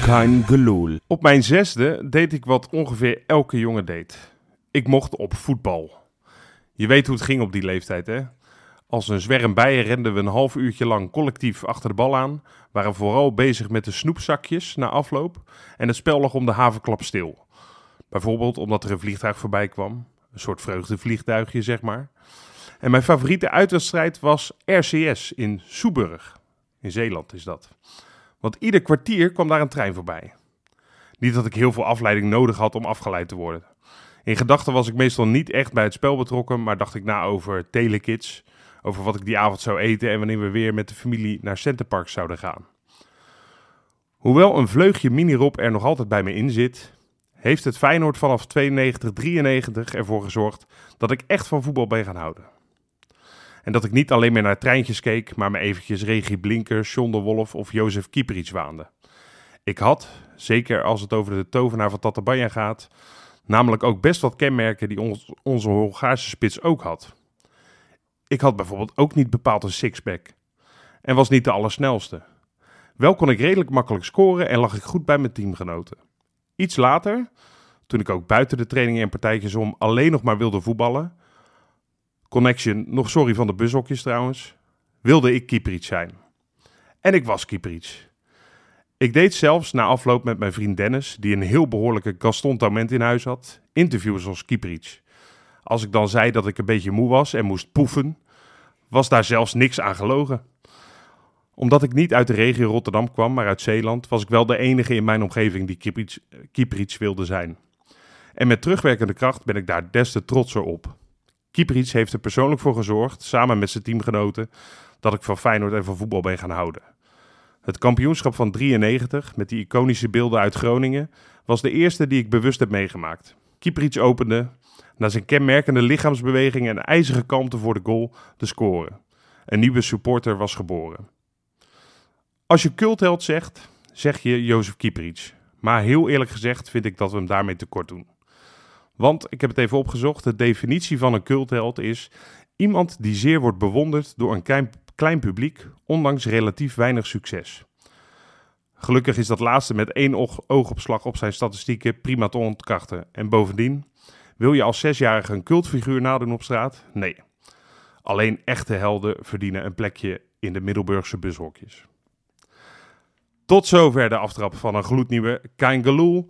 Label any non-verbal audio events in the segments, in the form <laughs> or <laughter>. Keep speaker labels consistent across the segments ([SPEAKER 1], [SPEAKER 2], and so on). [SPEAKER 1] Kein geloel. Op mijn zesde deed ik wat ongeveer elke jongen deed. Ik mocht op voetbal. Je weet hoe het ging op die leeftijd, hè? Als een zwerm bijen renden we een half uurtje lang collectief achter de bal aan, waren vooral bezig met de snoepzakjes na afloop en het spel lag om de havenklap stil. Bijvoorbeeld omdat er een vliegtuig voorbij kwam, een soort vreugdevliegtuigje zeg maar. En mijn favoriete uitwedstrijd was RCS in Soeburg. In Zeeland is dat. Want ieder kwartier kwam daar een trein voorbij. Niet dat ik heel veel afleiding nodig had om afgeleid te worden. In gedachten was ik meestal niet echt bij het spel betrokken, maar dacht ik na over telekids, over wat ik die avond zou eten en wanneer we weer met de familie naar Centerpark zouden gaan. Hoewel een vleugje mini-rob er nog altijd bij me in zit, heeft het Feyenoord vanaf 92-93 ervoor gezorgd dat ik echt van voetbal ben gaan houden. En dat ik niet alleen meer naar treintjes keek, maar me eventjes Regie Blinker, John de Wolf of Jozef Kieperits waande. Ik had, zeker als het over de tovenaar van Tatabanya gaat, namelijk ook best wat kenmerken die ons, onze Hongaarse spits ook had. Ik had bijvoorbeeld ook niet bepaald een sixpack en was niet de allersnelste. Wel kon ik redelijk makkelijk scoren en lag ik goed bij mijn teamgenoten. Iets later, toen ik ook buiten de trainingen en partijtjes om alleen nog maar wilde voetballen, Connection, nog sorry van de bushokjes trouwens, wilde ik Kieperits zijn. En ik was Kieperits. Ik deed zelfs na afloop met mijn vriend Dennis, die een heel behoorlijke Gaston Taument in huis had, interviews als Kieperits. Als ik dan zei dat ik een beetje moe was en moest poefen, was daar zelfs niks aan gelogen. Omdat ik niet uit de regio Rotterdam kwam, maar uit Zeeland, was ik wel de enige in mijn omgeving die Kieperits, Kieperits wilde zijn. En met terugwerkende kracht ben ik daar des te trotser op. Kieperits heeft er persoonlijk voor gezorgd, samen met zijn teamgenoten, dat ik van Feyenoord en van voetbal ben gaan houden. Het kampioenschap van 93, met die iconische beelden uit Groningen, was de eerste die ik bewust heb meegemaakt. Kieperits opende, na zijn kenmerkende lichaamsbeweging en ijzige kalmte voor de goal, de score. Een nieuwe supporter was geboren. Als je cultheld zegt, zeg je Jozef Kieperits. Maar heel eerlijk gezegd vind ik dat we hem daarmee tekort doen. Want ik heb het even opgezocht: de definitie van een cultheld is iemand die zeer wordt bewonderd door een klein, klein publiek, ondanks relatief weinig succes. Gelukkig is dat laatste met één oog, oogopslag op zijn statistieken prima te ontkrachten. En bovendien, wil je als zesjarige een cultfiguur nadoen op straat? Nee. Alleen echte helden verdienen een plekje in de Middelburgse bushokjes. Tot zover de aftrap van een gloednieuwe Kein Geloel.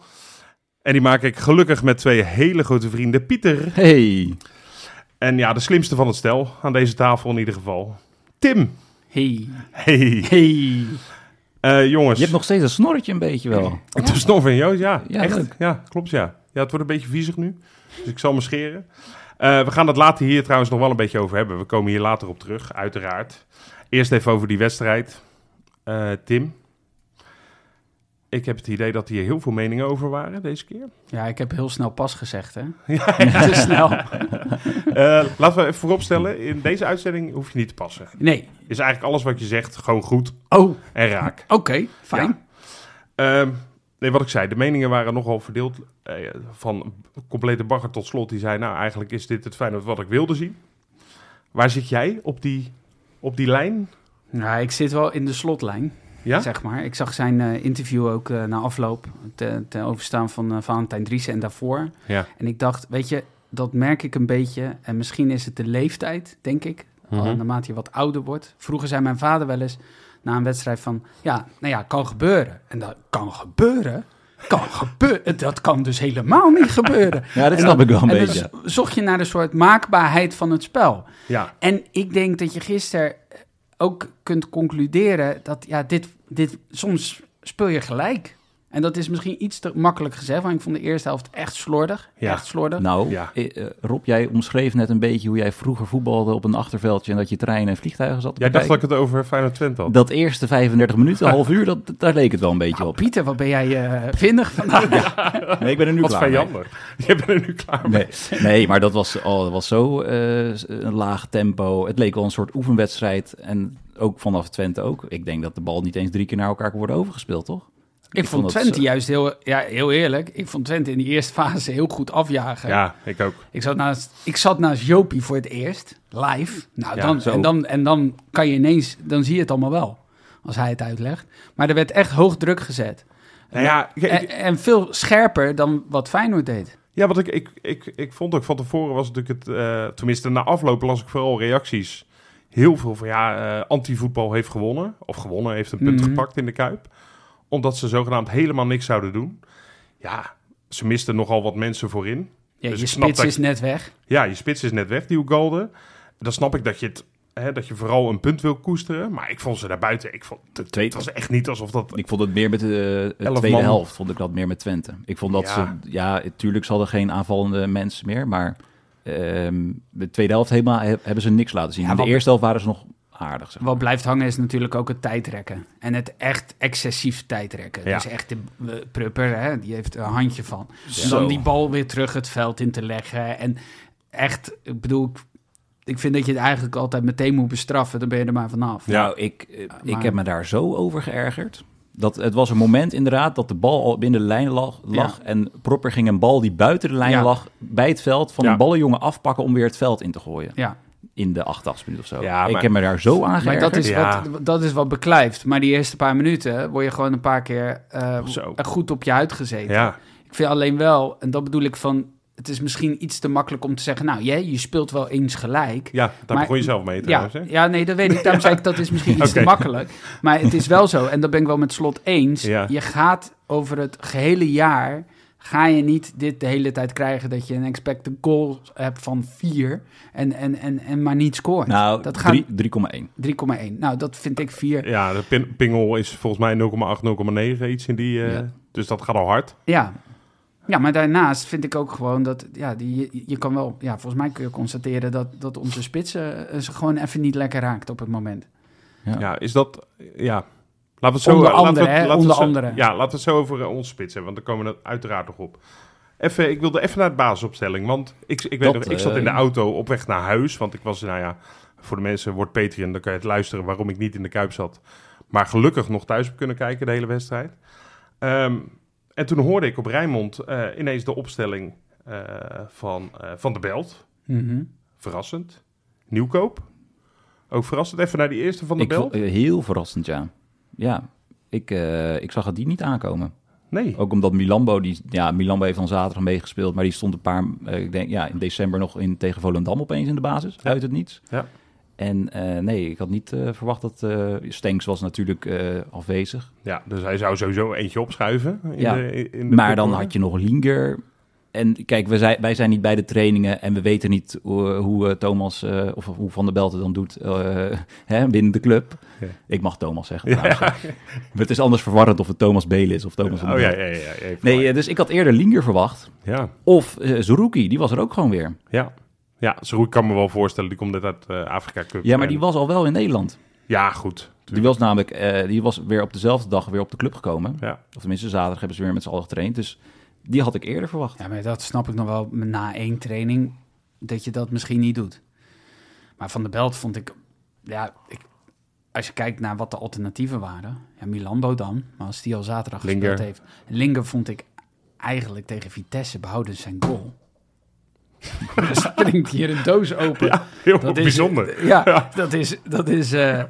[SPEAKER 1] En die maak ik gelukkig met twee hele grote vrienden, Pieter.
[SPEAKER 2] Hey.
[SPEAKER 1] En ja, de slimste van het stel, aan deze tafel in ieder geval. Tim.
[SPEAKER 3] Hey.
[SPEAKER 1] Hey.
[SPEAKER 2] <laughs>
[SPEAKER 3] Hey.
[SPEAKER 1] Eh, jongens,
[SPEAKER 2] Je hebt nog steeds een snorretje een beetje wel.
[SPEAKER 1] het is nog van Joost, ja.
[SPEAKER 2] Ja,
[SPEAKER 1] echt.
[SPEAKER 2] leuk.
[SPEAKER 1] Ja, klopt ja. Ja, het wordt een beetje viezig nu, dus ik zal me scheren. Eh, we gaan het later hier trouwens nog wel een beetje over hebben. We komen hier later op terug, uiteraard. Eerst even over die wedstrijd. Eh, Tim, ik heb het idee dat hier heel veel meningen over waren deze keer.
[SPEAKER 3] Ja, ik heb heel snel pas gezegd,
[SPEAKER 1] <laughs>
[SPEAKER 3] hè? Te snel.
[SPEAKER 2] <laughs>
[SPEAKER 1] Eh, laten we even vooropstellen, in deze uitzending hoef je niet te passen.
[SPEAKER 3] Nee.
[SPEAKER 1] Is eigenlijk alles wat je zegt gewoon goed
[SPEAKER 3] Oh, oké,
[SPEAKER 1] en raak.
[SPEAKER 3] fijn.
[SPEAKER 1] Ehm, nee, wat ik zei, de meningen waren nogal verdeeld. eh, van complete bagger tot slot. Die zei, nou eigenlijk is dit het fijne wat ik wilde zien. Waar zit jij op die, op die lijn?
[SPEAKER 3] Nou, ik zit wel in de slotlijn,
[SPEAKER 1] Ja?
[SPEAKER 3] zeg maar. Ik zag zijn eh, interview ook eh, na afloop, ten, ten overstaan van eh, Valentijn Driessen en daarvoor.
[SPEAKER 1] Ja.
[SPEAKER 3] En ik dacht, weet je, dat merk ik een beetje. En misschien is het de leeftijd, denk ik.
[SPEAKER 1] Mhm.
[SPEAKER 3] al Naarmate je wat ouder wordt. Vroeger zei mijn vader wel eens na een wedstrijd van... Ja, nou ja, kan gebeuren. En dat kan gebeuren? Kan gebeuren? Dat kan dus helemaal niet gebeuren.
[SPEAKER 2] Ja, dat
[SPEAKER 3] En
[SPEAKER 2] snap ik wel een
[SPEAKER 3] en
[SPEAKER 2] beetje.
[SPEAKER 3] dan zocht je naar de soort maakbaarheid van het spel.
[SPEAKER 1] ja.
[SPEAKER 3] En ik denk dat je gisteren ook kunt concluderen dat ja, dit, dit soms speel je gelijk. En dat is misschien iets te makkelijk gezegd, want ik vond de eerste helft echt slordig.
[SPEAKER 1] Ja.
[SPEAKER 3] Echt slordig.
[SPEAKER 2] Nou,
[SPEAKER 1] Ja.
[SPEAKER 2] eh, eh, Rob, jij omschreef net een beetje hoe jij vroeger voetbalde op een achterveldje en dat je treinen en vliegtuigen zat te
[SPEAKER 1] Jij dacht dat ik
[SPEAKER 2] bekijken.
[SPEAKER 1] het over Feyenoord Twente had.
[SPEAKER 2] dat eerste 35 minuten, half uur, dat, daar leek het wel een beetje op.
[SPEAKER 3] Nou, Pieter, wat ben jij eh vindig vandaag?
[SPEAKER 2] <laughs> Nee, ik ben er nu
[SPEAKER 1] Wat
[SPEAKER 2] klaar mee.
[SPEAKER 1] vijandig. <laughs> Je bent er nu klaar mee.
[SPEAKER 2] Nee, nee, maar dat was, oh, dat was zo eh, s- een laag tempo. Het leek wel een soort oefenwedstrijd. En ook vanaf Twente ook. Ik denk dat de bal niet eens drie keer naar elkaar kan worden overgespeeld, toch?
[SPEAKER 3] Ik vond
[SPEAKER 2] dat
[SPEAKER 3] Twente
[SPEAKER 2] zo-
[SPEAKER 3] juist heel, ja, heel eerlijk. Ik vond Twente in die eerste fase heel goed afjagen.
[SPEAKER 1] Ja, ik ook.
[SPEAKER 3] Ik, zat naast, ik zat naast Jopie voor het eerst, live. Nou,
[SPEAKER 1] Ja,
[SPEAKER 3] dan,
[SPEAKER 1] zo.
[SPEAKER 3] en, dan, en dan kan je ineens, dan zie je het allemaal wel, als hij het uitlegt. Maar er werd echt hoog druk gezet.
[SPEAKER 1] Nou ja, ik- ik-
[SPEAKER 3] En, en veel scherper dan wat Feyenoord deed.
[SPEAKER 1] Ja, want ik, ik, ik, ik vond ook van tevoren was natuurlijk het... eh, tenminste, na afloop las ik vooral reacties. Heel veel van ja, eh anti-voetbal heeft gewonnen. Of gewonnen, heeft een punt
[SPEAKER 3] Mhm.
[SPEAKER 1] gepakt in de Kuip. Omdat ze zogenaamd helemaal niks zouden doen. Ja, ze misten nogal wat mensen voorin.
[SPEAKER 3] Ja,
[SPEAKER 1] Dus
[SPEAKER 3] je
[SPEAKER 1] ik snap
[SPEAKER 3] spits
[SPEAKER 1] dat-
[SPEAKER 3] is net weg.
[SPEAKER 1] Ja, je spits is net weg, die Ugalde. Dan snap ik dat je, het, hè, dat je vooral een punt wil koesteren. Maar ik vond ze daarbuiten... Ik vond, het, het
[SPEAKER 2] Tweede,
[SPEAKER 1] was echt niet alsof dat...
[SPEAKER 2] ik vond het meer met de eh,
[SPEAKER 1] Elf
[SPEAKER 2] tweede
[SPEAKER 1] man.
[SPEAKER 2] helft, vond ik dat meer met Twente. Ik vond dat
[SPEAKER 1] Ja.
[SPEAKER 2] ze, ja, tuurlijk, ze hadden geen aanvallende mensen meer, maar ehm, de tweede helft helemaal, he- hebben ze niks laten zien.
[SPEAKER 3] Ja,
[SPEAKER 2] In de
[SPEAKER 3] wat-
[SPEAKER 2] eerste helft waren ze nog aardig, zeg maar.
[SPEAKER 3] Wat blijft hangen is natuurlijk ook het tijdrekken. En het echt excessief tijdrekken.
[SPEAKER 1] Ja.
[SPEAKER 3] Dus echt de eh, prupper, hè, die heeft er een handje van. Dus
[SPEAKER 2] Zo.
[SPEAKER 3] dan die bal weer terug het veld in te leggen. En echt, ik bedoel, ik- ik vind dat je het eigenlijk altijd meteen moet bestraffen. Dan ben je er maar vanaf.
[SPEAKER 1] Ja.
[SPEAKER 2] Nou, ik, eh, ik
[SPEAKER 3] maar-
[SPEAKER 2] heb me daar zo over geërgerd. Dat, het was een moment inderdaad dat de bal al binnen de lijn lag. lag En Propper ging een bal die buiten de lijn
[SPEAKER 3] Ja.
[SPEAKER 2] lag bij het veld van
[SPEAKER 1] Ja.
[SPEAKER 2] een ballenjongen afpakken om weer het veld in te gooien.
[SPEAKER 3] Ja,
[SPEAKER 2] In de 88 minuut of zo.
[SPEAKER 1] Ja,
[SPEAKER 2] ik
[SPEAKER 1] maar-
[SPEAKER 2] heb me daar zo aan
[SPEAKER 3] maar
[SPEAKER 2] geërgerd.
[SPEAKER 3] dat is,
[SPEAKER 1] Ja.
[SPEAKER 3] wat, dat is wat beklijft. Maar die eerste paar minuten word je gewoon een paar keer eh,
[SPEAKER 1] Zo.
[SPEAKER 3] goed op je huid gezeten.
[SPEAKER 1] Ja,
[SPEAKER 3] Ik vind alleen wel, en dat bedoel ik van... Het is misschien iets te makkelijk om te zeggen... Nou, jij, je speelt wel eens gelijk.
[SPEAKER 1] ja daar
[SPEAKER 3] Maar-
[SPEAKER 1] begon je zelf mee
[SPEAKER 3] Ja,
[SPEAKER 1] trouwens. hè?
[SPEAKER 3] ja, nee, dat weet ik. Daarom zei ik, dat is misschien iets te
[SPEAKER 1] Oké.
[SPEAKER 3] makkelijk. Maar het is wel zo, en dat ben ik wel met slot eens.
[SPEAKER 1] Ja.
[SPEAKER 3] Je gaat over het gehele jaar... ga je niet dit de hele tijd krijgen... dat je een expected goal hebt van 4... en, en, en, en maar niet scoort.
[SPEAKER 2] nou,
[SPEAKER 3] dat gaat 3,1.
[SPEAKER 2] drie- 3,1.
[SPEAKER 3] Nou, dat vind ik
[SPEAKER 1] <laughs>
[SPEAKER 3] 4.
[SPEAKER 1] Ja, de pin- pingel is volgens mij 0,8, 0,9, iets in die. eh,
[SPEAKER 2] Ja.
[SPEAKER 1] Dus dat gaat al hard.
[SPEAKER 3] Ja. Ja, maar daarnaast vind ik ook gewoon dat... Ja, die, je- je kan wel... Ja, volgens mij kun je constateren dat, dat onze spitsen... eh, ze gewoon even niet lekker raakt op het moment.
[SPEAKER 1] Ja,
[SPEAKER 2] Ja.
[SPEAKER 1] is dat. Ja. Laten we het zo,
[SPEAKER 3] Onder
[SPEAKER 1] laten we het-
[SPEAKER 3] andere, hè,
[SPEAKER 1] laten we het
[SPEAKER 3] onder
[SPEAKER 1] zo-
[SPEAKER 3] andere.
[SPEAKER 1] Ja, laten we het zo over eh, ons spits hebben, want daar komen we dat uiteraard nog op. Even, ik wilde even naar de basisopstelling, want ik, ik, weet
[SPEAKER 2] Dat,
[SPEAKER 1] nog, ik zat in de
[SPEAKER 2] eh,
[SPEAKER 1] auto op weg naar huis, want ik was, nou ja, voor de mensen wordt Patreon, dan kan je het luisteren waarom ik niet in de Kuip zat. Maar gelukkig nog thuis heb kunnen kijken de hele wedstrijd. Ehm, en toen hoorde ik op Rijnmond eh, ineens de opstelling eh, van, eh, van de Belt. Verrassend. Nieuwkoop. Ook verrassend. Even naar die eerste van de
[SPEAKER 2] Ik,
[SPEAKER 1] bel.
[SPEAKER 2] vo- eh, heel verrassend, ja. Ja, ik, eh, ik zag het die niet aankomen.
[SPEAKER 1] Nee.
[SPEAKER 2] Ook omdat Milambo, die, ja, Milambo heeft dan zaterdag meegespeeld, maar die stond een paar, eh, ik denk, ja, in december nog in, tegen Volendam opeens in de basis, uit het niets.
[SPEAKER 1] Ja.
[SPEAKER 2] En eh, nee, ik had niet eh, verwacht dat eh Stenks was natuurlijk eh, afwezig.
[SPEAKER 1] Ja, dus hij zou sowieso eentje opschuiven. In
[SPEAKER 2] Ja,
[SPEAKER 1] de, in de
[SPEAKER 2] Maar dan had je nog Linger. En kijk, wij zijn, wij zijn niet bij de trainingen en we weten niet hoe, hoe eh, Thomas eh, of hoe Van der Belt het dan doet eh, <laughs> hè, binnen de club.
[SPEAKER 1] Ja.
[SPEAKER 2] Ik mag Thomas zeggen.
[SPEAKER 1] <laughs> Ja.
[SPEAKER 2] trouwens. Maar het is anders verwarrend of het Thomas Belen is of Thomas van
[SPEAKER 1] Oh
[SPEAKER 2] der
[SPEAKER 1] ja,
[SPEAKER 2] Belt.
[SPEAKER 1] ja, ja. ja, even
[SPEAKER 2] Nee,
[SPEAKER 1] gelijk.
[SPEAKER 2] eh, dus ik had eerder Linger verwacht.
[SPEAKER 1] ja,
[SPEAKER 2] Of eh Zerouki, die was er ook gewoon weer.
[SPEAKER 1] ja. Ja, Zeroe kan me wel voorstellen. Die komt net uit eh, Afrika Cup.
[SPEAKER 2] Ja, maar
[SPEAKER 1] En-
[SPEAKER 2] die was al wel in Nederland.
[SPEAKER 1] Ja, goed.
[SPEAKER 2] Die was namelijk, eh, die was weer op dezelfde dag weer op de club gekomen.
[SPEAKER 1] Ja. <laughs>
[SPEAKER 2] Of tenminste, zaterdag hebben ze weer met z'n allen getraind. Dus die had ik eerder
[SPEAKER 1] <laughs>
[SPEAKER 2] verwacht.
[SPEAKER 3] Ja, maar dat snap ik nog wel na één training, dat je dat misschien niet doet. Maar Van der Belt vond ik, ja, ik, als je kijkt naar wat de alternatieven waren, ja, Milambo dan, maar als die al zaterdag
[SPEAKER 1] Linger.
[SPEAKER 3] gespeeld heeft. Linger vond ik eigenlijk tegen Vitesse behouden zijn goal. <laughs> Er springt hier een doos open.
[SPEAKER 1] Heel
[SPEAKER 3] Dat is-
[SPEAKER 1] bijzonder.
[SPEAKER 3] Ja, dat is, dat is eh,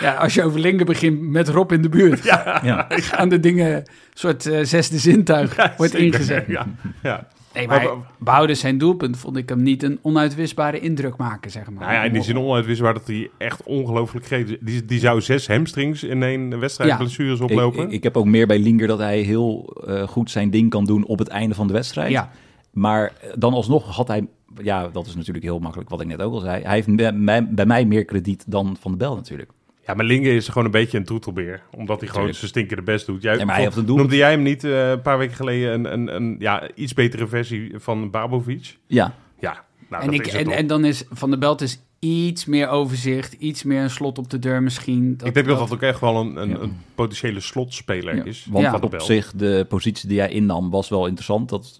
[SPEAKER 3] ja, als je over Linger begint met Rob in de buurt,
[SPEAKER 2] Ja.
[SPEAKER 3] gaan de dingen, soort eh, zesde zintuig, wordt
[SPEAKER 1] Zeker.
[SPEAKER 3] ingezet.
[SPEAKER 1] <laughs> Ja, ja.
[SPEAKER 3] Nee, maar
[SPEAKER 1] Maar-
[SPEAKER 3] behouden zijn doelpunt vond ik hem niet een onuitwisbare indruk maken, zeg maar.
[SPEAKER 1] Nou ja, in die zin onuitwisbaar dat hij echt ongelooflijk gretig is. Die, die zou zes hamstrings in één wedstrijd
[SPEAKER 3] Ja.
[SPEAKER 1] blessures
[SPEAKER 2] Ik,
[SPEAKER 1] oplopen.
[SPEAKER 2] ik, ik heb ook meer bij Linger dat hij heel eh, goed zijn ding kan doen op het einde van de wedstrijd.
[SPEAKER 3] Ja,
[SPEAKER 2] Maar eh, dan alsnog had hij, ja, dat is natuurlijk heel makkelijk wat ik net ook al zei. Hij heeft bij mij, bij mij meer krediet dan Van de Bel natuurlijk.
[SPEAKER 1] Ja, maar Linge is gewoon een beetje een troetelbeer. Omdat hij gewoon
[SPEAKER 2] Tuurlijk.
[SPEAKER 1] zijn stinkende best doet. Jij,
[SPEAKER 2] Ja, maar hij heeft een doel.
[SPEAKER 1] Noemde jij hem niet eh, een paar weken geleden een, een, een ja, iets betere versie van Babovic?
[SPEAKER 2] Ja,
[SPEAKER 1] Ja, nou,
[SPEAKER 3] en,
[SPEAKER 1] dat
[SPEAKER 3] ik,
[SPEAKER 1] is het
[SPEAKER 3] en,
[SPEAKER 1] toch.
[SPEAKER 3] en dan is Van der Belt is iets meer overzicht, iets meer een slot op de deur misschien.
[SPEAKER 1] ik denk dat dat ook echt wel een, een,
[SPEAKER 2] Ja.
[SPEAKER 1] een potentiële slotspeler
[SPEAKER 2] Ja,
[SPEAKER 1] is.
[SPEAKER 2] Want
[SPEAKER 3] Ja.
[SPEAKER 1] van de
[SPEAKER 2] op
[SPEAKER 1] Bel.
[SPEAKER 2] zich, de positie die hij innam was wel interessant. Dat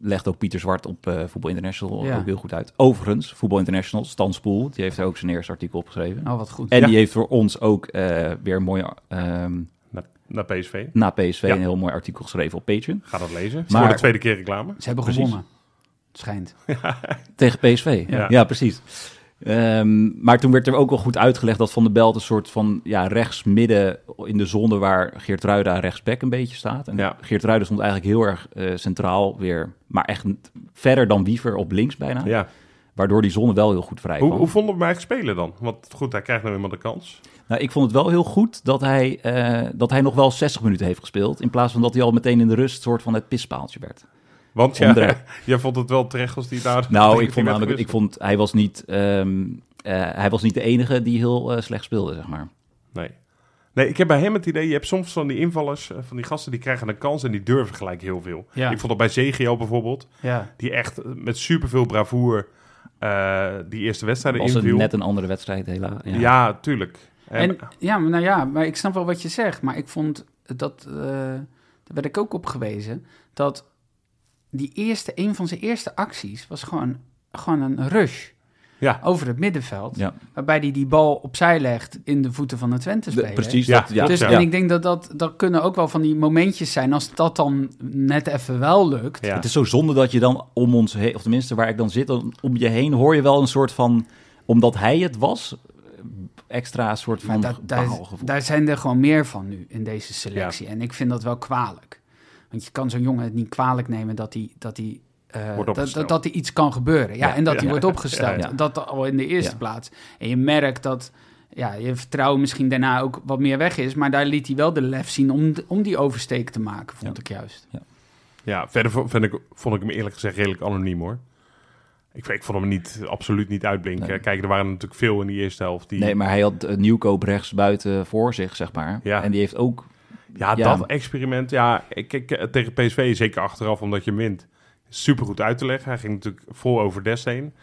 [SPEAKER 2] legt ook Pieter Zwart op eh Voetbal International
[SPEAKER 3] Ja.
[SPEAKER 2] ook heel goed uit. Overigens, Voetbal International, Stan Spoel, die heeft er ook zijn eerste artikel op geschreven.
[SPEAKER 3] Oh, wat goed.
[SPEAKER 2] En
[SPEAKER 1] Ja.
[SPEAKER 2] die heeft voor ons ook eh, weer een mooi, ehm,
[SPEAKER 1] Naar, naar PSV.
[SPEAKER 2] na PSV,
[SPEAKER 1] Ja.
[SPEAKER 2] een heel mooi artikel geschreven op Patreon.
[SPEAKER 1] Ga dat lezen.
[SPEAKER 2] Maar-
[SPEAKER 1] Voor de tweede keer reclame.
[SPEAKER 3] Ze hebben
[SPEAKER 2] Precies.
[SPEAKER 3] gewonnen, schijnt.
[SPEAKER 2] Tegen PSV,
[SPEAKER 1] Ja.
[SPEAKER 2] ja, precies. Ehm, maar toen werd er ook wel goed uitgelegd dat Van der Belt een soort van ja, rechts-midden in de zone waar Geert Ruida rechtsback een beetje staat. En
[SPEAKER 1] Ja.
[SPEAKER 2] Geert Ruida stond eigenlijk heel erg eh, centraal weer, maar echt n- verder dan Wiever op links bijna.
[SPEAKER 1] Ja.
[SPEAKER 2] Waardoor die zone wel heel goed vrij
[SPEAKER 1] Hoe,
[SPEAKER 2] kwam.
[SPEAKER 1] hoe vonden we hem eigenlijk spelen dan? Want goed, hij krijgt nou eenmaal de kans.
[SPEAKER 2] Nou, ik vond het wel heel goed dat hij, eh, dat hij nog wel 60 minuten heeft gespeeld. In plaats van dat hij al meteen in de rust soort van het pispaaltje werd.
[SPEAKER 1] Want ja,
[SPEAKER 2] Ondre.
[SPEAKER 1] <laughs> jij vond het wel terecht als die daar... <laughs>
[SPEAKER 2] Nou,
[SPEAKER 1] die
[SPEAKER 2] ik vond,
[SPEAKER 1] werd
[SPEAKER 2] namelijk, ik
[SPEAKER 1] gewisseld.
[SPEAKER 2] vond hij was niet. ehm, eh, hij was niet de enige die heel eh, slecht speelde, zeg maar.
[SPEAKER 1] Nee. Nee, ik heb bij hem het idee, je hebt soms van die invallers, eh, van die gasten, die krijgen een kans en die durven gelijk heel veel.
[SPEAKER 3] Ja.
[SPEAKER 1] Ik vond dat bij ZGO bijvoorbeeld,
[SPEAKER 3] Ja.
[SPEAKER 1] die echt eh, met superveel bravoer eh, die eerste wedstrijden
[SPEAKER 2] was het
[SPEAKER 1] inviel.
[SPEAKER 2] net een andere wedstrijd, helaas. Ja.
[SPEAKER 1] ja. tuurlijk. Eh,
[SPEAKER 3] En, ja, maar nou ja, maar ik snap wel wat je zegt. Maar ik vond dat, eh, daar werd ik ook op gewezen, dat die eerste, een van zijn eerste acties was gewoon, gewoon een rush
[SPEAKER 1] Ja.
[SPEAKER 3] over het middenveld.
[SPEAKER 2] Ja.
[SPEAKER 3] Waarbij hij die bal opzij legt in de voeten van de Twente
[SPEAKER 2] De-
[SPEAKER 3] speler.
[SPEAKER 2] precies.
[SPEAKER 1] Ja,
[SPEAKER 2] dat, ja.
[SPEAKER 3] Dus
[SPEAKER 1] klopt,
[SPEAKER 2] ja.
[SPEAKER 3] en ik denk dat, dat dat kunnen ook wel van die momentjes zijn. Als dat dan net even wel lukt.
[SPEAKER 1] ja.
[SPEAKER 2] Het is zo zonde dat je dan om ons heen, of tenminste waar ik dan zit, dan om je heen hoor je wel een soort van, omdat hij het was, eh, extra soort
[SPEAKER 3] Maar
[SPEAKER 2] van
[SPEAKER 3] daar, daar,
[SPEAKER 2] baalgevoel.
[SPEAKER 3] daar zijn er gewoon meer van nu in deze selectie. En ik vind dat wel kwalijk. Want je kan zo'n jongen het niet kwalijk nemen dat hij dat hij, eh,
[SPEAKER 1] Wordt
[SPEAKER 3] dat,
[SPEAKER 1] opgesteld.
[SPEAKER 3] dat, dat er iets kan gebeuren. Ja,
[SPEAKER 2] Ja,
[SPEAKER 3] en dat
[SPEAKER 1] ja,
[SPEAKER 3] hij wordt
[SPEAKER 1] ja,
[SPEAKER 3] opgesteld.
[SPEAKER 2] ja.
[SPEAKER 3] Dat al in de eerste
[SPEAKER 2] Ja.
[SPEAKER 3] plaats. En je merkt dat ja, je vertrouwen misschien daarna ook wat meer weg is. Maar daar liet hij wel de lef zien om, om die oversteek te maken, vond
[SPEAKER 2] Ja.
[SPEAKER 3] ik juist.
[SPEAKER 1] Ja, verder vo- vind ik, vond ik hem eerlijk gezegd redelijk anoniem hoor. Ik, ik vond hem niet, absoluut niet uitblinken.
[SPEAKER 2] Nee.
[SPEAKER 1] Kijk, er waren natuurlijk veel in die eerste helft. Die,
[SPEAKER 2] Nee, maar hij had eh, Nieuwkoop rechts buiten voor zich, zeg maar.
[SPEAKER 1] Ja.
[SPEAKER 2] En die heeft ook
[SPEAKER 1] ja,
[SPEAKER 2] ja.
[SPEAKER 1] dat experiment. Ja, ik, ik, eh, tegen PSV, zeker achteraf, omdat je hem wint. Super goed uit te leggen. Hij ging natuurlijk vol over Dest heen.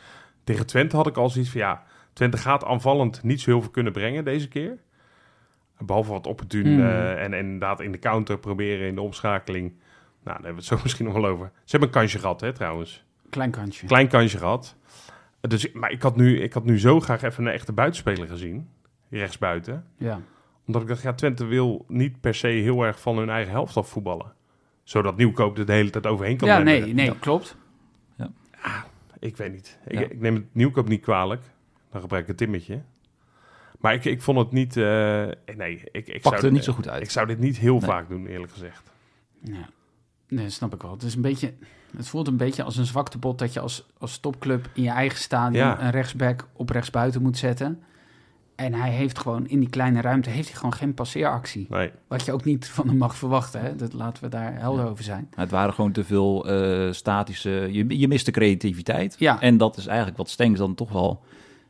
[SPEAKER 1] Tegen Twente had ik al zoiets van ja, Twente gaat aanvallend niet zo heel veel kunnen brengen deze keer. Behalve wat opportun
[SPEAKER 3] Mm.
[SPEAKER 1] eh, en, en inderdaad in de counter proberen, in de omschakeling. Nou, daar hebben we het zo <laughs> misschien nog wel over. Ze hebben een kansje gehad, hè, trouwens.
[SPEAKER 3] Klein kantje.
[SPEAKER 1] klein kansje gehad. Dus, ik- maar ik had, nu, ik had nu zo graag even een echte buitenspeler gezien. Rechtsbuiten.
[SPEAKER 3] Ja.
[SPEAKER 1] Omdat ik dacht, ja, Twente wil niet per se heel erg van hun eigen helft af voetballen. Zodat Nieuwkoop er de hele tijd overheen kan
[SPEAKER 3] Ja,
[SPEAKER 1] denderen.
[SPEAKER 3] nee, nee, klopt.
[SPEAKER 1] Ik weet niet. Ik,
[SPEAKER 2] Ja.
[SPEAKER 1] ik neem het Nieuwkoop niet kwalijk. Dan gebruik ik een timmetje. Maar ik, ik vond het niet... eh, nee, ik,
[SPEAKER 2] pakte
[SPEAKER 1] ik zou,
[SPEAKER 2] het niet zo goed uit.
[SPEAKER 1] Ik zou dit niet heel
[SPEAKER 2] Nee.
[SPEAKER 1] vaak doen, eerlijk gezegd.
[SPEAKER 3] Ja, nee, dat snap ik wel. Het, is een beetje, het voelt een beetje als een zwaktebod dat je als, als topclub in je eigen stadion
[SPEAKER 1] Ja.
[SPEAKER 3] een rechtsback op rechtsbuiten moet zetten. En hij heeft gewoon in die kleine ruimte heeft hij gewoon geen passeeractie.
[SPEAKER 1] Nee.
[SPEAKER 3] Wat je ook niet van hem mag verwachten. Hè? Dat laten we daar helder over zijn.
[SPEAKER 2] Maar Het waren gewoon te veel eh, statische... Je, je mist de creativiteit.
[SPEAKER 3] Ja.
[SPEAKER 2] En dat is eigenlijk wat Stengs dan toch wel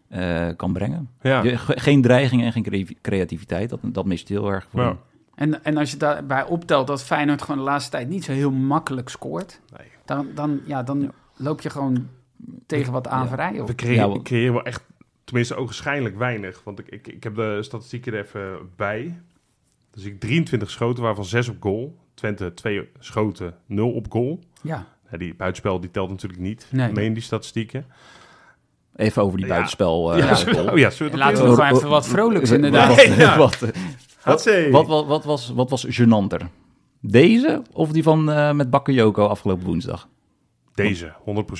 [SPEAKER 2] eh, kan brengen.
[SPEAKER 1] Ja.
[SPEAKER 2] Je- ge- geen dreiging en geen cre- creativiteit. Dat, dat mist heel erg. Voor
[SPEAKER 1] Ja.
[SPEAKER 2] hem.
[SPEAKER 3] En, en als je daarbij optelt dat Feyenoord gewoon de laatste tijd niet zo heel makkelijk scoort.
[SPEAKER 1] Nee.
[SPEAKER 3] Dan, dan, ja, dan loop je gewoon tegen wat aanverij op.
[SPEAKER 1] We creë-
[SPEAKER 2] Ja, wel-
[SPEAKER 1] creëren wel echt, tenminste ogenschijnlijk weinig. Want ik, ik, ik heb de statistieken er even bij. Dus ik 23 schoten, waarvan 6 op goal. Twente 2 schoten, 0 op goal.
[SPEAKER 3] Ja,
[SPEAKER 1] Ja, die buitenspel die telt natuurlijk niet
[SPEAKER 3] Nee.
[SPEAKER 1] mee in die statistieken.
[SPEAKER 2] Even over die
[SPEAKER 1] Ja.
[SPEAKER 2] buitenspel. eh,
[SPEAKER 1] ja,
[SPEAKER 2] goal.
[SPEAKER 1] <laughs> zullen we- oh ja, zullen
[SPEAKER 3] En
[SPEAKER 1] we dat
[SPEAKER 3] laten
[SPEAKER 1] doen?
[SPEAKER 3] we gewoon even wat vrolijks inderdaad.
[SPEAKER 2] Wat, <laughs>
[SPEAKER 1] Ja.
[SPEAKER 2] wat,
[SPEAKER 1] Hatsé.
[SPEAKER 2] wat, wat, wat was, wat was genanter? Deze of die van eh, met Bakayoko afgelopen woensdag?
[SPEAKER 1] Deze,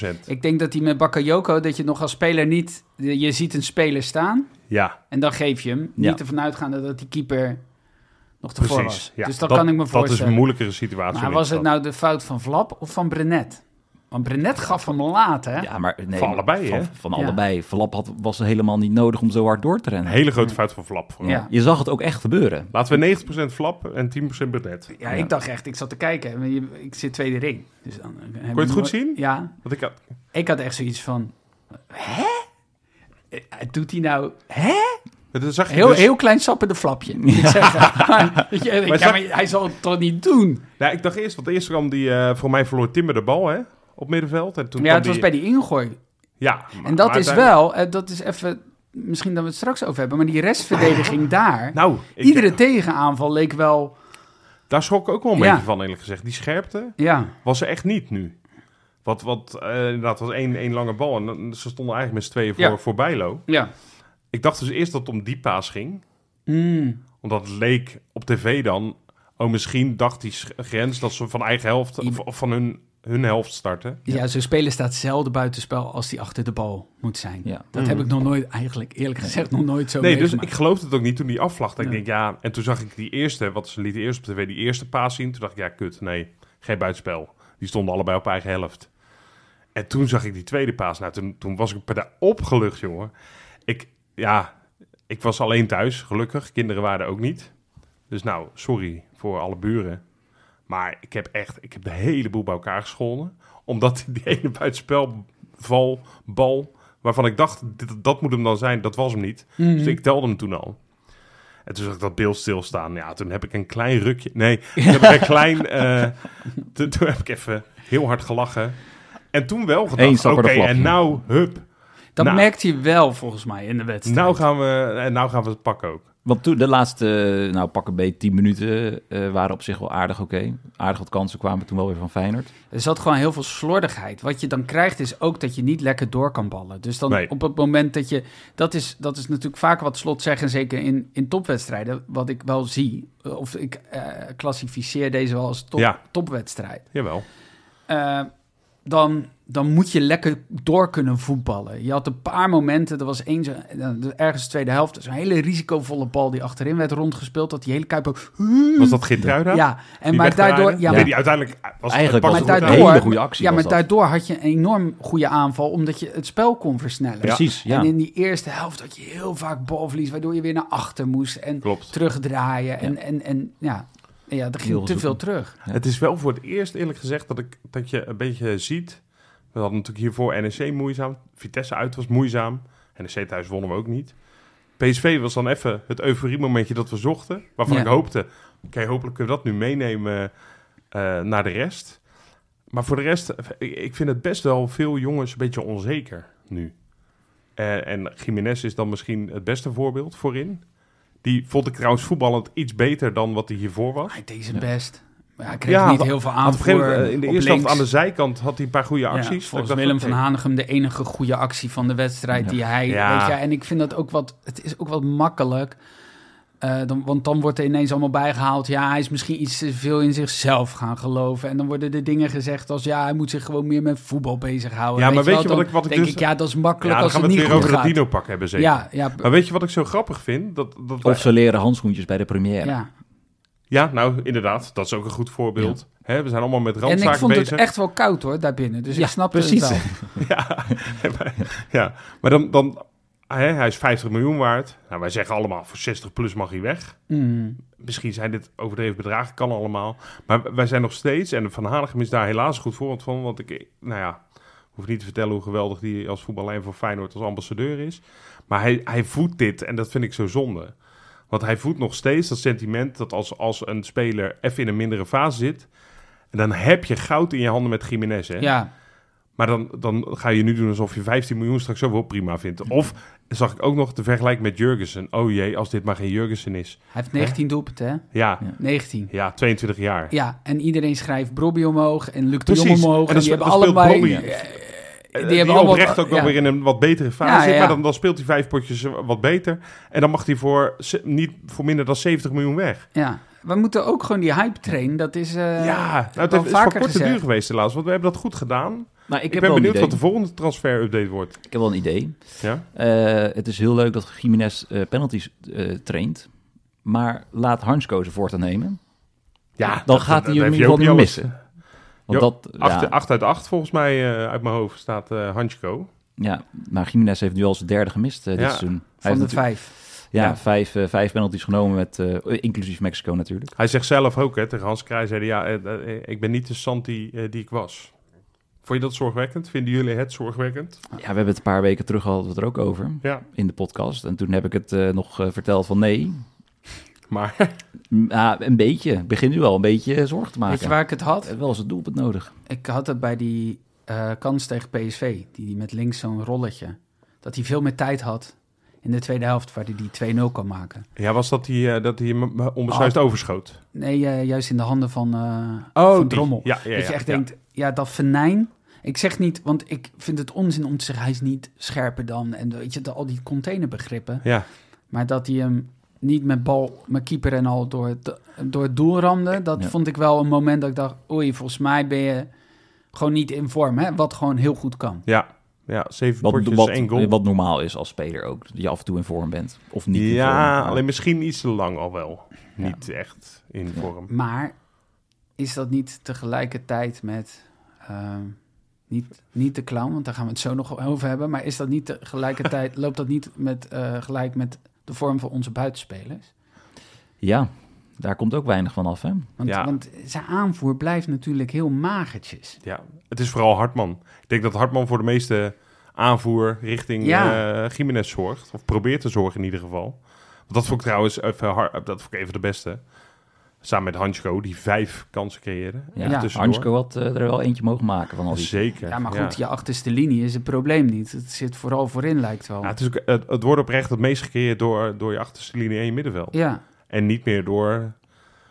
[SPEAKER 1] 100%.
[SPEAKER 3] Ik denk dat die met Bakayoko, dat je nog als speler niet... Je ziet een speler staan
[SPEAKER 1] Ja,
[SPEAKER 3] en dan geef je hem.
[SPEAKER 2] Ja.
[SPEAKER 3] Niet ervan uitgaande dat die keeper nog ervoor
[SPEAKER 1] precies.
[SPEAKER 3] was.
[SPEAKER 1] Ja,
[SPEAKER 3] dus dat, kan ik me
[SPEAKER 1] Dat is een
[SPEAKER 3] voorstellen.
[SPEAKER 1] moeilijkere situatie.
[SPEAKER 3] maar
[SPEAKER 1] vind
[SPEAKER 3] was
[SPEAKER 1] ik
[SPEAKER 3] het nou de fout van Vlap of van Brenet? Want Brenet gaf hem laat, hè?
[SPEAKER 2] Ja, maar nee,
[SPEAKER 1] Van allebei,
[SPEAKER 2] Van,
[SPEAKER 1] hè?
[SPEAKER 2] van
[SPEAKER 3] Ja.
[SPEAKER 2] allebei. Flap had, was helemaal niet nodig om zo hard door te
[SPEAKER 1] dat?
[SPEAKER 2] rennen.
[SPEAKER 1] Een hele grote fout van Flap. voor
[SPEAKER 3] nou- Ja.
[SPEAKER 1] mij.
[SPEAKER 2] Je zag het ook echt gebeuren.
[SPEAKER 1] Laten we 90% Flap en 10% Burnett.
[SPEAKER 3] Ja, ik dacht echt, ik zat te kijken. maar je- Ik zit tweede ring. Dus dan, Kon
[SPEAKER 1] het goed zien?
[SPEAKER 3] Ja,
[SPEAKER 1] Want ik had,
[SPEAKER 3] ik had echt zoiets van... Hè? Eh, Doet hij nou... Hè?
[SPEAKER 1] dat zag je
[SPEAKER 3] Heel,
[SPEAKER 1] dus-
[SPEAKER 3] heel klein sappende flapje. moet ik zeggen. <laughs> Maar, weet je, ik-
[SPEAKER 1] Maar
[SPEAKER 3] ja,
[SPEAKER 1] zag-
[SPEAKER 3] maar hij zal het toch niet doen?
[SPEAKER 1] Nou, ik dacht eerst, want eerst kwam die, eh, voor mij verloor Timmer de bal, hè? Op middenveld. En toen
[SPEAKER 3] ja,
[SPEAKER 1] kwam
[SPEAKER 3] het was
[SPEAKER 1] die-
[SPEAKER 3] bij die ingooi.
[SPEAKER 1] Ja,
[SPEAKER 3] En dat
[SPEAKER 1] maar
[SPEAKER 3] is
[SPEAKER 1] uiteindelijk-
[SPEAKER 3] wel, eh, dat is even, misschien dat we het straks over hebben, maar
[SPEAKER 1] <laughs>
[SPEAKER 3] die restverdediging daar.
[SPEAKER 1] Nou, ik-
[SPEAKER 3] iedere tegenaanval leek wel,
[SPEAKER 1] daar schrok ik ook wel een
[SPEAKER 3] Ja.
[SPEAKER 1] beetje van, eerlijk gezegd. Die scherpte
[SPEAKER 3] ja,
[SPEAKER 1] was er echt niet nu. Wat, wat eh, inderdaad, was één, één lange bal. En dan- ze stonden eigenlijk met z'n tweeën voor,
[SPEAKER 3] Ja.
[SPEAKER 1] voor Bijlo.
[SPEAKER 3] ja.
[SPEAKER 1] Ik dacht dus eerst dat het om die paas ging.
[SPEAKER 3] Mm.
[SPEAKER 1] Omdat het leek op tv dan... Oh, misschien dacht die sch- grens dat ze van eigen helft... Of, of van hun hun helft starten.
[SPEAKER 3] Ja, zo'n speler staat zelden buitenspel als die achter de bal moet zijn.
[SPEAKER 2] Ja.
[SPEAKER 3] Dat heb ik nog nooit, eigenlijk eerlijk gezegd, nog nooit zo
[SPEAKER 1] Hmm. Nee, dus
[SPEAKER 3] meegemaakt.
[SPEAKER 1] ik geloofde het ook niet toen die afvlagde. Ik
[SPEAKER 3] Nee.
[SPEAKER 1] denk, ja, en toen zag ik die eerste, wat ze lieten eerst op tv, die eerste paas zien. Toen dacht ik, ja, kut, nee, geen buitenspel. Die stonden allebei op eigen helft. En toen zag ik die tweede paas. Nou, toen, toen was ik per daar opgelucht, jongen. Ik, ja, ik was alleen thuis, gelukkig. Kinderen waren er ook niet. Dus nou, sorry voor alle buren. Maar ik heb echt, ik heb de hele boel bij elkaar geschonden. Omdat die ene buitenspelval, bal, waarvan ik dacht, dit, dat moet hem dan zijn, dat was hem niet.
[SPEAKER 3] Mhm.
[SPEAKER 1] Dus ik telde hem toen al. En toen zag ik dat beeld stilstaan. Ja, toen heb ik een klein rukje.
[SPEAKER 3] <laughs>
[SPEAKER 1] Nee, toen heb ik een klein. eh, toen, toen heb ik even heel hard gelachen. En toen wel
[SPEAKER 2] Eén
[SPEAKER 1] gedacht. Oké,
[SPEAKER 2] stap voor de flap.
[SPEAKER 1] en nou, hup.
[SPEAKER 3] Dat
[SPEAKER 1] Nou.
[SPEAKER 3] merkt hij wel volgens mij in de wedstrijd.
[SPEAKER 1] Nou gaan we, en nou gaan we het pakken ook.
[SPEAKER 2] Want toen de laatste, nou pak een beetje 10 minuten, eh, waren op zich wel aardig oké. Aardig wat kansen kwamen toen wel weer van Feyenoord.
[SPEAKER 3] Er zat gewoon heel veel slordigheid. Wat je dan krijgt is ook dat je niet lekker door kan ballen. Dus dan
[SPEAKER 1] Nee.
[SPEAKER 3] op het moment dat je... Dat is, dat is natuurlijk vaak wat Slot zegt, en zeker in, in topwedstrijden. Wat ik wel zie, of ik eh klassificeer deze wel als top,
[SPEAKER 1] Ja.
[SPEAKER 3] topwedstrijd.
[SPEAKER 1] Jawel.
[SPEAKER 3] Eh, dan, dan moet je lekker door kunnen voetballen. Je had een paar momenten, er was één, zo- ergens de tweede helft... zo'n hele risicovolle bal die achterin werd rondgespeeld... dat die hele Kuip ook...
[SPEAKER 1] Was dat Gintruida?
[SPEAKER 3] Mm. Ja, en
[SPEAKER 1] Die
[SPEAKER 3] maar
[SPEAKER 1] wegdraaide?
[SPEAKER 3] daardoor... Ja,
[SPEAKER 1] Nee,
[SPEAKER 3] maar-
[SPEAKER 1] die uiteindelijk was
[SPEAKER 2] Eigenlijk
[SPEAKER 1] het
[SPEAKER 2] was
[SPEAKER 1] pas
[SPEAKER 3] maar
[SPEAKER 2] het
[SPEAKER 1] goed
[SPEAKER 2] een
[SPEAKER 1] uit.
[SPEAKER 3] daardoor,
[SPEAKER 2] hele goede actie was
[SPEAKER 3] ja, maar
[SPEAKER 2] dat.
[SPEAKER 3] daardoor had je een enorm goede aanval, omdat je het spel kon versnellen.
[SPEAKER 2] Precies, ja.
[SPEAKER 3] En in die eerste helft had je heel vaak balverlies, waardoor je weer naar achter moest en
[SPEAKER 1] Klopt.
[SPEAKER 3] terugdraaien. En, en, en ja, ja er
[SPEAKER 2] Heel
[SPEAKER 3] ging te veel
[SPEAKER 2] zoeken.
[SPEAKER 3] terug.
[SPEAKER 2] Ja.
[SPEAKER 1] Het is wel voor het eerst eerlijk gezegd dat, ik, dat je een beetje ziet. We hadden natuurlijk hiervoor NEC moeizaam. Vitesse uit was moeizaam. NEC thuis wonnen we ook niet. PSV was dan even het euforie-momentje dat we zochten. Waarvan
[SPEAKER 3] Ja.
[SPEAKER 1] ik hoopte, oké, hopelijk kunnen we dat nu meenemen eh, naar de rest. Maar voor de rest, ik, ik vind het best wel veel jongens een beetje onzeker nu. Eh, en Jiménez is dan misschien het beste voorbeeld voorin. Die vond ik trouwens voetballend iets beter dan wat hij hiervoor was.
[SPEAKER 3] Hij deed
[SPEAKER 2] Ja.
[SPEAKER 3] zijn best. Maar hij kreeg
[SPEAKER 1] Ja,
[SPEAKER 3] niet
[SPEAKER 1] want-
[SPEAKER 3] heel veel
[SPEAKER 1] Had op een gegeven
[SPEAKER 3] aanvoer.
[SPEAKER 1] moment, eh, in de
[SPEAKER 3] op
[SPEAKER 1] eerste
[SPEAKER 3] links.
[SPEAKER 1] helft aan de zijkant had hij een paar goede
[SPEAKER 3] Ja,
[SPEAKER 1] acties. Dat ik
[SPEAKER 3] volgens
[SPEAKER 1] dacht,
[SPEAKER 3] Willem
[SPEAKER 1] oké.
[SPEAKER 3] van Hanegem de enige goede actie van de wedstrijd
[SPEAKER 2] Ja.
[SPEAKER 3] die hij...
[SPEAKER 1] Ja.
[SPEAKER 3] Weet je, en ik vind dat ook wat... Het is ook wat makkelijk. eh, dan, want dan wordt er ineens allemaal bijgehaald... ja, hij is misschien iets te veel in zichzelf gaan geloven. En dan worden er dingen gezegd als... ja, hij moet zich gewoon meer met voetbal bezighouden.
[SPEAKER 1] Ja, maar weet je wat
[SPEAKER 3] wel, dan
[SPEAKER 1] ik- wat ik
[SPEAKER 3] denk
[SPEAKER 1] dus-
[SPEAKER 3] ik, ja, dat is makkelijk
[SPEAKER 1] Ja, dan
[SPEAKER 3] als
[SPEAKER 1] gaan
[SPEAKER 3] het
[SPEAKER 1] we
[SPEAKER 3] niet
[SPEAKER 1] het
[SPEAKER 3] goed
[SPEAKER 1] weer over het
[SPEAKER 3] gaat.
[SPEAKER 1] dino-pak hebben zeker.
[SPEAKER 3] ja, ja,
[SPEAKER 1] Maar weet je wat ik zo grappig vind? Dat, dat
[SPEAKER 2] Of ze leren handschoentjes bij de première.
[SPEAKER 3] ja.
[SPEAKER 1] Ja, nou inderdaad, dat is ook een goed voorbeeld. Hè, we zijn allemaal met
[SPEAKER 3] En ik
[SPEAKER 1] randzaken
[SPEAKER 3] vond
[SPEAKER 1] bezig.
[SPEAKER 3] het echt wel koud hoor, daarbinnen. Dus
[SPEAKER 2] Ja,
[SPEAKER 3] ik snap
[SPEAKER 2] precies.
[SPEAKER 3] het
[SPEAKER 2] <laughs>
[SPEAKER 3] wel.
[SPEAKER 1] <laughs> Ja, ja. maar dan, dan hè, hij is 50 miljoen waard. Nou, wij zeggen allemaal, voor 60 plus mag hij weg.
[SPEAKER 3] Mm.
[SPEAKER 1] Misschien zijn dit overdreven bedragen, kan allemaal. Maar wij zijn nog steeds, en Van Hanegem is daar helaas een goed voorbeeld van. Want ik, nou ja, hoef niet te vertellen hoe geweldig die als voetballer voor Feyenoord als ambassadeur is. Maar hij, hij voedt dit en dat vind ik zo zonde. Want hij voedt nog steeds dat sentiment dat als, als een speler even in een mindere fase zit... dan heb je goud in je handen met Jiménez, hè?
[SPEAKER 3] Ja,
[SPEAKER 1] Maar dan, dan ga je nu doen alsof je 15 miljoen straks ook wel prima vindt. Of zag ik ook nog de vergelijking met Jurgensen. Oh jee, als dit maar geen Jurgensen is.
[SPEAKER 3] hij heeft 19 doelpunten hè?
[SPEAKER 1] Ja,
[SPEAKER 2] Ja.
[SPEAKER 3] 19.
[SPEAKER 1] ja 22 jaar.
[SPEAKER 3] Ja, en iedereen schrijft Brobby omhoog en Luc de
[SPEAKER 1] Precies.
[SPEAKER 3] Jong omhoog.
[SPEAKER 1] En
[SPEAKER 3] En,
[SPEAKER 1] dat
[SPEAKER 3] die
[SPEAKER 1] spe-
[SPEAKER 3] hebben
[SPEAKER 1] dat speelt
[SPEAKER 3] allebei...
[SPEAKER 1] Brobby.
[SPEAKER 3] eh,
[SPEAKER 1] Die,
[SPEAKER 3] hebben
[SPEAKER 1] die
[SPEAKER 3] allemaal-
[SPEAKER 1] oprecht ook wel
[SPEAKER 3] ja.
[SPEAKER 1] weer in een wat betere fase
[SPEAKER 3] Ja,
[SPEAKER 1] zit.
[SPEAKER 3] ja,
[SPEAKER 1] Maar
[SPEAKER 3] ja.
[SPEAKER 1] dan, dan speelt hij vijf potjes eh, wat beter. En dan mag hij voor, ze- niet voor minder dan 70 miljoen weg.
[SPEAKER 3] Ja, we moeten ook gewoon die hype train, dat is... eh,
[SPEAKER 1] ja, nou, het
[SPEAKER 3] wel
[SPEAKER 1] heeft- is
[SPEAKER 3] vaker
[SPEAKER 1] van korte
[SPEAKER 3] gezegd.
[SPEAKER 1] duur geweest helaas. Want we hebben dat goed gedaan. Ik,
[SPEAKER 2] Nou, ik, heb
[SPEAKER 1] ben
[SPEAKER 2] wel
[SPEAKER 1] benieuwd
[SPEAKER 2] een
[SPEAKER 1] wat
[SPEAKER 2] idee.
[SPEAKER 1] de volgende transfer-update wordt.
[SPEAKER 2] Ik heb wel een idee.
[SPEAKER 1] Ja?
[SPEAKER 2] Eh, het is heel leuk dat Jiménez eh, penalties eh, traint. Maar laat Hansko ze voortaan nemen.
[SPEAKER 1] Ja,
[SPEAKER 2] dan
[SPEAKER 1] dat-
[SPEAKER 2] gaat hij
[SPEAKER 1] dat
[SPEAKER 2] hem
[SPEAKER 1] heeft
[SPEAKER 2] in ieder
[SPEAKER 1] Joopie
[SPEAKER 2] geval niet
[SPEAKER 1] alles.
[SPEAKER 2] missen. Want dat,
[SPEAKER 1] Acht,
[SPEAKER 2] ja,
[SPEAKER 1] acht uit 8 volgens mij eh, uit mijn hoofd staat eh Hanchko.
[SPEAKER 2] ja, maar Jiménez heeft nu al zijn derde gemist eh, dit
[SPEAKER 1] Ja,
[SPEAKER 2] seizoen. Hij
[SPEAKER 3] Van
[SPEAKER 2] heeft
[SPEAKER 3] de
[SPEAKER 2] natuurlijk-
[SPEAKER 3] vijf. Nou,
[SPEAKER 2] ja,
[SPEAKER 1] ja.
[SPEAKER 2] Vijf, eh, vijf penalties genomen, met, eh, inclusief Mexico natuurlijk.
[SPEAKER 1] Hij zegt zelf ook hè, tegen Hans Krij, zei hij, ja, eh, eh, ik ben niet de Santi eh, die ik was. Vond je dat zorgwekkend? Vinden jullie het zorgwekkend?
[SPEAKER 2] Ja, we hebben het een paar weken terug al er ook over
[SPEAKER 1] Ja,
[SPEAKER 2] in de podcast. En toen heb ik het eh, nog eh, verteld van nee,
[SPEAKER 1] maar
[SPEAKER 2] <laughs> M- ah, een beetje. Ik Begin nu wel een beetje eh, zorgen te maken.
[SPEAKER 3] Weet je waar ik het had?
[SPEAKER 2] Eh, Wel eens het doelpunt nodig.
[SPEAKER 3] Ik had het bij die eh, kans tegen PSV, die, die met links zo'n rolletje. Dat hij veel meer tijd had in de tweede helft, waar hij die 2-0 kan maken.
[SPEAKER 1] ja, was dat hij, eh, dat hij hem eh, onbesluit
[SPEAKER 3] Oh.
[SPEAKER 1] overschoot?
[SPEAKER 3] Nee, eh, juist in de handen van, eh
[SPEAKER 1] Oh,
[SPEAKER 3] van
[SPEAKER 1] die.
[SPEAKER 3] Drommel.
[SPEAKER 1] Ja, ja,
[SPEAKER 3] dat je
[SPEAKER 1] ja,
[SPEAKER 3] echt
[SPEAKER 1] ja.
[SPEAKER 3] denkt, ja, dat venijn... Ik zeg niet, want ik vind het onzin om te zeggen... hij is niet scherper dan... en weet je, de- al die containerbegrippen.
[SPEAKER 1] Ja,
[SPEAKER 3] Maar dat hij hem niet met bal, met keeper en al door het, door het doel ramde, dat
[SPEAKER 2] Ja.
[SPEAKER 3] vond ik wel een moment dat ik dacht: oei, volgens mij ben je Gewoon niet in vorm, hè? Wat gewoon heel goed kan.
[SPEAKER 1] Ja, ja zeven
[SPEAKER 2] Wat,
[SPEAKER 1] potjes,
[SPEAKER 2] wat,
[SPEAKER 1] één goal.
[SPEAKER 2] wat normaal is als speler ook. Dat je af en toe in vorm bent. Of niet in vorm.
[SPEAKER 1] ja,
[SPEAKER 2] Maar
[SPEAKER 1] alleen misschien iets te lang al wel.
[SPEAKER 2] Ja.
[SPEAKER 1] Niet echt in vorm.
[SPEAKER 3] Maar is dat niet tegelijkertijd met... ehm, niet, niet de clown, want daar gaan we het zo nog over hebben. Maar is dat niet tegelijkertijd... loopt dat niet met, eh, gelijk met de vorm van onze buitenspelers?
[SPEAKER 2] Ja, daar komt ook weinig van af, hè?
[SPEAKER 3] Want,
[SPEAKER 1] Ja.
[SPEAKER 3] want zijn aanvoer blijft natuurlijk heel magertjes.
[SPEAKER 1] Ja, het is vooral Hartman. Ik denk dat Hartman voor de meeste aanvoer richting
[SPEAKER 3] Ja.
[SPEAKER 1] eh Gimenez zorgt. Of probeert te zorgen in ieder geval. Want dat vond ik trouwens even, har- dat vond ik even de beste. Samen met Hansko, die vijf kansen creëerde.
[SPEAKER 2] Ja,
[SPEAKER 1] Echt
[SPEAKER 3] Ja,
[SPEAKER 1] tussendoor.
[SPEAKER 2] Hansko had eh, er wel eentje mogen maken van al die.
[SPEAKER 1] Zeker.
[SPEAKER 3] Ja, maar goed, je achterste linie is het probleem niet. Het zit vooral voorin, lijkt wel.
[SPEAKER 1] Ja,
[SPEAKER 3] Ja,
[SPEAKER 1] het, is ook, het, het wordt oprecht het meest gecreëerd door, door je achterste linie en je middenveld. En niet meer door...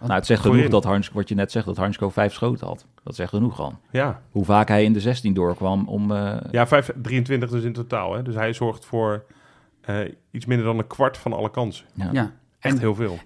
[SPEAKER 2] Nou, het zegt
[SPEAKER 1] Goeie
[SPEAKER 2] genoeg
[SPEAKER 1] in.
[SPEAKER 2] dat Hansko, wat je net zegt, dat Hansko vijf schoten had. Dat zegt genoeg al.
[SPEAKER 1] Ja,
[SPEAKER 2] Hoe vaak hij in de 16 doorkwam om... eh,
[SPEAKER 1] ja 5, 23 dus in totaal. Hè. Dus hij zorgt voor eh, iets minder dan een kwart van alle kansen.
[SPEAKER 2] ja.
[SPEAKER 1] Echt
[SPEAKER 3] En-
[SPEAKER 1] heel veel.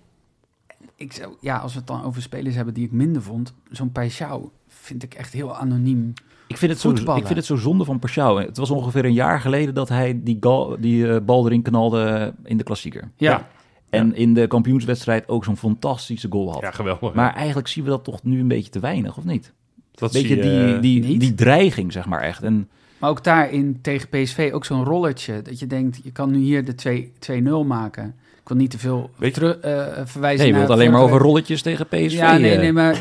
[SPEAKER 3] Ik zou, ja, als we het dan over spelers hebben die ik minder vond, zo'n Peixau vind ik echt heel anoniem.
[SPEAKER 2] Ik vind, het zo,
[SPEAKER 3] Voetballen.
[SPEAKER 2] ik vind het zo zonde van Pashao. Het was ongeveer een jaar geleden dat hij die, gal, die eh, bal erin knalde in de klassieker.
[SPEAKER 3] Ja,
[SPEAKER 1] Ja.
[SPEAKER 2] En in de kampioenswedstrijd ook zo'n fantastische goal had.
[SPEAKER 1] Ja, geweldig. hè.
[SPEAKER 2] Maar eigenlijk zien we dat toch nu een beetje te weinig, of niet?
[SPEAKER 1] dat
[SPEAKER 2] Weet je,
[SPEAKER 1] zie
[SPEAKER 2] die,
[SPEAKER 1] eh,
[SPEAKER 2] die,
[SPEAKER 3] niet.
[SPEAKER 2] die dreiging, zeg maar echt. En
[SPEAKER 3] maar ook daarin tegen PSV ook zo'n rolletje. Dat je denkt, je kan nu hier de 2 2-0 maken. Ik wil niet te veel
[SPEAKER 1] Weet je-
[SPEAKER 3] teru- eh, verwijzen
[SPEAKER 2] nee, je
[SPEAKER 3] naar
[SPEAKER 2] wilt alleen maar over
[SPEAKER 3] vorige-
[SPEAKER 2] rolletjes tegen PSV.
[SPEAKER 3] Ja, nee,
[SPEAKER 2] eh.
[SPEAKER 3] nee, maar <laughs>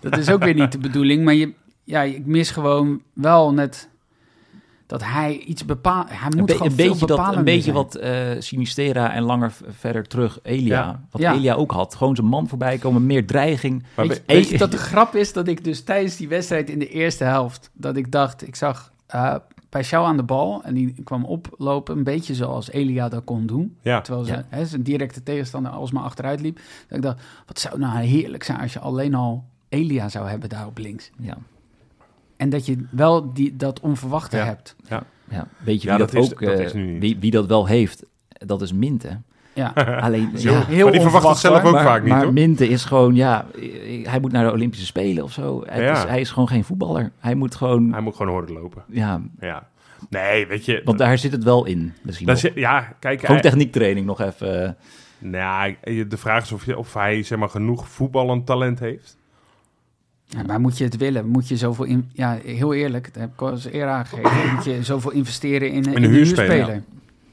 [SPEAKER 3] dat is ook weer niet de bedoeling. Maar je, ja, ik mis gewoon wel net dat hij iets bepaalt. Hij moet
[SPEAKER 2] Een, be-
[SPEAKER 3] gewoon
[SPEAKER 2] een
[SPEAKER 3] veel
[SPEAKER 2] beetje, dat, een
[SPEAKER 3] bepalender
[SPEAKER 2] beetje
[SPEAKER 3] zijn.
[SPEAKER 2] wat eh, Sinistera en langer v- verder terug Elia.
[SPEAKER 1] Ja.
[SPEAKER 2] Wat
[SPEAKER 3] Ja.
[SPEAKER 2] Elia ook had. Gewoon zijn man voorbij komen, meer dreiging.
[SPEAKER 1] Maar
[SPEAKER 3] weet,
[SPEAKER 2] we-
[SPEAKER 3] je, weet je
[SPEAKER 2] Eén-
[SPEAKER 3] dat de grap is dat ik dus tijdens die wedstrijd in de eerste helft... dat ik dacht, ik zag eh Peixau aan de bal... en die kwam oplopen, een beetje zoals Elia dat kon doen.
[SPEAKER 1] Ja,
[SPEAKER 3] <laughs> Terwijl ze,
[SPEAKER 2] Ja.
[SPEAKER 3] hè, zijn directe tegenstander alsmaar achteruit liep. Dat ik dacht, wat zou nou heerlijk zijn als je alleen al Elia zou hebben daar op links.
[SPEAKER 2] <laughs> Ja,
[SPEAKER 3] En dat je wel die, dat onverwachte
[SPEAKER 1] Ja.
[SPEAKER 3] hebt.
[SPEAKER 2] ja. Weet je
[SPEAKER 1] Ja,
[SPEAKER 2] wie dat,
[SPEAKER 1] dat is-
[SPEAKER 2] ook...
[SPEAKER 1] dat
[SPEAKER 2] eh,
[SPEAKER 1] is nu niet.
[SPEAKER 2] wie, wie dat wel heeft, dat is Minte.
[SPEAKER 3] Ja.
[SPEAKER 2] Alleen,
[SPEAKER 3] Zo.
[SPEAKER 2] ja,
[SPEAKER 3] Heel
[SPEAKER 1] maar die verwacht het
[SPEAKER 3] onverwacht,
[SPEAKER 1] zelf
[SPEAKER 3] hoor.
[SPEAKER 1] ook
[SPEAKER 2] maar,
[SPEAKER 1] vaak niet,
[SPEAKER 2] maar
[SPEAKER 1] hoor.
[SPEAKER 2] Minte is gewoon, ja, eh, hij moet naar de Olympische Spelen of zo. Het
[SPEAKER 1] Ja.
[SPEAKER 2] is- hij is gewoon geen voetballer. Hij moet gewoon,
[SPEAKER 1] Hij moet gewoon horen lopen.
[SPEAKER 2] ja,
[SPEAKER 1] Ja. Nee, weet je...
[SPEAKER 2] want daar zit het wel in misschien
[SPEAKER 1] dat
[SPEAKER 2] nog.
[SPEAKER 1] is- ja, kijk...
[SPEAKER 2] Gewoon
[SPEAKER 1] hij-
[SPEAKER 2] techniektraining nog even. eh,
[SPEAKER 1] nou, ja, de vraag is of, je, of hij zeg maar, genoeg voetballend talent heeft.
[SPEAKER 3] Ja, maar moet je het willen? Moet je zoveel... In, ja, heel eerlijk, dat heb ik al eens eerder aangegeven. Moet je zoveel investeren in, in,
[SPEAKER 1] een
[SPEAKER 3] een
[SPEAKER 1] huurspeler.
[SPEAKER 3] huurspeler?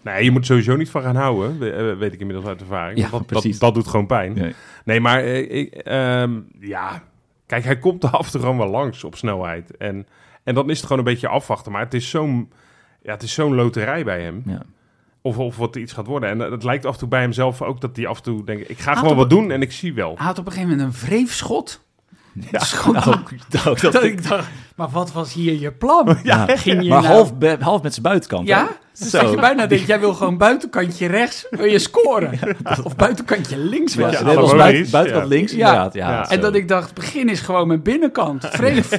[SPEAKER 1] Nee, je moet sowieso niet van gaan houden, we- eh, weet ik inmiddels uit ervaring.
[SPEAKER 2] Ja,
[SPEAKER 1] Want dat, dat,
[SPEAKER 2] precies.
[SPEAKER 1] dat doet gewoon pijn.
[SPEAKER 2] Nee.
[SPEAKER 1] Nee, maar eh, ik, ehm, ja, kijk, hij komt er af en toe gewoon wel langs op snelheid. En, en dan is het gewoon een beetje afwachten. Maar het is zo'n ja, het is zo'n loterij bij hem.
[SPEAKER 2] ja.
[SPEAKER 1] Of, of wat iets gaat worden. En eh, het lijkt af en toe bij hemzelf ook dat hij af en toe denkt... Ik ga
[SPEAKER 3] Had
[SPEAKER 1] gewoon
[SPEAKER 3] op-
[SPEAKER 1] wat doen en ik zie wel.
[SPEAKER 3] <laughs> Hij had op een gegeven moment een wreefschot.
[SPEAKER 2] <laughs>
[SPEAKER 3] Ja,
[SPEAKER 2] Nou,
[SPEAKER 3] <laughs> dat
[SPEAKER 2] dat-
[SPEAKER 3] ik dacht, maar wat was hier je plan?
[SPEAKER 2] ja.
[SPEAKER 3] Ging je
[SPEAKER 2] maar
[SPEAKER 3] nou-
[SPEAKER 2] half, be- half met zijn buitenkant. hè?
[SPEAKER 3] Ja? Dus
[SPEAKER 2] Zo.
[SPEAKER 3] dat je bijna denkt, jij wil gewoon buitenkantje rechts, wil je scoren. Of buitenkantje links
[SPEAKER 2] Weet je,
[SPEAKER 3] was
[SPEAKER 1] Ja,
[SPEAKER 2] net als
[SPEAKER 3] het.
[SPEAKER 1] gewoon
[SPEAKER 2] buiten-
[SPEAKER 1] links,
[SPEAKER 2] buitenkant
[SPEAKER 1] ja.
[SPEAKER 2] links,
[SPEAKER 3] Ja.
[SPEAKER 2] inderdaad. Ja,
[SPEAKER 1] Ja.
[SPEAKER 2] zo.
[SPEAKER 3] En dat ik dacht, begin is gewoon met
[SPEAKER 1] <laughs>
[SPEAKER 3] binnenkant, vreemd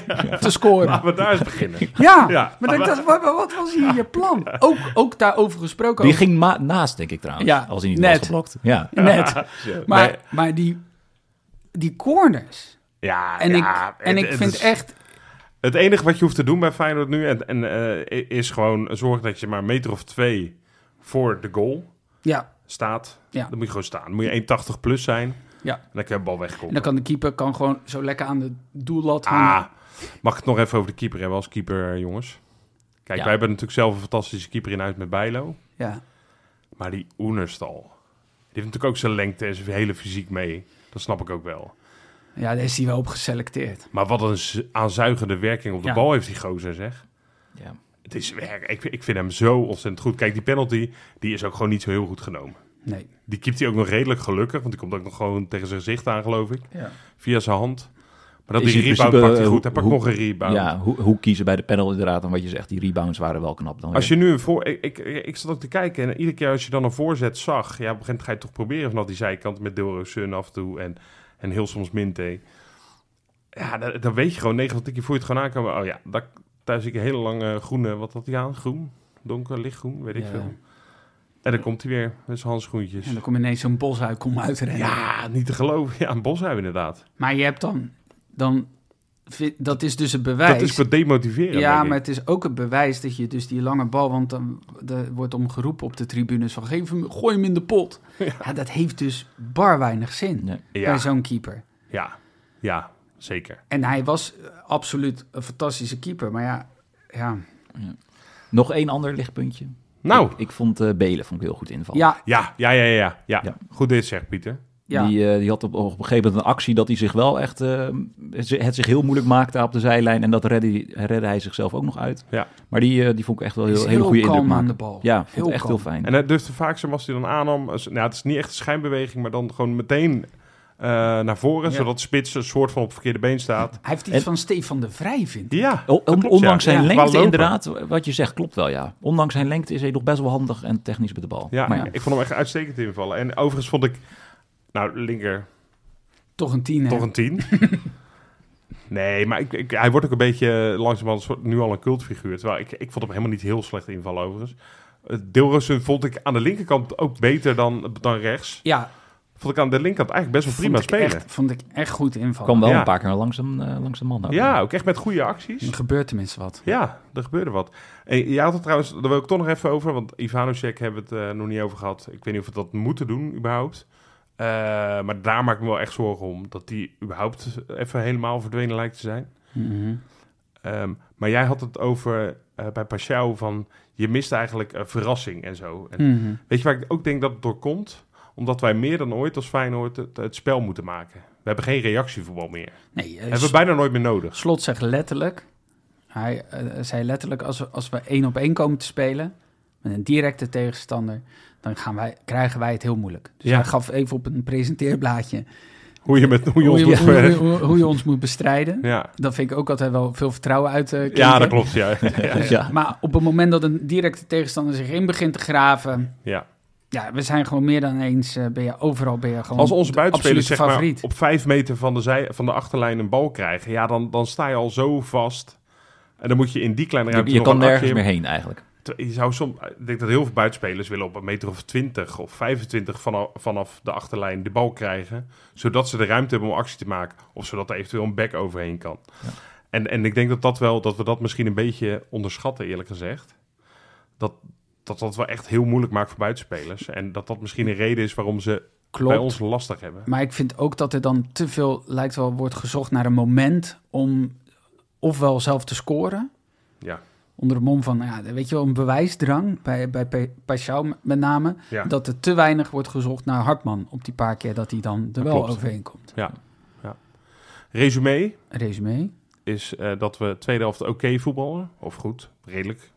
[SPEAKER 3] te scoren.
[SPEAKER 1] Laten we daar eens beginnen.
[SPEAKER 3] Ja,
[SPEAKER 1] Ja.
[SPEAKER 3] maar dat ik dacht, wat, wat was hier je plan? Ook, ook daarover gesproken.
[SPEAKER 2] Die ging ma- naast, denk ik trouwens.
[SPEAKER 3] Ja,
[SPEAKER 2] als hij niet
[SPEAKER 3] net.
[SPEAKER 2] was geblokt. Ja.
[SPEAKER 3] Net. Maar,
[SPEAKER 1] Nee.
[SPEAKER 3] maar die, die corners.
[SPEAKER 1] Ja,
[SPEAKER 3] En
[SPEAKER 1] ja,
[SPEAKER 3] ik, en
[SPEAKER 1] het-
[SPEAKER 3] ik
[SPEAKER 1] het
[SPEAKER 3] vind
[SPEAKER 1] is-
[SPEAKER 3] echt...
[SPEAKER 1] Het enige wat je hoeft te doen bij Feyenoord nu... En, en, eh, is gewoon zorgen dat je maar een meter of twee voor de goal
[SPEAKER 3] Ja,
[SPEAKER 1] staat.
[SPEAKER 3] Ja.
[SPEAKER 1] Dan moet je gewoon staan. Dan moet je 1,80 plus zijn.
[SPEAKER 3] Ja.
[SPEAKER 1] En dan kan je de bal wegkomen.
[SPEAKER 3] en dan kan de keeper kan gewoon zo lekker aan de doellat hangen.
[SPEAKER 1] Ah, mag ik het nog even over de keeper hebben als keeper, eh, jongens? Kijk,
[SPEAKER 2] Ja.
[SPEAKER 1] wij hebben natuurlijk zelf een fantastische keeper in huis met Bijlo.
[SPEAKER 3] Ja.
[SPEAKER 1] Maar die Oenerstal, die heeft natuurlijk ook zijn lengte en zijn hele fysiek mee. Dat snap ik ook wel.
[SPEAKER 3] ja, daar is hij wel op geselecteerd.
[SPEAKER 1] Maar wat een z- aanzuigende werking op de
[SPEAKER 3] Ja.
[SPEAKER 1] bal heeft die gozer, zeg.
[SPEAKER 2] Ja.
[SPEAKER 1] Het is werk. Ik, ik vind hem zo ontzettend goed. Kijk, die penalty, die is ook gewoon niet zo heel goed genomen.
[SPEAKER 3] Nee.
[SPEAKER 1] Die keept hij ook nog redelijk gelukkig, want die komt ook nog gewoon tegen zijn gezicht aan, geloof ik.
[SPEAKER 3] Ja.
[SPEAKER 1] Via zijn hand. Maar dat
[SPEAKER 2] Is
[SPEAKER 1] die
[SPEAKER 2] in
[SPEAKER 1] rebound
[SPEAKER 2] principe,
[SPEAKER 1] pakt hij
[SPEAKER 2] eh,
[SPEAKER 1] goed. Hij pakt
[SPEAKER 2] hoe-
[SPEAKER 1] nog een rebound.
[SPEAKER 2] Ja, hoe, hoe kiezen bij de panel inderdaad. En wat je zegt, die rebounds waren wel knap.
[SPEAKER 3] Oh,
[SPEAKER 2] Dan
[SPEAKER 1] Als je nu een voor... Ik, ik, ik zat ook te kijken en iedere keer als je dan een voorzet zag... Ja, op een gegeven moment ga je het toch proberen vanaf die zijkant met Dilro Sun af en toe en, en heel soms Minte. Ja, dan, dan weet je gewoon, 90 keer voel je het gewoon aankomen. Oh ja, daar, daar zie ik een hele lange groene... Wat had hij aan? Groen? Donker, lichtgroen? Weet ik
[SPEAKER 3] Ja.
[SPEAKER 1] veel. En dan komt hij weer met zijn handschoentjes.
[SPEAKER 3] En dan kom je ineens zo'n bos uit, kom uitrennen.
[SPEAKER 1] Ja, niet te geloven. Ja, een bos hebben inderdaad.
[SPEAKER 3] Maar je hebt dan, dan vi- dat is dus het bewijs.
[SPEAKER 1] Dat is wat demotiveren.
[SPEAKER 3] ja,
[SPEAKER 1] denk ik.
[SPEAKER 3] maar het is ook het bewijs dat je dus die lange bal... want dan er wordt om geroepen op de tribunes van... Geef hem, gooi hem in de
[SPEAKER 1] <laughs>
[SPEAKER 3] pot. Ja. dat heeft dus bar weinig zin
[SPEAKER 2] Nee.
[SPEAKER 1] Ja,
[SPEAKER 3] bij zo'n keeper.
[SPEAKER 1] ja, ja, zeker.
[SPEAKER 3] En hij was eh, absoluut een fantastische keeper. Maar ja, ja.
[SPEAKER 2] Nog één ander lichtpuntje.
[SPEAKER 1] Nou,
[SPEAKER 2] Ik, ik vond eh Belen vond ik heel goed invallen.
[SPEAKER 3] ja,
[SPEAKER 1] ja, ja, ja, ja, ja.
[SPEAKER 2] Ja.
[SPEAKER 1] Goed dit zegt Pieter.
[SPEAKER 3] ja.
[SPEAKER 2] Die, eh, die had op, op een gegeven moment een actie dat hij zich wel echt... eh, het zich heel moeilijk maakte op de zijlijn. En dat redde, redde hij zichzelf ook nog uit.
[SPEAKER 1] Ja.
[SPEAKER 2] Maar die, eh, die vond ik echt wel
[SPEAKER 3] Hij is
[SPEAKER 2] heel, hele goede
[SPEAKER 3] kalm
[SPEAKER 2] indruk
[SPEAKER 3] aan
[SPEAKER 2] maken.
[SPEAKER 3] de bal.
[SPEAKER 2] Ja, vond
[SPEAKER 3] Heel
[SPEAKER 2] ik echt
[SPEAKER 3] kalm.
[SPEAKER 2] heel fijn.
[SPEAKER 1] En hij durfde vaak, zo als hij dan aannam... als- Nou, het is niet echt een schijnbeweging, maar dan gewoon meteen eh, naar voren...
[SPEAKER 3] Ja.
[SPEAKER 1] zodat Spits een soort van op het verkeerde been staat.
[SPEAKER 3] Hij heeft iets
[SPEAKER 2] En-
[SPEAKER 3] van Stefan de Vrij, vind ik.
[SPEAKER 1] Ja,
[SPEAKER 2] O-
[SPEAKER 1] eh, dat klopt,
[SPEAKER 2] ondanks
[SPEAKER 1] ja.
[SPEAKER 2] zijn
[SPEAKER 1] Ja, qua
[SPEAKER 2] lengte,
[SPEAKER 1] lopen.
[SPEAKER 2] inderdaad, wat je zegt klopt wel, ja. Ondanks zijn lengte is hij nog best wel handig en technisch met de bal.
[SPEAKER 1] Ja,
[SPEAKER 2] maar ja,
[SPEAKER 1] ik vond hem echt uitstekend invallen. En overigens vond ik... Nou, linker
[SPEAKER 3] Toch een tien, hè?
[SPEAKER 1] toch een
[SPEAKER 2] <laughs>
[SPEAKER 1] tien. nee, maar ik, ik- hij wordt ook een beetje eh, langzamerhand een soort- nu al een cultfiguur. Terwijl ik, ik vond hem helemaal niet heel slecht invallen overigens. Eh, Deelrussen vond ik aan de linkerkant ook beter dan, dan rechts.
[SPEAKER 3] Ja,
[SPEAKER 1] Vond ik aan de linkerkant eigenlijk best wel prima
[SPEAKER 3] vond ik
[SPEAKER 1] spelen.
[SPEAKER 3] Echt, vond ik echt goed invallen.
[SPEAKER 2] kwam wel
[SPEAKER 1] Ja.
[SPEAKER 2] een paar keer langs hem, eh, langs de man. ook.
[SPEAKER 1] Ja, ook echt met goede acties.
[SPEAKER 3] Er gebeurt tenminste wat.
[SPEAKER 1] Ja, er gebeurde wat. En jij had het trouwens, daar wil ik toch nog even over, want Ivanocek hebben we het eh, nog niet over gehad. Ik weet niet of we dat moeten doen, überhaupt. Eh, maar daar maak ik me wel echt zorgen om, dat die überhaupt even helemaal verdwenen lijkt te zijn.
[SPEAKER 3] Mhm.
[SPEAKER 1] Ehm, maar jij had het over eh, bij Pashao van je mist eigenlijk een verrassing en zo. En
[SPEAKER 3] Mhm.
[SPEAKER 1] Weet je waar ik ook denk dat het door komt? Omdat wij meer dan ooit als Feyenoord het, het spel moeten maken. We hebben geen reactievoetbal meer.
[SPEAKER 3] Nee, eh,
[SPEAKER 1] Hebben we bijna nooit meer nodig.
[SPEAKER 3] Slot zegt letterlijk... Hij eh, zei letterlijk, als we, als we één op één komen te spelen... met een directe tegenstander... dan gaan wij, krijgen wij het heel moeilijk. Dus
[SPEAKER 1] Ja.
[SPEAKER 3] hij gaf even op een presenteerblaadje...
[SPEAKER 1] Hoe je met hoe je ons
[SPEAKER 3] hoe,
[SPEAKER 1] moet
[SPEAKER 3] hoe,
[SPEAKER 1] ver-
[SPEAKER 3] hoe- hoe je ons moet bestrijden.
[SPEAKER 1] Ja.
[SPEAKER 3] Dan vind ik ook altijd wel veel vertrouwen uit eh,
[SPEAKER 1] ja,
[SPEAKER 3] klinken.
[SPEAKER 1] dat klopt. <laughs> Ja. ja,
[SPEAKER 2] Dus ja.
[SPEAKER 3] Maar op het moment dat een directe tegenstander zich in begint te graven...
[SPEAKER 1] ja.
[SPEAKER 3] Ja, we zijn gewoon meer dan eens... eh, ben je, overal ben je gewoon
[SPEAKER 1] Als onze
[SPEAKER 3] de
[SPEAKER 1] buitenspelers
[SPEAKER 3] absolute
[SPEAKER 1] zeg maar,
[SPEAKER 3] favoriet.
[SPEAKER 1] op vijf meter van de, zij, van de achterlijn een bal krijgen, ja, dan, dan sta je al zo vast. En dan moet je in die kleine
[SPEAKER 2] Je,
[SPEAKER 1] ruimte
[SPEAKER 2] je
[SPEAKER 1] nog
[SPEAKER 2] kan
[SPEAKER 1] een
[SPEAKER 2] nergens
[SPEAKER 1] actie-
[SPEAKER 2] meer heen eigenlijk.
[SPEAKER 1] Te- Je zou soms, ik denk dat heel veel buitenspelers willen op een meter of 20 of 25 vanaf, vanaf de achterlijn de bal krijgen. Zodat ze de ruimte hebben om actie te maken. Of zodat er eventueel een back overheen kan.
[SPEAKER 2] Ja.
[SPEAKER 1] En, en ik denk dat, dat, wel, dat we dat misschien een beetje onderschatten, eerlijk gezegd. Dat, dat dat wel echt heel moeilijk maakt voor buitenspelers. En dat dat misschien een reden is waarom ze
[SPEAKER 3] Klopt.
[SPEAKER 1] bij ons lastig hebben.
[SPEAKER 3] Maar ik vind ook dat er dan te veel, lijkt wel, wordt gezocht naar een moment om ofwel zelf te scoren.
[SPEAKER 1] Ja.
[SPEAKER 3] Onder de mom van, nou ja, weet je wel, een bewijsdrang bij, bij Pe- Paschal met name.
[SPEAKER 1] Ja.
[SPEAKER 3] Dat er te weinig wordt gezocht naar Hartman op die paar keer dat hij dan er wel
[SPEAKER 1] klopt.
[SPEAKER 3] overheen komt.
[SPEAKER 1] Resume
[SPEAKER 3] Resume.
[SPEAKER 1] is eh, dat we tweede helft oké voetballen. Of goed, redelijk.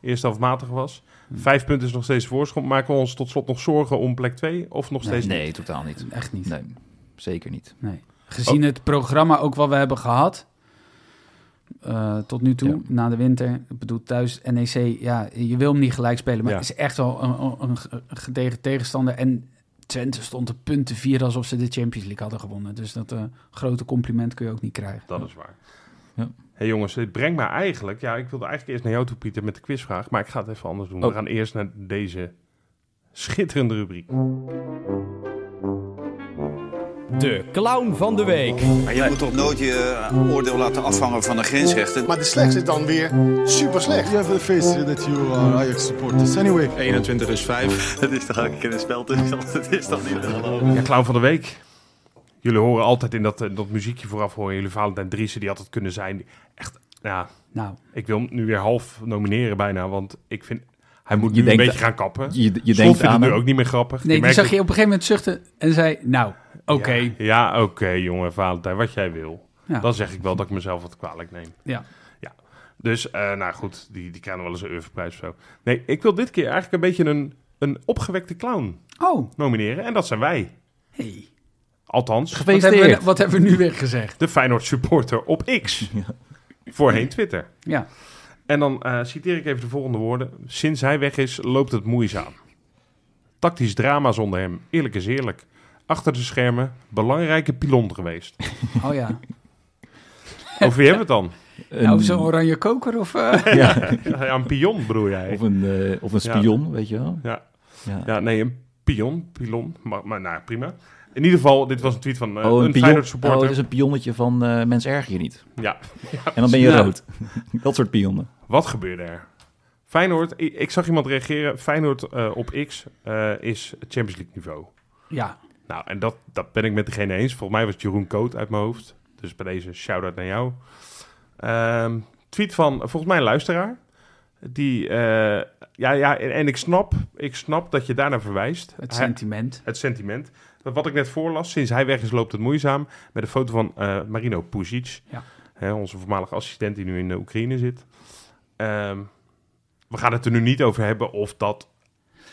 [SPEAKER 1] Eerste helft matig was.
[SPEAKER 2] Hmm.
[SPEAKER 1] Vijf punten is nog steeds voorsprong. Maken we ons tot slot nog zorgen om plek 2? Of nog
[SPEAKER 3] Nee,
[SPEAKER 1] steeds niet?
[SPEAKER 2] Nee, totaal niet.
[SPEAKER 3] Echt niet.
[SPEAKER 2] Nee, zeker niet.
[SPEAKER 3] Nee.
[SPEAKER 1] Oh.
[SPEAKER 3] Gezien het programma ook wat we hebben gehad. eh, tot nu toe,
[SPEAKER 2] Ja.
[SPEAKER 3] na de winter. Ik bedoel, thuis NEC, ja, je wil hem niet gelijk spelen. Maar
[SPEAKER 1] Ja.
[SPEAKER 3] het is echt wel een, een, een gedegen tegenstander. En Twente stond op punten vier alsof ze de Champions League hadden gewonnen. Dus dat eh, grote compliment kun je ook niet krijgen.
[SPEAKER 1] Dat is waar.
[SPEAKER 2] Ja.
[SPEAKER 1] hey jongens, dit brengt mij eigenlijk... Ja, ik wilde eigenlijk eerst naar jou toe, Pieter, met de quizvraag. Maar ik ga het even anders doen.
[SPEAKER 2] Oh.
[SPEAKER 1] We gaan eerst naar deze schitterende rubriek.
[SPEAKER 4] De clown van de week.
[SPEAKER 5] Maar je moet toch nooit je eh, oordeel laten afhangen van een grensrechter. <laughs>
[SPEAKER 6] Maar de slechtste is dan weer super slecht. You have to face that you are eh, Ajax supporters anyway.
[SPEAKER 7] 21 is 5.
[SPEAKER 5] Het is toch ook een keer een spel tussen <laughs> ons? Het is toch niet te geloven?
[SPEAKER 2] Mm.
[SPEAKER 1] Ja, clown van de week. Jullie horen altijd in dat, eh, dat muziekje vooraf horen. Jullie Valentijn Driessen, die had het kunnen zijn. Echt, ja...
[SPEAKER 3] Nou,
[SPEAKER 1] Ik wil hem nu weer half nomineren bijna, want ik vind... Hij moet
[SPEAKER 2] Je
[SPEAKER 1] nu een
[SPEAKER 2] denkt-
[SPEAKER 1] beetje gaan kappen.
[SPEAKER 2] Je, je
[SPEAKER 1] Slot
[SPEAKER 2] denkt
[SPEAKER 1] vindt
[SPEAKER 2] aan
[SPEAKER 1] het nu
[SPEAKER 2] hem.
[SPEAKER 1] ook niet meer grappig.
[SPEAKER 3] nee, die
[SPEAKER 1] merkt
[SPEAKER 3] zag
[SPEAKER 1] het-
[SPEAKER 3] je op een gegeven moment zuchten en zei, nou, oké.
[SPEAKER 1] Ja, ja, oké, jongen, Valentijn, wat jij wil.
[SPEAKER 3] Ja.
[SPEAKER 1] Dan zeg ik wel dat ik mezelf wat kwalijk neem.
[SPEAKER 3] Ja.
[SPEAKER 1] Dus, eh, nou goed, die, die krijgen wel eens een Urverprijs of zo. Nee, ik wil dit keer eigenlijk een beetje een, een opgewekte clown
[SPEAKER 3] Oh,
[SPEAKER 1] nomineren. En dat zijn wij.
[SPEAKER 3] hey.
[SPEAKER 1] Althans,
[SPEAKER 3] Wat hebben, we, nou-
[SPEAKER 2] Gefeliciteerd.
[SPEAKER 3] wat hebben we nu weer gezegd?
[SPEAKER 1] de Feyenoord supporter op
[SPEAKER 2] <laughs>
[SPEAKER 1] X. Voorheen Twitter.
[SPEAKER 3] Ja,
[SPEAKER 1] En dan eh, citeer ik even de volgende woorden. Sinds hij weg is, loopt het moeizaam. Tactisch drama zonder hem. Eerlijk is eerlijk. Achter de schermen, belangrijke pilon geweest. <laughs>
[SPEAKER 3] oh ja.
[SPEAKER 1] Over wie hebben
[SPEAKER 2] <laughs>
[SPEAKER 1] we het dan?
[SPEAKER 2] Een-
[SPEAKER 3] Nou, zo'n oranje koker of... eh,
[SPEAKER 1] <laughs>
[SPEAKER 2] ja,
[SPEAKER 1] Ja, een pion bedoel jij.
[SPEAKER 2] of, een, eh, of een
[SPEAKER 1] Ja.
[SPEAKER 2] spion, weet je wel.
[SPEAKER 1] Ja.
[SPEAKER 2] Ja.
[SPEAKER 1] Ja, nee, een pion. Pilon. Maar, maar nou, prima. In ieder geval, dit was een tweet van eh,
[SPEAKER 2] Oh,
[SPEAKER 1] een,
[SPEAKER 2] een pion.
[SPEAKER 1] Feyenoord
[SPEAKER 2] Oh,
[SPEAKER 1] supporter.
[SPEAKER 2] het is een pionnetje van eh mens erg je niet.
[SPEAKER 1] Ja,
[SPEAKER 2] En dan ben je
[SPEAKER 3] Ja.
[SPEAKER 2] rood. <laughs> Dat soort pionnen.
[SPEAKER 1] wat gebeurde er? Feyenoord, i- ik zag iemand reageren. Feyenoord eh, op X eh, is Champions League niveau.
[SPEAKER 3] Ja,
[SPEAKER 1] Nou, en dat, dat ben ik met degene eens. Volgens mij was het Jeroen Koot uit mijn hoofd. Dus bij deze shout-out naar jou. Ehm, tweet van eh, volgens mij een luisteraar. Die, eh, ja, ja, en, en ik snap, ik snap dat je daarnaar verwijst.
[SPEAKER 3] het
[SPEAKER 1] Hij-
[SPEAKER 3] sentiment.
[SPEAKER 1] het sentiment. Dat wat ik net voorlas, sinds hij weg is loopt het moeizaam. Met een foto van eh, Marino Puzic.
[SPEAKER 3] Ja.
[SPEAKER 1] Hè, onze voormalige assistent die nu in de Oekraïne zit. Ehm, we gaan het er nu niet over hebben of dat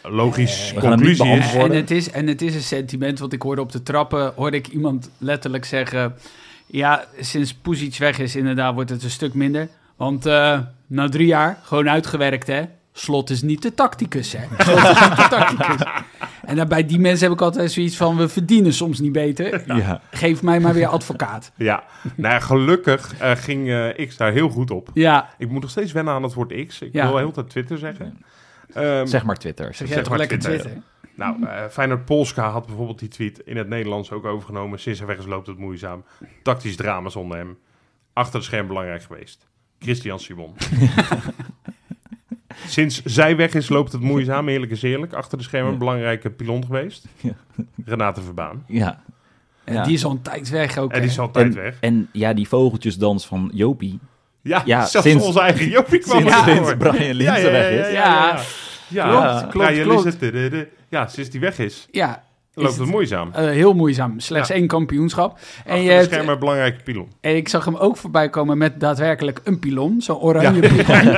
[SPEAKER 1] een logisch
[SPEAKER 2] we gaan hem niet
[SPEAKER 1] conclusie is.
[SPEAKER 2] beantwoorden.
[SPEAKER 3] En het, is, en het is een sentiment, want ik hoorde op de trappen, hoorde ik iemand letterlijk zeggen... Ja, sinds Puzic weg is inderdaad wordt het een stuk minder. Want eh, na drie jaar, gewoon uitgewerkt hè. Slot is niet de tacticus
[SPEAKER 1] <laughs>
[SPEAKER 3] hè. Slot is niet de tacticus. En dan bij die mensen heb ik altijd zoiets van, we verdienen soms niet beter.
[SPEAKER 2] Ja.
[SPEAKER 3] Geef mij maar weer advocaat.
[SPEAKER 2] <laughs>
[SPEAKER 1] Ja, nou ja, gelukkig eh, ging eh, X daar heel goed op.
[SPEAKER 3] Ja,
[SPEAKER 1] Ik moet nog steeds wennen aan het woord X. Ik
[SPEAKER 3] Ja.
[SPEAKER 1] wil heel de hele tijd Twitter zeggen. Ehm,
[SPEAKER 2] Zeg maar Twitter.
[SPEAKER 3] zeg
[SPEAKER 1] Zeg
[SPEAKER 3] jij toch
[SPEAKER 1] maar
[SPEAKER 3] lekker
[SPEAKER 1] Twitter.
[SPEAKER 3] Twitter.
[SPEAKER 1] Nou, eh Feyenoord Polska had bijvoorbeeld die tweet in het Nederlands ook overgenomen. Sinds hij weg is loopt het moeizaam. Tactisch drama zonder hem. Achter het scherm belangrijk geweest.
[SPEAKER 2] <laughs>
[SPEAKER 1] Christian Simon. Sinds zij weg is loopt het moeizaam, eerlijk is eerlijk. Achter de schermen een belangrijke pilon geweest.
[SPEAKER 2] <laughs> Ja.
[SPEAKER 1] Renate Verbaan.
[SPEAKER 2] Ja.
[SPEAKER 3] En
[SPEAKER 2] Ja.
[SPEAKER 3] die is al een tijd weg ook
[SPEAKER 1] En die
[SPEAKER 3] hè.
[SPEAKER 1] is altijd
[SPEAKER 2] En,
[SPEAKER 1] weg.
[SPEAKER 2] en ja, die vogeltjesdans van
[SPEAKER 1] <laughs>
[SPEAKER 2] Jopie.
[SPEAKER 1] Ja,
[SPEAKER 2] ja,
[SPEAKER 1] zelfs
[SPEAKER 2] sinds-
[SPEAKER 1] onze eigen Jopie kwam
[SPEAKER 2] Sinds,
[SPEAKER 1] ervoor.
[SPEAKER 2] sinds Brian Linzen weg is.
[SPEAKER 1] Ja, ja, ja.
[SPEAKER 2] Klopt,
[SPEAKER 3] klopt,
[SPEAKER 1] Ja, jullie
[SPEAKER 3] klopt.
[SPEAKER 1] zitten- de- de- Ja, sinds die weg is,
[SPEAKER 3] Ja, is
[SPEAKER 1] loopt
[SPEAKER 3] het-
[SPEAKER 1] het moeizaam.
[SPEAKER 3] eh, heel moeizaam. Slechts
[SPEAKER 1] Ja.
[SPEAKER 3] één kampioenschap. En
[SPEAKER 1] Achter
[SPEAKER 3] je
[SPEAKER 1] de
[SPEAKER 3] hebt-
[SPEAKER 1] schermen een belangrijke pilon.
[SPEAKER 3] En ik zag hem ook voorbij komen met daadwerkelijk een pilon, zo'n oranje
[SPEAKER 1] <laughs>
[SPEAKER 3] pilon.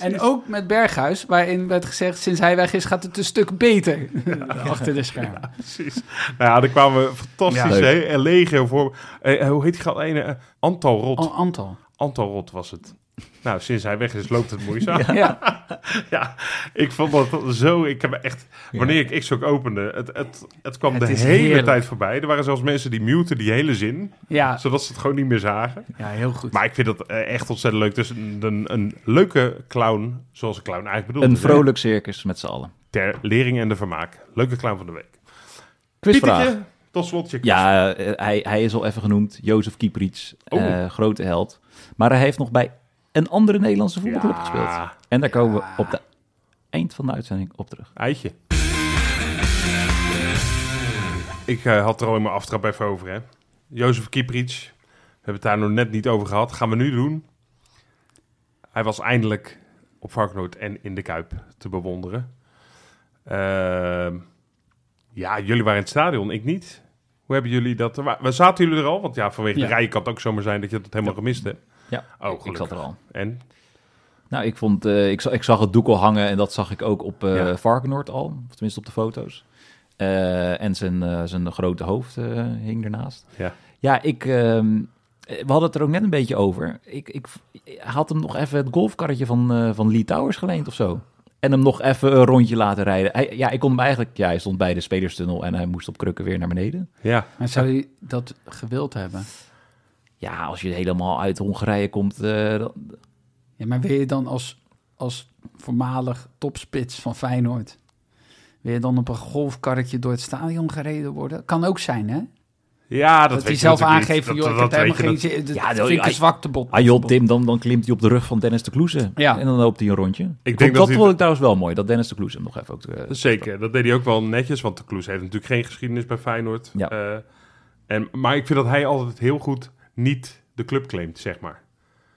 [SPEAKER 3] en ook met Berghuis, waarin werd gezegd, sinds hij weg is gaat het een stuk beter <laughs> achter de schermen.
[SPEAKER 1] Precies. Nou ja, er kwamen fantastische
[SPEAKER 2] Ja.
[SPEAKER 1] hè, en legio voor. Eh, eh, hoe heet die gal? Ene, eh, Antal Rot.
[SPEAKER 3] Oh, Antal.
[SPEAKER 1] Antal Rot was het. Nou, sinds hij weg is, loopt het moeizaam. ja.
[SPEAKER 3] Ja,
[SPEAKER 1] ik vond dat zo... Ik heb echt... Wanneer ik X-Hoc opende, het, het, het kwam
[SPEAKER 3] Het
[SPEAKER 1] de
[SPEAKER 3] is
[SPEAKER 1] hele
[SPEAKER 3] heerlijk.
[SPEAKER 1] tijd voorbij. Er waren zelfs mensen die muten die hele zin,
[SPEAKER 3] ja,
[SPEAKER 1] zodat ze het gewoon niet meer zagen.
[SPEAKER 3] ja heel goed.
[SPEAKER 1] Maar ik vind dat eh, echt ontzettend leuk. Dus een, een, een leuke clown, zoals een clown eigenlijk bedoeld
[SPEAKER 2] Een
[SPEAKER 1] is, hè.
[SPEAKER 2] vrolijk circus met z'n allen.
[SPEAKER 1] Ter lering en de vermaak. Leuke clown van de week.
[SPEAKER 2] Quizvraag.
[SPEAKER 1] Pietertje, tot slot je quiz.
[SPEAKER 2] Ja, eh, hij, hij is al even genoemd. Jozef Kieprits,
[SPEAKER 1] Oh.
[SPEAKER 2] eh, grote held. Maar hij heeft nog bij een andere Nederlandse voetbalclub
[SPEAKER 1] Ja.
[SPEAKER 2] gespeeld. En daar komen we op het eind van de uitzending op terug.
[SPEAKER 1] Eitje. Ik eh, had er al in mijn aftrap even over, hè. Jozef Kieprits. We hebben het daar nog net niet over gehad. Gaan we nu doen. Hij was eindelijk op Varkenoord en in de Kuip te bewonderen. Ehm, ja, jullie waren in het stadion, ik niet. Hoe hebben jullie dat... wa- Waar zaten jullie er al? Want ja, vanwege de
[SPEAKER 3] Ja.
[SPEAKER 1] rij kan het ook zomaar zijn dat je dat helemaal gemist hebt.
[SPEAKER 2] Ja,
[SPEAKER 1] Oh,
[SPEAKER 2] ik zat
[SPEAKER 1] gelukkig.
[SPEAKER 2] er al.
[SPEAKER 1] En?
[SPEAKER 2] Nou, ik, vond, eh, ik, zag, ik zag het doek al hangen en dat zag ik ook op eh
[SPEAKER 1] Ja.
[SPEAKER 2] Varkenoord al. Of tenminste op de foto's. Eh, en zijn, eh, zijn grote hoofd eh, hing ernaast.
[SPEAKER 1] Ja.
[SPEAKER 2] Ja, ik, ehm, eh, we hadden het er ook net een beetje over. Ik, ik, ik had hem nog even het golfkarretje van, eh, van Lee Towers geleend of zo. En hem nog even een rondje laten rijden. Hij, ja, ik kon hem eigenlijk... Ja, hij stond bij de spelerstunnel en hij moest op krukken weer naar beneden.
[SPEAKER 1] Ja.
[SPEAKER 3] Maar zou je dat gewild hebben?
[SPEAKER 2] Ja, als je helemaal uit Hongarije komt... eh, dan-
[SPEAKER 3] Ja, maar wil je dan als, als voormalig topspits van Feyenoord, wil je dan op een golfkarretje door het stadion gereden worden? Kan ook zijn, hè?
[SPEAKER 1] Ja, dat,
[SPEAKER 3] Dat,
[SPEAKER 1] weet
[SPEAKER 3] hij
[SPEAKER 1] je
[SPEAKER 3] zelf
[SPEAKER 1] natuurlijk niet.
[SPEAKER 3] aangeeft van,
[SPEAKER 1] Dat-
[SPEAKER 3] joh, ik
[SPEAKER 1] dat
[SPEAKER 3] heb helemaal
[SPEAKER 1] weet je,
[SPEAKER 3] geen
[SPEAKER 1] dat-
[SPEAKER 3] zin. Dat
[SPEAKER 2] Ja,
[SPEAKER 3] vind
[SPEAKER 2] joh,
[SPEAKER 3] ik een
[SPEAKER 2] hij-
[SPEAKER 3] zwakte bot.
[SPEAKER 2] Ah joh, Tim, dan, dan klimt hij op de rug van Dennis de Kloeze.
[SPEAKER 3] Ja.
[SPEAKER 2] En dan loopt hij een rondje.
[SPEAKER 1] denk
[SPEAKER 2] dat
[SPEAKER 1] dat
[SPEAKER 2] dat
[SPEAKER 1] hij-
[SPEAKER 2] vond ik trouwens wel mooi, dat Dennis de Kloeze hem nog even ook... eh,
[SPEAKER 1] Zeker, dat deed hij ook wel netjes, want de Kloes heeft natuurlijk geen geschiedenis bij Feyenoord.
[SPEAKER 2] Ja.
[SPEAKER 1] Eh, en, maar ik vind dat hij altijd heel goed niet de club claimt, zeg maar.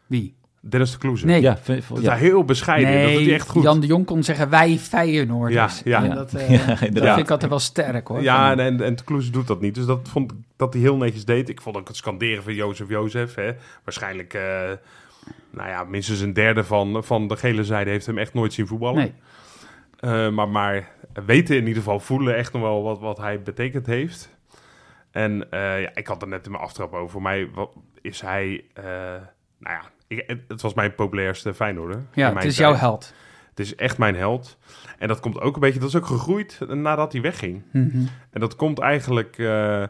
[SPEAKER 3] Wie?
[SPEAKER 1] Dennis de Kloes.
[SPEAKER 3] Nee.
[SPEAKER 2] Ja, vind-
[SPEAKER 1] Dat
[SPEAKER 2] ja.
[SPEAKER 1] hij heel bescheiden is, dat doet hij echt goed.
[SPEAKER 3] Jan de Jong kon zeggen wij Feyenoorders.
[SPEAKER 1] Ja, ja.
[SPEAKER 2] <laughs>
[SPEAKER 3] En dat, eh,
[SPEAKER 2] Ja,
[SPEAKER 3] dat
[SPEAKER 2] inderdaad.
[SPEAKER 3] vind ik altijd wel sterk hoor.
[SPEAKER 1] ja,
[SPEAKER 3] Van-
[SPEAKER 1] en, en, en de Kloes doet dat niet. Dus dat vond ik dat hij heel netjes deed. Ik vond ook het scanderen van Jozef Jozef. Hè. Waarschijnlijk, eh, nou ja, minstens een derde van, van de gele zijde heeft hem echt nooit zien voetballen.
[SPEAKER 3] Nee.
[SPEAKER 1] Eh, maar, maar weten in ieder geval, voelen echt nog wel wat, wat hij betekend heeft. En eh, ja, ik had er net in mijn aftrap over. Voor mij wa- is hij, eh, nou ja, ik- het, het was mijn populairste Feyenoorder. in
[SPEAKER 3] Ja,
[SPEAKER 1] mijn
[SPEAKER 3] het is
[SPEAKER 1] tijd.
[SPEAKER 3] jouw held.
[SPEAKER 1] Het is echt mijn held. En dat komt ook een beetje, dat is ook gegroeid nadat hij wegging.
[SPEAKER 3] Mhm.
[SPEAKER 1] En dat komt eigenlijk eh,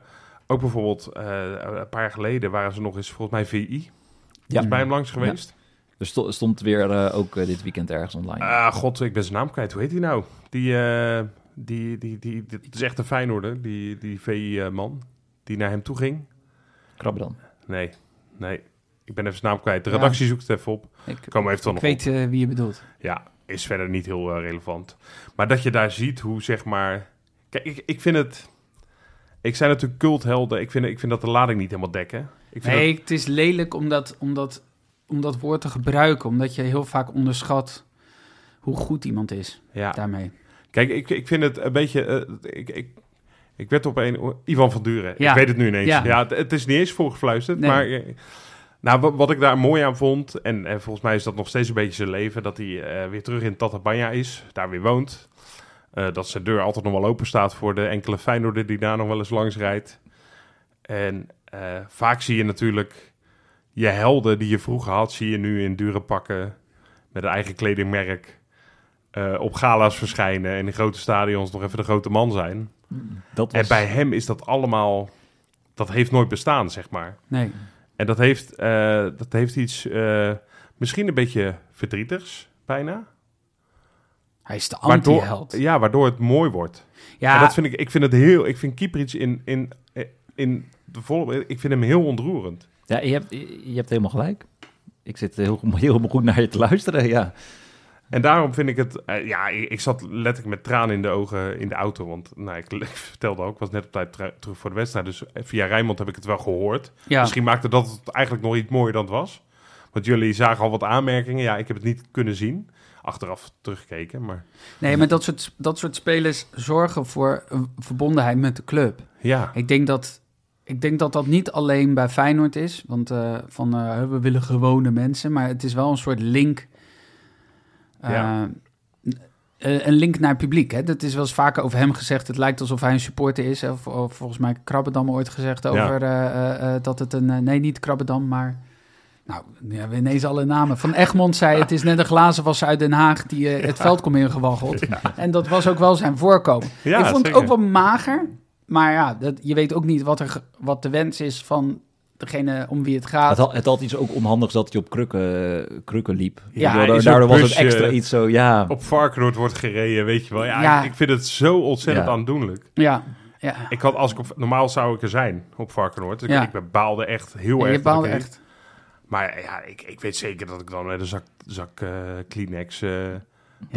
[SPEAKER 1] ook bijvoorbeeld eh, een paar jaar geleden waren ze nog eens volgens mij VI.
[SPEAKER 2] Ja.
[SPEAKER 1] Is bij hem langs geweest.
[SPEAKER 2] Er sto- stond weer eh, ook eh, dit weekend ergens online.
[SPEAKER 1] Ah, god, ik ben zijn naam kwijt. Hoe heet hij nou? Die eh, Die, die, die, dat is echt een Feyenoorder, die, die VI-man. Die naar hem toe ging.
[SPEAKER 2] Krabbe dan.
[SPEAKER 1] Nee, nee. Ik ben even zijn naam kwijt. De
[SPEAKER 3] Ja.
[SPEAKER 1] redactie zoekt het even op.
[SPEAKER 3] Ik,
[SPEAKER 1] Komen we eventueel
[SPEAKER 3] ik
[SPEAKER 1] nog op.
[SPEAKER 3] weet eh, wie je bedoelt.
[SPEAKER 1] Ja, is verder niet heel eh, relevant. Maar dat je daar ziet hoe, zeg maar... Kijk, ik, ik vind het... Ik zijn natuurlijk culthelden. Ik vind, ik vind dat de lading niet helemaal dekken. Ik vind
[SPEAKER 3] Nee, het is lelijk om dat, om, dat, om dat woord te gebruiken. Omdat je heel vaak onderschat hoe goed iemand is
[SPEAKER 1] dat- ja.
[SPEAKER 3] daarmee.
[SPEAKER 1] Kijk, ik, ik vind het een beetje... eh, ik, ik, ik werd op een... Ivan van Duren.
[SPEAKER 3] Ja.
[SPEAKER 1] Ik weet het nu ineens.
[SPEAKER 3] Ja.
[SPEAKER 1] Ja, het, het is niet eens voorgefluisterd,
[SPEAKER 3] Nee.
[SPEAKER 1] maar... eh, Nou, wa- wat ik daar mooi aan vond, en, en volgens mij is dat nog steeds een beetje zijn leven, dat hij eh, weer terug in Tatabanya is, daar weer woont. Eh, dat zijn deur altijd nog wel open staat voor de enkele Feyenoorder die daar nog wel eens langs rijdt. En eh, vaak zie je natuurlijk je helden die je vroeger had, zie je nu in dure pakken met een eigen kledingmerk eh, op gala's verschijnen en in grote stadions nog even de grote man zijn.
[SPEAKER 2] Dat
[SPEAKER 1] En bij hem is dat allemaal, dat heeft nooit bestaan, zeg maar.
[SPEAKER 3] Nee,
[SPEAKER 1] En dat heeft, eh, dat heeft iets, eh, misschien een beetje verdrietigs, bijna.
[SPEAKER 3] hij is de
[SPEAKER 1] Waardoor,
[SPEAKER 3] anti-held.
[SPEAKER 1] ja, waardoor het mooi wordt.
[SPEAKER 3] Ja,
[SPEAKER 1] En dat vind ik, ik vind het heel, ik vind Kieprits in, in, in de volle, ik vind hem heel ontroerend.
[SPEAKER 2] Ja, je hebt, je je hebt helemaal gelijk. Ik zit eh, heel, goed- <laughs> heel goed naar je te luisteren, ja.
[SPEAKER 1] En daarom vind ik het, eh, ja, ik, ik zat letterlijk met tranen in de ogen in de auto. Want nou, ik, <laughs> ik vertelde ook, ik was net op tijd tra- terug voor de wedstrijd. Dus via Rijnmond heb ik het wel gehoord.
[SPEAKER 3] ja.
[SPEAKER 1] Misschien maakte dat het eigenlijk nog iets mooier dan het was. Want jullie zagen al wat aanmerkingen. Ja, ik heb het niet kunnen zien. Achteraf teruggekeken, maar
[SPEAKER 3] nee, maar dat soort, dat soort spelers zorgen voor een verbondenheid met de club.
[SPEAKER 1] ja.
[SPEAKER 3] Ik denk dat ik denk dat, dat niet alleen bij Feyenoord is. Want eh, van eh, we willen gewone mensen. Maar het is wel een soort link. eh,
[SPEAKER 1] Ja.
[SPEAKER 3] eh, een link naar het publiek. Hè? Dat is wel eens vaker over hem gezegd. Het lijkt alsof hij een supporter is. hè. Of, of volgens mij Krabbedam ooit gezegd over eh, eh, eh, dat het een... eh, nee, niet Krabbedam, maar... Nou, nu hebben we ineens alle namen. Van Egmond zei, het is net een glazen was uit Den Haag... die eh, het veld komt ingewaggeld. En dat was ook wel zijn voorkomen
[SPEAKER 1] ja
[SPEAKER 3] ik vond het
[SPEAKER 1] zeker.
[SPEAKER 3] ook wel mager. Maar ja, dat, je weet ook niet wat, er, ge- wat de wens is van degene om wie het gaat.
[SPEAKER 2] Het had, het had iets ook onhandigs dat hij op krukken, eh, krukken liep.
[SPEAKER 1] Ja,
[SPEAKER 2] Daardoor-
[SPEAKER 1] in zo'n
[SPEAKER 2] daardoor was het
[SPEAKER 1] busje.
[SPEAKER 2] extra iets zo, ja.
[SPEAKER 1] Op Varkenoord wordt gereden, weet je wel. Ja,
[SPEAKER 3] Ja.
[SPEAKER 1] Ik, ik vind het zo ontzettend
[SPEAKER 2] Ja.
[SPEAKER 1] aandoenlijk.
[SPEAKER 3] Ja, ja.
[SPEAKER 1] Ik had, als ik op, normaal zou ik er zijn op Varkenoord. Ik,
[SPEAKER 3] Ja.
[SPEAKER 1] ik bepaalde echt heel
[SPEAKER 3] Ja,
[SPEAKER 1] erg. dat
[SPEAKER 3] je
[SPEAKER 1] ik
[SPEAKER 3] baalde
[SPEAKER 1] er niet-
[SPEAKER 3] echt.
[SPEAKER 1] Maar ja, ik, ik weet zeker dat ik dan met een zak, zak eh, Kleenex eh
[SPEAKER 3] Ja.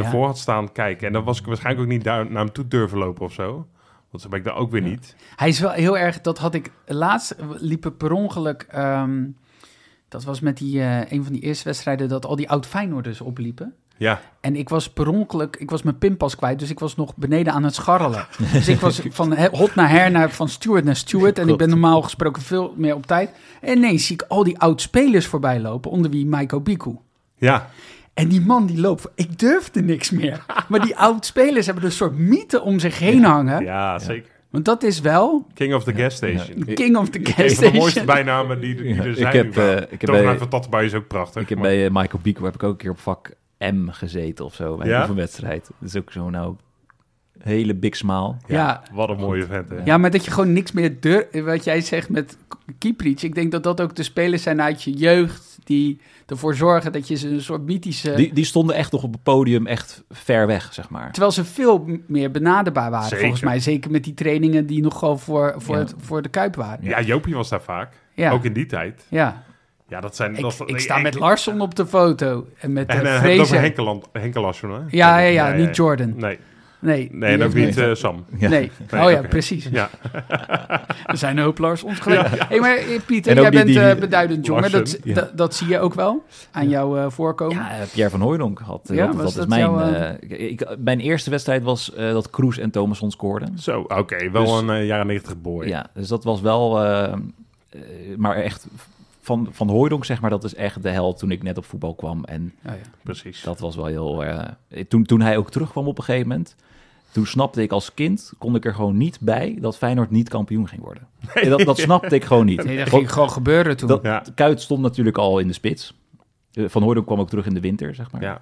[SPEAKER 1] ervoor had staan kijken. En dan was ik waarschijnlijk ook niet daar naar hem toe durven lopen of zo. Want zo ben ik daar ook weer niet.
[SPEAKER 3] Hij is wel heel erg, dat had ik laatst, liepen per ongeluk, ehm, dat was met die, eh, een van die eerste wedstrijden, dat al die oud-Feyenoorders opliepen.
[SPEAKER 1] Ja,
[SPEAKER 3] En ik was per ongeluk, ik was mijn pinpas kwijt, dus ik was nog beneden aan het scharrelen. Dus ik was van he- hot naar her, naar, van steward naar steward. En ik ben normaal gesproken veel meer op tijd. En ineens zie ik al die oud-spelers voorbij lopen, onder wie Michael Biku.
[SPEAKER 1] ja.
[SPEAKER 3] En die man die loopt, voor- ik durfde niks meer. Maar die oud-spelers hebben een soort mythe om zich heen hangen.
[SPEAKER 1] ja zeker.
[SPEAKER 3] Want dat is wel
[SPEAKER 1] King of the gas station.
[SPEAKER 3] de king of the
[SPEAKER 1] Een
[SPEAKER 3] gas
[SPEAKER 1] van de mooiste
[SPEAKER 3] station.
[SPEAKER 1] bijnamen die, die
[SPEAKER 2] Ja,
[SPEAKER 1] er
[SPEAKER 2] ik
[SPEAKER 1] zijn.
[SPEAKER 2] heb,
[SPEAKER 1] nu wel.
[SPEAKER 2] eh, ik heb
[SPEAKER 1] Tovenaar
[SPEAKER 2] bij-
[SPEAKER 1] van Tattabai is ook prachtig.
[SPEAKER 2] Ik heb
[SPEAKER 1] maar-
[SPEAKER 2] bij eh, Michael Bico heb ik ook een keer op vak M gezeten of zo, bij
[SPEAKER 1] Ja?
[SPEAKER 2] een oefenwedstrijd. Dat is ook zo, nou, hele big smile.
[SPEAKER 3] Ja.
[SPEAKER 1] Wat een mooie vent, hè?
[SPEAKER 3] Ja, maar dat je gewoon niks meer durft. Wat jij zegt met Kieprits. Ik denk dat dat ook de spelers zijn uit je jeugd. Die ervoor zorgen dat je ze een soort mythische...
[SPEAKER 2] Die, die stonden echt nog op het podium, echt ver weg, zeg maar.
[SPEAKER 3] Terwijl ze veel m- meer benaderbaar waren,
[SPEAKER 1] Zeker.
[SPEAKER 3] volgens mij. Zeker met die trainingen die nog gewoon voor, voor,
[SPEAKER 2] Ja.
[SPEAKER 3] het, voor de Kuip waren.
[SPEAKER 1] Ja, Jopie was daar vaak.
[SPEAKER 3] Ja,
[SPEAKER 1] Ook in die tijd.
[SPEAKER 3] ja.
[SPEAKER 1] Ja, dat zijn...
[SPEAKER 3] Ik,
[SPEAKER 1] dat,
[SPEAKER 3] ik sta met Larsson op de foto. En met
[SPEAKER 1] En
[SPEAKER 3] eh,
[SPEAKER 1] eh, heb je het over
[SPEAKER 3] Fraser.
[SPEAKER 1] Henkeland, Henkelasjon, hè?
[SPEAKER 3] Ja, ja, ja, niet Jordan.
[SPEAKER 1] Nee,
[SPEAKER 3] Nee,
[SPEAKER 1] nee en
[SPEAKER 3] die
[SPEAKER 1] ook
[SPEAKER 3] heeft
[SPEAKER 1] niet eh, Sam.
[SPEAKER 2] Ja.
[SPEAKER 3] Nee.
[SPEAKER 1] Nee,
[SPEAKER 3] oh ja,
[SPEAKER 1] oké.
[SPEAKER 3] precies.
[SPEAKER 1] Ja.
[SPEAKER 3] <laughs> Er zijn een hoop Lars ons geweest. hey, maar eh, Pieter,
[SPEAKER 2] En ook
[SPEAKER 3] jij
[SPEAKER 2] die-
[SPEAKER 3] bent
[SPEAKER 2] die-
[SPEAKER 3] eh, beduidend jonger.
[SPEAKER 1] Larsen,
[SPEAKER 3] Dat,
[SPEAKER 2] ja.
[SPEAKER 3] dat, dat zie je ook wel aan jouw eh, voorkomen.
[SPEAKER 2] Ja, eh, Pierre van Hooydonk had. eh,
[SPEAKER 3] Ja,
[SPEAKER 2] dat,
[SPEAKER 3] was
[SPEAKER 2] dat
[SPEAKER 3] dat
[SPEAKER 2] is mijn.
[SPEAKER 3] jouw,
[SPEAKER 2] eh, ik- ik, mijn eerste wedstrijd was eh, dat Kroes en Thomasson scoorden.
[SPEAKER 1] Zo, oké. wel
[SPEAKER 2] Dus-
[SPEAKER 1] een eh, jaren negentig boy.
[SPEAKER 2] Ja, dus dat was wel. eh, eh, maar echt. Van, van Hooydonk, zeg maar, dat is echt de hel toen ik net op voetbal kwam. En
[SPEAKER 3] Oh, ja.
[SPEAKER 1] Precies.
[SPEAKER 2] dat was wel heel. eh, toen, toen hij ook terugkwam op een gegeven moment. Toen snapte ik als kind, kon ik er gewoon niet bij dat Feyenoord niet kampioen ging worden. Dat, dat snapte ik gewoon niet.
[SPEAKER 3] Nee, dat ging gewoon gebeuren toen.
[SPEAKER 2] Dat,
[SPEAKER 1] Ja.
[SPEAKER 2] Kuit stond natuurlijk al in de spits. Eh, Van Hooydonk kwam ook terug in de winter, zeg maar.
[SPEAKER 1] Ja.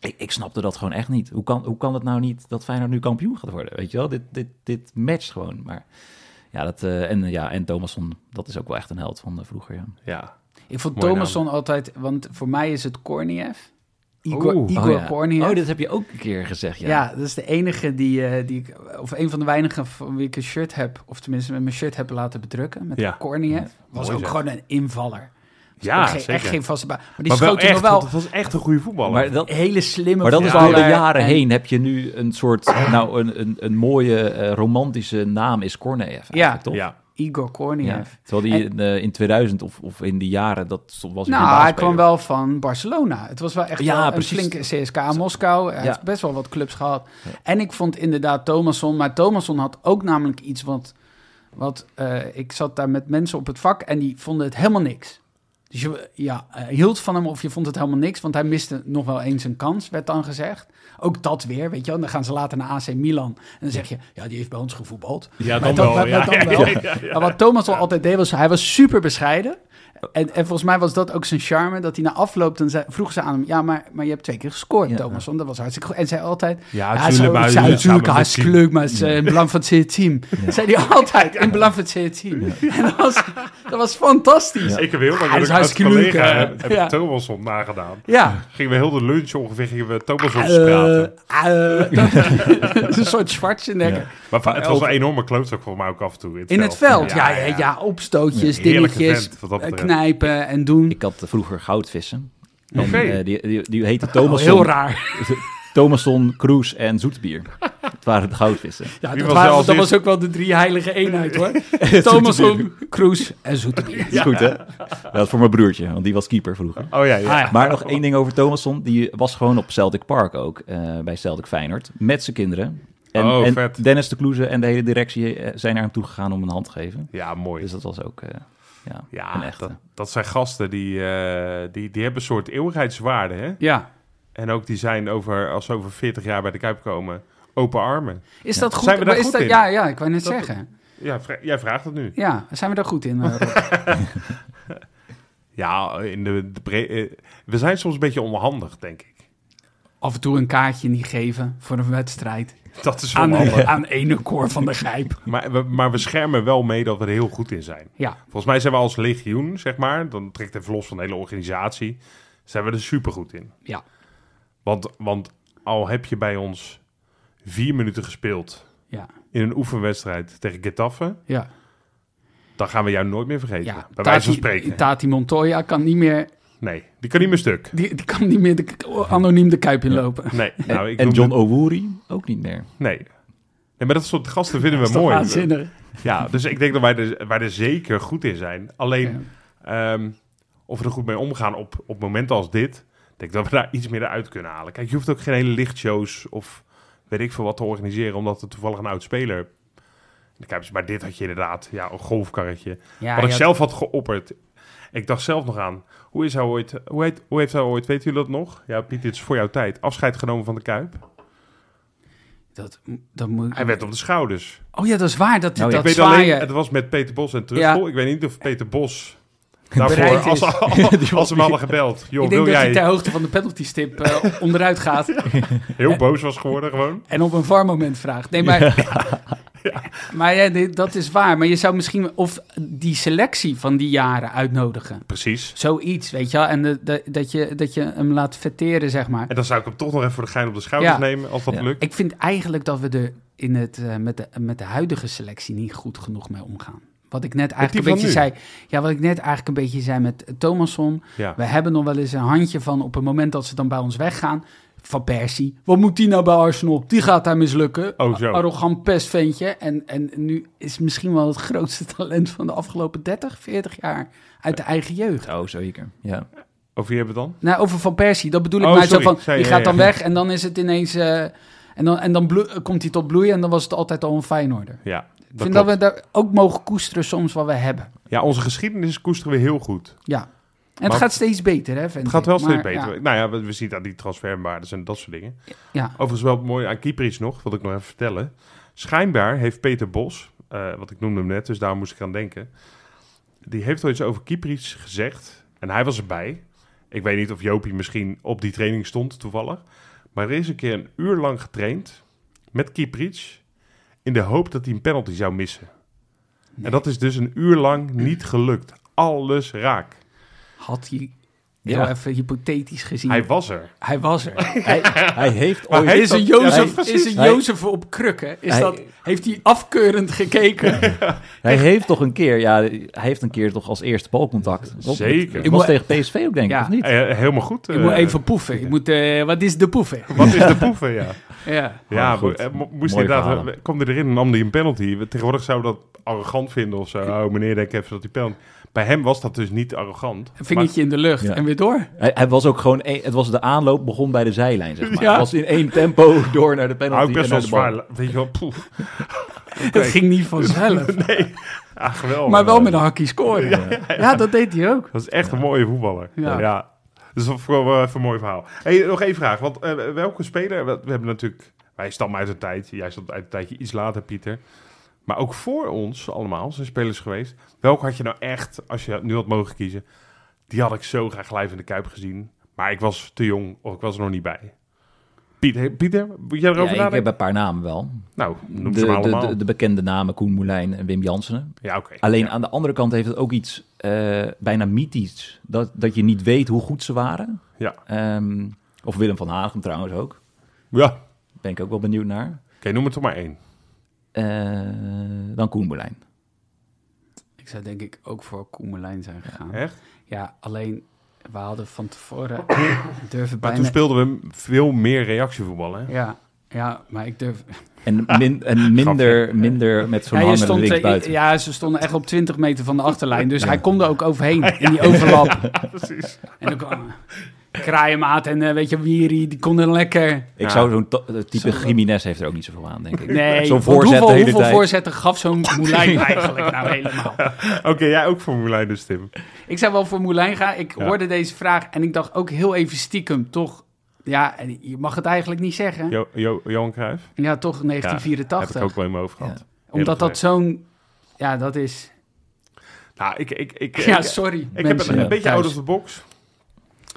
[SPEAKER 2] Ik, ik snapte dat gewoon echt niet. Hoe kan, hoe kan het nou niet dat Feyenoord nu kampioen gaat worden? Weet je wel, dit, dit, dit matcht gewoon. Maar ja, dat, eh, en, ja, en Thomasson, dat is ook wel echt een held van eh, vroeger. Ja.
[SPEAKER 1] ja.
[SPEAKER 3] Ik vond
[SPEAKER 1] Mooie
[SPEAKER 3] Thomasson altijd, want voor mij is het Korniev. Igor,
[SPEAKER 1] Oeh.
[SPEAKER 3] Igor
[SPEAKER 2] oh, ja.
[SPEAKER 3] Korniev.
[SPEAKER 2] Oh, dat heb je ook een keer gezegd, ja.
[SPEAKER 3] ja. dat is de enige die, eh, die ik, of een van de weinigen van wie ik een shirt heb, of tenminste met mijn shirt heb laten bedrukken met
[SPEAKER 1] Ja.
[SPEAKER 3] de Korniev. Was
[SPEAKER 1] Mooi
[SPEAKER 3] ook
[SPEAKER 1] zeg.
[SPEAKER 3] gewoon een invaller.
[SPEAKER 1] Ja,
[SPEAKER 3] geen,
[SPEAKER 1] zeker.
[SPEAKER 3] Echt geen vaste baan. Maar die
[SPEAKER 1] maar wel
[SPEAKER 3] schoot hij
[SPEAKER 1] echt,
[SPEAKER 3] nog
[SPEAKER 1] wel...
[SPEAKER 3] wel.
[SPEAKER 1] dat was echt een goede voetballer.
[SPEAKER 2] Maar dat,
[SPEAKER 3] Een hele slimme
[SPEAKER 2] maar dat is door
[SPEAKER 3] voetballer
[SPEAKER 2] de jaren
[SPEAKER 3] en-
[SPEAKER 2] heen heb je nu een soort, nou, een, een, een mooie eh, romantische naam is Korneev eigenlijk,
[SPEAKER 3] Ja.
[SPEAKER 2] toch?
[SPEAKER 1] Ja,
[SPEAKER 3] Igor
[SPEAKER 2] Ja.
[SPEAKER 3] Korniev.
[SPEAKER 2] Terwijl die in, eh, in 2000 of, of in die jaren, dat stond- was hij geen
[SPEAKER 3] Nou, hij
[SPEAKER 2] basisspeler.
[SPEAKER 3] kwam wel van Barcelona. Het was wel echt
[SPEAKER 2] Ja,
[SPEAKER 3] wel een
[SPEAKER 2] precies.
[SPEAKER 3] flinke CSKA Moskou. Hij
[SPEAKER 2] Ja.
[SPEAKER 3] heeft best wel wat clubs gehad. En ik vond inderdaad Thomasson. Maar Thomasson had ook namelijk iets wat... wat eh, ik zat daar met mensen op het vak en die vonden het helemaal niks. Dus je ja, eh, hield van hem of je vond het helemaal niks. Want hij miste nog wel eens een kans, werd dan gezegd. Ook dat weer, weet je wel. Dan gaan ze later naar AC Milan. En dan zeg je, ja, die heeft bij ons gevoetbald.
[SPEAKER 1] ja dan
[SPEAKER 3] Maar dat-
[SPEAKER 1] wel.
[SPEAKER 3] maar-
[SPEAKER 1] ja,
[SPEAKER 3] maar dan
[SPEAKER 1] ja,
[SPEAKER 3] wel.
[SPEAKER 1] ja, ja, ja.
[SPEAKER 3] Maar wat Thomas al altijd deed was, hij was super bescheiden. En, en volgens mij was dat ook zijn charme, dat hij na afloop, dan zei, vroeg ze aan hem, ja, maar, maar je hebt twee keer gescoord,
[SPEAKER 2] Ja.
[SPEAKER 3] Thomas, want dat was hartstikke goed. En zei altijd,
[SPEAKER 1] Ja,
[SPEAKER 3] ja,
[SPEAKER 1] natuurlijk, maar
[SPEAKER 3] het is
[SPEAKER 1] samen
[SPEAKER 3] natuurlijk
[SPEAKER 1] met
[SPEAKER 3] hartstikke
[SPEAKER 1] Siem.
[SPEAKER 3] leuk, maar het is eh, in belang van het hele team. Zei hij altijd, in belang van het hele team. <laughs> En dat was, dat was fantastisch. Ja.
[SPEAKER 1] Ik heb heel
[SPEAKER 3] Ja,
[SPEAKER 1] lang
[SPEAKER 3] dat
[SPEAKER 1] met
[SPEAKER 3] is
[SPEAKER 1] een oud
[SPEAKER 3] hartstikke leuk,
[SPEAKER 1] collega
[SPEAKER 3] hè?
[SPEAKER 1] heb, heb
[SPEAKER 3] Ja.
[SPEAKER 1] ik Thomas op nagedaan.
[SPEAKER 3] ja.
[SPEAKER 1] Gingen we heel de lunch ongeveer, gingen we Thomas op praten.
[SPEAKER 3] Eh, eh, dat <laughs> is een soort Schwarzenegger.
[SPEAKER 1] Maar va- het was een enorme klootzak voor mij ook af en toe.
[SPEAKER 3] eh, In het veld, ja, ja, ja, opstootjes,
[SPEAKER 1] Heerlijke
[SPEAKER 3] dingetjes,
[SPEAKER 1] vent, wat dat
[SPEAKER 3] eh,
[SPEAKER 1] betreft.
[SPEAKER 3] knijpen en doen.
[SPEAKER 2] Ik had eh, vroeger goudvissen. En,
[SPEAKER 1] Oké.
[SPEAKER 2] eh, die, die, die heette Thomas.
[SPEAKER 3] Oh, heel raar.
[SPEAKER 1] <laughs>
[SPEAKER 2] Thomasson, Kroes en
[SPEAKER 3] <laughs>
[SPEAKER 2] Zoetbier. Het waren de goudvissen.
[SPEAKER 3] Ja,
[SPEAKER 1] Wie
[SPEAKER 3] dat,
[SPEAKER 1] was
[SPEAKER 3] waren-
[SPEAKER 1] er als
[SPEAKER 3] dat was
[SPEAKER 1] eerste?
[SPEAKER 3] ook wel de drie heilige
[SPEAKER 1] <laughs>
[SPEAKER 3] eenheid hoor. Thomason, Kroes en Zoetebier.
[SPEAKER 2] Is goed, hè? Dat is voor mijn broertje, want die was keeper vroeger.
[SPEAKER 1] Oh ja, ja.
[SPEAKER 3] Ah,
[SPEAKER 2] Maar nog één ding over Thomasson. Die was gewoon op Celtic Park ook, eh, bij Celtic Feyenoord. Met zijn kinderen. En,
[SPEAKER 1] Oh,
[SPEAKER 2] en
[SPEAKER 1] vet.
[SPEAKER 2] Dennis de Kloeze en de hele directie eh, zijn naar hem toe gegaan om een hand te geven.
[SPEAKER 1] Ja, mooi.
[SPEAKER 2] Dus dat was ook eh, ja, een
[SPEAKER 1] ja,
[SPEAKER 2] echte.
[SPEAKER 1] dat, dat zijn gasten die, eh, die, die hebben een soort eeuwigheidswaarde. Hè?
[SPEAKER 3] Ja.
[SPEAKER 1] En ook die zijn over, als ze over 40 jaar bij de Kuip komen, open armen.
[SPEAKER 3] Is dat goed?
[SPEAKER 1] Zijn we daar
[SPEAKER 3] is
[SPEAKER 1] goed
[SPEAKER 3] dat,
[SPEAKER 1] in?
[SPEAKER 3] Ja, ja, ik wou net
[SPEAKER 1] Dat-
[SPEAKER 3] zeggen.
[SPEAKER 1] Ja, vra- jij vraagt het nu.
[SPEAKER 3] Ja, zijn we daar goed in? eh, Rob?
[SPEAKER 1] <laughs> Ja, in de, de bre- eh, we zijn soms een beetje onhandig, denk ik. <laughs>
[SPEAKER 3] Af en toe een kaartje niet geven voor een wedstrijd.
[SPEAKER 1] Dat is
[SPEAKER 3] Aan,
[SPEAKER 1] onhandig.
[SPEAKER 3] <laughs> aan ene koor van de grijp.
[SPEAKER 1] Maar, we, maar we schermen wel mee dat we er heel goed in zijn.
[SPEAKER 3] Ja,
[SPEAKER 1] Volgens mij zijn we als legioen, zeg maar, dan trekt even los van de hele organisatie, zijn we er supergoed in.
[SPEAKER 3] ja.
[SPEAKER 1] Want, want al heb je bij ons vier minuten gespeeld
[SPEAKER 3] Ja.
[SPEAKER 1] in een oefenwedstrijd tegen Getafe,
[SPEAKER 3] Ja,
[SPEAKER 1] dan gaan we jou nooit meer vergeten.
[SPEAKER 3] ja.
[SPEAKER 1] bij wijze van spreken.
[SPEAKER 3] Tati Montoya kan niet meer,
[SPEAKER 1] nee, die kan niet meer stuk.
[SPEAKER 3] die, die kan niet meer de, anoniem de kuip inlopen.
[SPEAKER 1] Nee, nou,
[SPEAKER 2] <laughs>
[SPEAKER 1] ik
[SPEAKER 2] en
[SPEAKER 1] noem
[SPEAKER 2] John
[SPEAKER 1] het-
[SPEAKER 2] O'Woeri ook niet meer.
[SPEAKER 1] Nee. nee, maar dat soort gasten vinden
[SPEAKER 3] Dat
[SPEAKER 1] we
[SPEAKER 3] is toch
[SPEAKER 1] mooi.
[SPEAKER 3] waanzinnig.
[SPEAKER 1] Ja, dus ik denk dat wij er, wij er zeker goed in zijn. Alleen, ehm, of we er goed mee omgaan op, op momenten als dit, denk ik dat we daar iets meer uit kunnen halen. Kijk, je hoeft ook geen hele lichtshows of weet ik veel wat te organiseren, omdat er toevallig een oud speler. En Kijk, eens, maar dit had je inderdaad, ja, een golfkarretje.
[SPEAKER 3] Ja,
[SPEAKER 1] wat ik
[SPEAKER 3] ja,
[SPEAKER 1] zelf had geopperd. Ik dacht zelf nog aan, hoe is hij ooit, hoe, heet, hoe heeft hij ooit, weet jullie dat nog? Ja, Piet, dit is voor jouw tijd. Afscheid genomen van de Kuip.
[SPEAKER 3] dat, dat moet,
[SPEAKER 1] Hij werd op de schouders.
[SPEAKER 3] oh ja, dat is waar. Dat,
[SPEAKER 2] Nou,
[SPEAKER 3] dat
[SPEAKER 1] Ik weet
[SPEAKER 3] zwaaien.
[SPEAKER 1] alleen, het was met Peter Bos en Truffel.
[SPEAKER 3] Ja.
[SPEAKER 1] Ik weet niet of Peter Bos
[SPEAKER 3] <laughs> Bereid
[SPEAKER 1] daarvoor,
[SPEAKER 3] is.
[SPEAKER 1] als,
[SPEAKER 3] <laughs>
[SPEAKER 1] als, als ze hem hadden gebeld. Joh,
[SPEAKER 3] ik denk
[SPEAKER 1] wil
[SPEAKER 3] dat
[SPEAKER 1] jij
[SPEAKER 3] hij ter hoogte van de penalty stip eh, onderuit gaat.
[SPEAKER 1] <laughs> heel boos was geworden gewoon.
[SPEAKER 3] En op een var moment vraagt. Nee, maar. <laughs> Maar ja, dit- dat is waar. Maar je zou misschien. Of die selectie van die jaren uitnodigen.
[SPEAKER 1] Precies.
[SPEAKER 3] Zoiets, weet je wel. En de, de- dat, je, dat je hem laat vetteren, zeg maar.
[SPEAKER 1] En dan zou ik hem toch nog even voor de gein op de schouders
[SPEAKER 3] Ja.
[SPEAKER 1] nemen, als dat
[SPEAKER 2] Ja.
[SPEAKER 1] lukt.
[SPEAKER 3] Ik vind eigenlijk dat we er in het, eh, met, de, met de huidige selectie niet goed genoeg mee omgaan. Wat ik net eigenlijk
[SPEAKER 1] die
[SPEAKER 3] een beetje
[SPEAKER 1] van
[SPEAKER 3] zei. Ja, wat ik net eigenlijk een beetje zei met Thomasson.
[SPEAKER 1] Ja.
[SPEAKER 3] We hebben nog wel eens een handje van op het moment dat ze dan bij ons weggaan. Van Persie. Wat moet die nou bij Arsenal? Die gaat daar mislukken.
[SPEAKER 1] Oh, zo.
[SPEAKER 3] Arrogant pestventje. En, en nu is misschien wel het grootste <laughs> talent van de afgelopen 30, 40 jaar uit de eigen jeugd.
[SPEAKER 2] Oh, zeker. Ja.
[SPEAKER 1] <laughs> Over wie hebben we het dan?
[SPEAKER 3] Nou, over Van Persie, dat bedoel ik
[SPEAKER 1] Oh,
[SPEAKER 3] maar
[SPEAKER 1] sorry.
[SPEAKER 3] zo van,
[SPEAKER 1] Zei
[SPEAKER 3] die
[SPEAKER 1] je,
[SPEAKER 3] gaat
[SPEAKER 1] ja,
[SPEAKER 3] dan
[SPEAKER 1] ja.
[SPEAKER 3] weg en dan is het ineens... eh, en dan, en dan bloe- eh, komt hij tot bloeien en dan was het altijd al een Feyenoorder. Ik
[SPEAKER 1] Ja, dat
[SPEAKER 3] vind dat
[SPEAKER 1] klopt.
[SPEAKER 3] we daar ook mogen koesteren soms wat we hebben.
[SPEAKER 1] ja, onze geschiedenis koesteren we heel goed.
[SPEAKER 3] Ja. En het
[SPEAKER 1] Maar-
[SPEAKER 3] gaat steeds beter, hè, vind
[SPEAKER 1] Het gaat
[SPEAKER 3] ik.
[SPEAKER 1] wel steeds
[SPEAKER 3] Maar,
[SPEAKER 1] beter.
[SPEAKER 3] Ja,
[SPEAKER 1] Nou ja, we, we zien dat die transferwaardes en dat soort dingen.
[SPEAKER 3] ja.
[SPEAKER 1] Overigens wel mooi aan Kypris nog, wat ik nog even vertellen. Schijnbaar heeft Peter Bos, eh, wat ik noemde hem net, dus daar moest ik aan denken. Die heeft al iets over Kypris gezegd. En hij was erbij. Ik weet niet of Jopie misschien op die training stond toevallig. Maar er is een keer een uur lang getraind met Kypris. In de hoop dat hij een penalty zou missen. En dat is dus een uur lang niet gelukt. Alles raak.
[SPEAKER 3] Had hij Heel
[SPEAKER 2] Ja.
[SPEAKER 3] even hypothetisch gezien.
[SPEAKER 1] Hij was er.
[SPEAKER 3] Hij
[SPEAKER 1] <laughs>
[SPEAKER 3] was er.
[SPEAKER 2] Hij, hij heeft
[SPEAKER 1] Maar
[SPEAKER 2] ooit...
[SPEAKER 1] hij
[SPEAKER 3] is
[SPEAKER 1] dat-
[SPEAKER 3] een Jozef,
[SPEAKER 1] ja,
[SPEAKER 3] is een
[SPEAKER 2] hij-
[SPEAKER 3] Jozef op krukken? Is
[SPEAKER 2] hij-
[SPEAKER 3] dat, heeft hij afkeurend gekeken?
[SPEAKER 2] Hij heeft toch een keer, ja, hij heeft een keer toch als eerste balcontact. Klopt.
[SPEAKER 1] Zeker.
[SPEAKER 2] Het
[SPEAKER 1] Ik
[SPEAKER 2] was
[SPEAKER 3] moet-
[SPEAKER 2] tegen PSV ook, denk ik,
[SPEAKER 3] Ja.
[SPEAKER 2] of niet?
[SPEAKER 1] Eh, helemaal goed.
[SPEAKER 3] ik moet
[SPEAKER 1] eh,
[SPEAKER 3] even poeven. Ik moet, eh, wat is de poeven?
[SPEAKER 1] Wat is de poeven, ja.
[SPEAKER 3] Ja.
[SPEAKER 1] Ja,
[SPEAKER 2] goed.
[SPEAKER 1] mo- eh, mo- moest
[SPEAKER 2] Mooie
[SPEAKER 1] inderdaad,
[SPEAKER 2] verhalen.
[SPEAKER 1] eh, kwam hij erin en nam hij een penalty. We- Tegenwoordig zouden we dat arrogant vinden of zo. Oh, meneer, denk even dat die penalty... Bij hem was dat dus niet arrogant.
[SPEAKER 3] Een vingertje in de lucht
[SPEAKER 2] Ja.
[SPEAKER 3] en weer door.
[SPEAKER 2] Hij, hij was ook gewoon, één- het was de aanloop begon bij de zijlijn, zeg maar.
[SPEAKER 3] Ja.
[SPEAKER 2] Het was in één tempo <laughs> door naar de penalty
[SPEAKER 1] Maar, hou ik best
[SPEAKER 2] en
[SPEAKER 1] wel
[SPEAKER 2] naar de bal.
[SPEAKER 1] zwaar. Weet je wel, <laughs> poef.
[SPEAKER 3] Het ging niet vanzelf.
[SPEAKER 1] Nee, ah, geweldig.
[SPEAKER 3] Maar wel met een hakkie scoren. Ja, dat deed hij ook.
[SPEAKER 1] Dat is echt een mooie voetballer.
[SPEAKER 3] Ja.
[SPEAKER 1] Ja. Dus dat is wel even een mooi verhaal. Hey, nog één vraag. Want eh, welke speler... We we hebben natuurlijk... Wij stammen uit een tijd. Jij stamt uit een tijdje iets later, Pieter. Maar ook voor ons allemaal zijn spelers geweest. Welke had je nou echt, als je nu had mogen kiezen... Die had ik zo graag live in de Kuip gezien. Maar ik was te jong of ik was er nog niet bij. Pieter, Pieter moet jij erover
[SPEAKER 2] Ja, ik heb
[SPEAKER 1] nadenken?
[SPEAKER 2] een paar namen wel.
[SPEAKER 1] Nou, noem
[SPEAKER 2] De,
[SPEAKER 1] ze maar
[SPEAKER 2] de,
[SPEAKER 1] allemaal.
[SPEAKER 2] de, Ah. de bekende namen Koen Moulijn en Wim Jansen.
[SPEAKER 1] ja, oké.
[SPEAKER 2] Alleen
[SPEAKER 1] Ja.
[SPEAKER 2] aan de andere kant heeft het ook iets eh, bijna mythisch. Dat, dat je niet weet hoe goed ze waren.
[SPEAKER 1] Ja.
[SPEAKER 2] Ehm, of Willem van Hagem trouwens ook.
[SPEAKER 1] Ja, oké,
[SPEAKER 2] Ben ik ook wel benieuwd naar.
[SPEAKER 1] noem er toch maar één.
[SPEAKER 2] Eh, dan Koen Moulijn.
[SPEAKER 3] Ik zou denk ik ook voor Koemelijn zijn gegaan. Ja,
[SPEAKER 1] Echt?
[SPEAKER 3] alleen we hadden van tevoren durven
[SPEAKER 1] Maar
[SPEAKER 3] bijna...
[SPEAKER 1] toen speelden we veel meer reactievoetbal, hè?
[SPEAKER 3] ja, ja, maar ik durf...
[SPEAKER 2] En, min, en minder, minder met zo'n
[SPEAKER 3] Ja, je
[SPEAKER 2] hangende
[SPEAKER 3] stond, eh,
[SPEAKER 2] linksbuiten.
[SPEAKER 3] ja, ze stonden echt op 20 meter van de achterlijn. Dus hij kon er ook overheen in die overlap.
[SPEAKER 1] precies.
[SPEAKER 3] En dan kwam Kraaienmaat en eh, weet je, Wiri, die konden lekker...
[SPEAKER 2] Ik
[SPEAKER 1] Ja.
[SPEAKER 2] zou zo'n to- eh, type Jiménez heeft er ook niet zoveel aan, denk ik.
[SPEAKER 3] Nee,
[SPEAKER 2] Zo'n
[SPEAKER 3] want
[SPEAKER 2] voorzet
[SPEAKER 3] hoeveel,
[SPEAKER 2] de hele
[SPEAKER 3] hoeveel
[SPEAKER 2] tijd.
[SPEAKER 3] voorzetten gaf zo'n Moulijn eigenlijk nou helemaal?
[SPEAKER 1] Oké, jij ook voor Moulijn dus, Tim.
[SPEAKER 3] Ik zou wel voor Moulijn gaan. Ik
[SPEAKER 1] Ja.
[SPEAKER 3] hoorde deze vraag en ik dacht ook heel even stiekem, toch... Ja, en je mag het eigenlijk niet zeggen.
[SPEAKER 1] Jo, jo, Johan Cruijff?
[SPEAKER 3] Ja, toch
[SPEAKER 1] Ja, heb
[SPEAKER 3] 1984.
[SPEAKER 1] ik ook wel in mijn hoofd gehad.
[SPEAKER 3] Omdat dat zo'n... Ja, dat is...
[SPEAKER 1] Nou, ik, ik, ik,
[SPEAKER 3] Ja,
[SPEAKER 1] ik,
[SPEAKER 3] sorry.
[SPEAKER 1] ik heb
[SPEAKER 3] mensen
[SPEAKER 1] een, een beetje
[SPEAKER 3] thuis.
[SPEAKER 1] out of the box.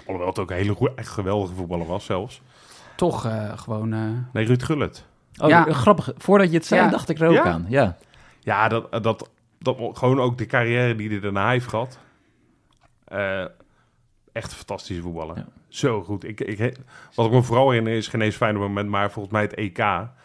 [SPEAKER 1] Alhoewel het ook een hele goe- echt geweldige voetballer was zelfs.
[SPEAKER 3] Toch eh, gewoon... eh,
[SPEAKER 1] Nee, Ruud Gullit.
[SPEAKER 2] Oh,
[SPEAKER 3] Ja.
[SPEAKER 2] grappig. Voordat je het zei,
[SPEAKER 3] Ja.
[SPEAKER 2] dacht ik er ook
[SPEAKER 1] Ja?
[SPEAKER 2] aan. Ja.
[SPEAKER 1] Ja, dat, dat, dat, gewoon ook de carrière die hij daarna heeft gehad. Eh, echt een fantastische voetballer.
[SPEAKER 2] Ja.
[SPEAKER 1] Zo goed. Ik, ik, wat ik me vooral herinner is geen eens fijn op het moment, maar volgens mij het EK.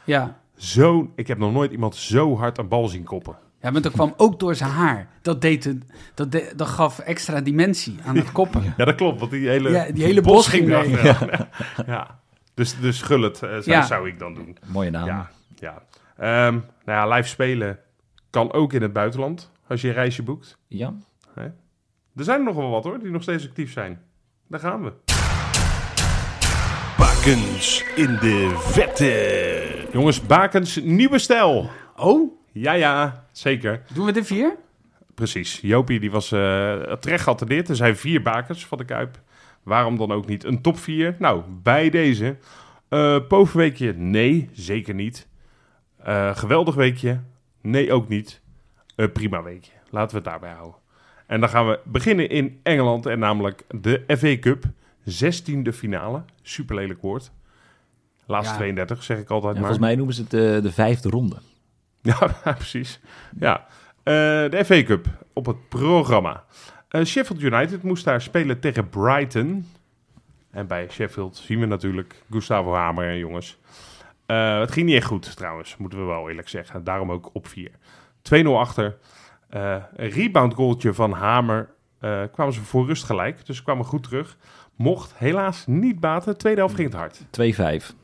[SPEAKER 3] ja.
[SPEAKER 1] Zo, ik heb nog nooit iemand zo hard een bal zien koppen.
[SPEAKER 3] ja, want dat kwam ook door zijn haar. Dat, deed het, dat, de- dat gaf extra dimensie aan het koppen.
[SPEAKER 1] Ja, dat klopt, want die hele,
[SPEAKER 3] Ja, die hele bos ging mee.
[SPEAKER 2] <laughs>
[SPEAKER 1] erachter. Ja. Dus, dus Gullit eh, zou,
[SPEAKER 3] Ja.
[SPEAKER 1] zou ik dan doen.
[SPEAKER 2] Mooie naam.
[SPEAKER 1] Ja, ja. Ehm, nou ja, live spelen kan ook in het buitenland, als je een reisje boekt.
[SPEAKER 2] Ja.
[SPEAKER 1] Er zijn er nog wel wat hoor, die nog steeds actief zijn. Daar gaan we.
[SPEAKER 7] Bakens in de vette.
[SPEAKER 1] Jongens, Bakens, nieuwe stijl.
[SPEAKER 3] Oh,
[SPEAKER 1] Ja, ja, zeker.
[SPEAKER 3] doen we de vier?
[SPEAKER 1] Precies. Jopie die was eh, terecht geattendeerd. Er zijn vier bakens van de Kuip. Waarom dan ook niet een top 4? Nou, bij deze. Eh Poverweekje, nee, zeker niet. Eh, geweldig weekje, nee, ook niet. Eh, prima weekje, laten we het daarbij houden. En dan gaan we beginnen in Engeland en namelijk de FA Cup. 16e finale, super lelijk woord. Laatste
[SPEAKER 3] Ja.
[SPEAKER 1] 32 zeg ik altijd
[SPEAKER 2] Ja,
[SPEAKER 1] maar.
[SPEAKER 2] volgens mij noemen ze het eh, de vijfde ronde.
[SPEAKER 1] <laughs> Ja, precies. Ja. Eh, de FA Cup op het programma. Eh, Sheffield United moest daar spelen tegen Brighton. En bij Sheffield zien we natuurlijk Gustavo Hamer en jongens. Eh, het ging niet echt goed trouwens, moeten we wel eerlijk zeggen. Daarom ook op 4. 2-0 achter. Eh, een rebound goaltje van Hamer. eh, kwamen ze voor rust gelijk, dus ze kwamen goed terug. Mocht helaas niet baten. Tweede helft ging het hard.
[SPEAKER 2] 2-5.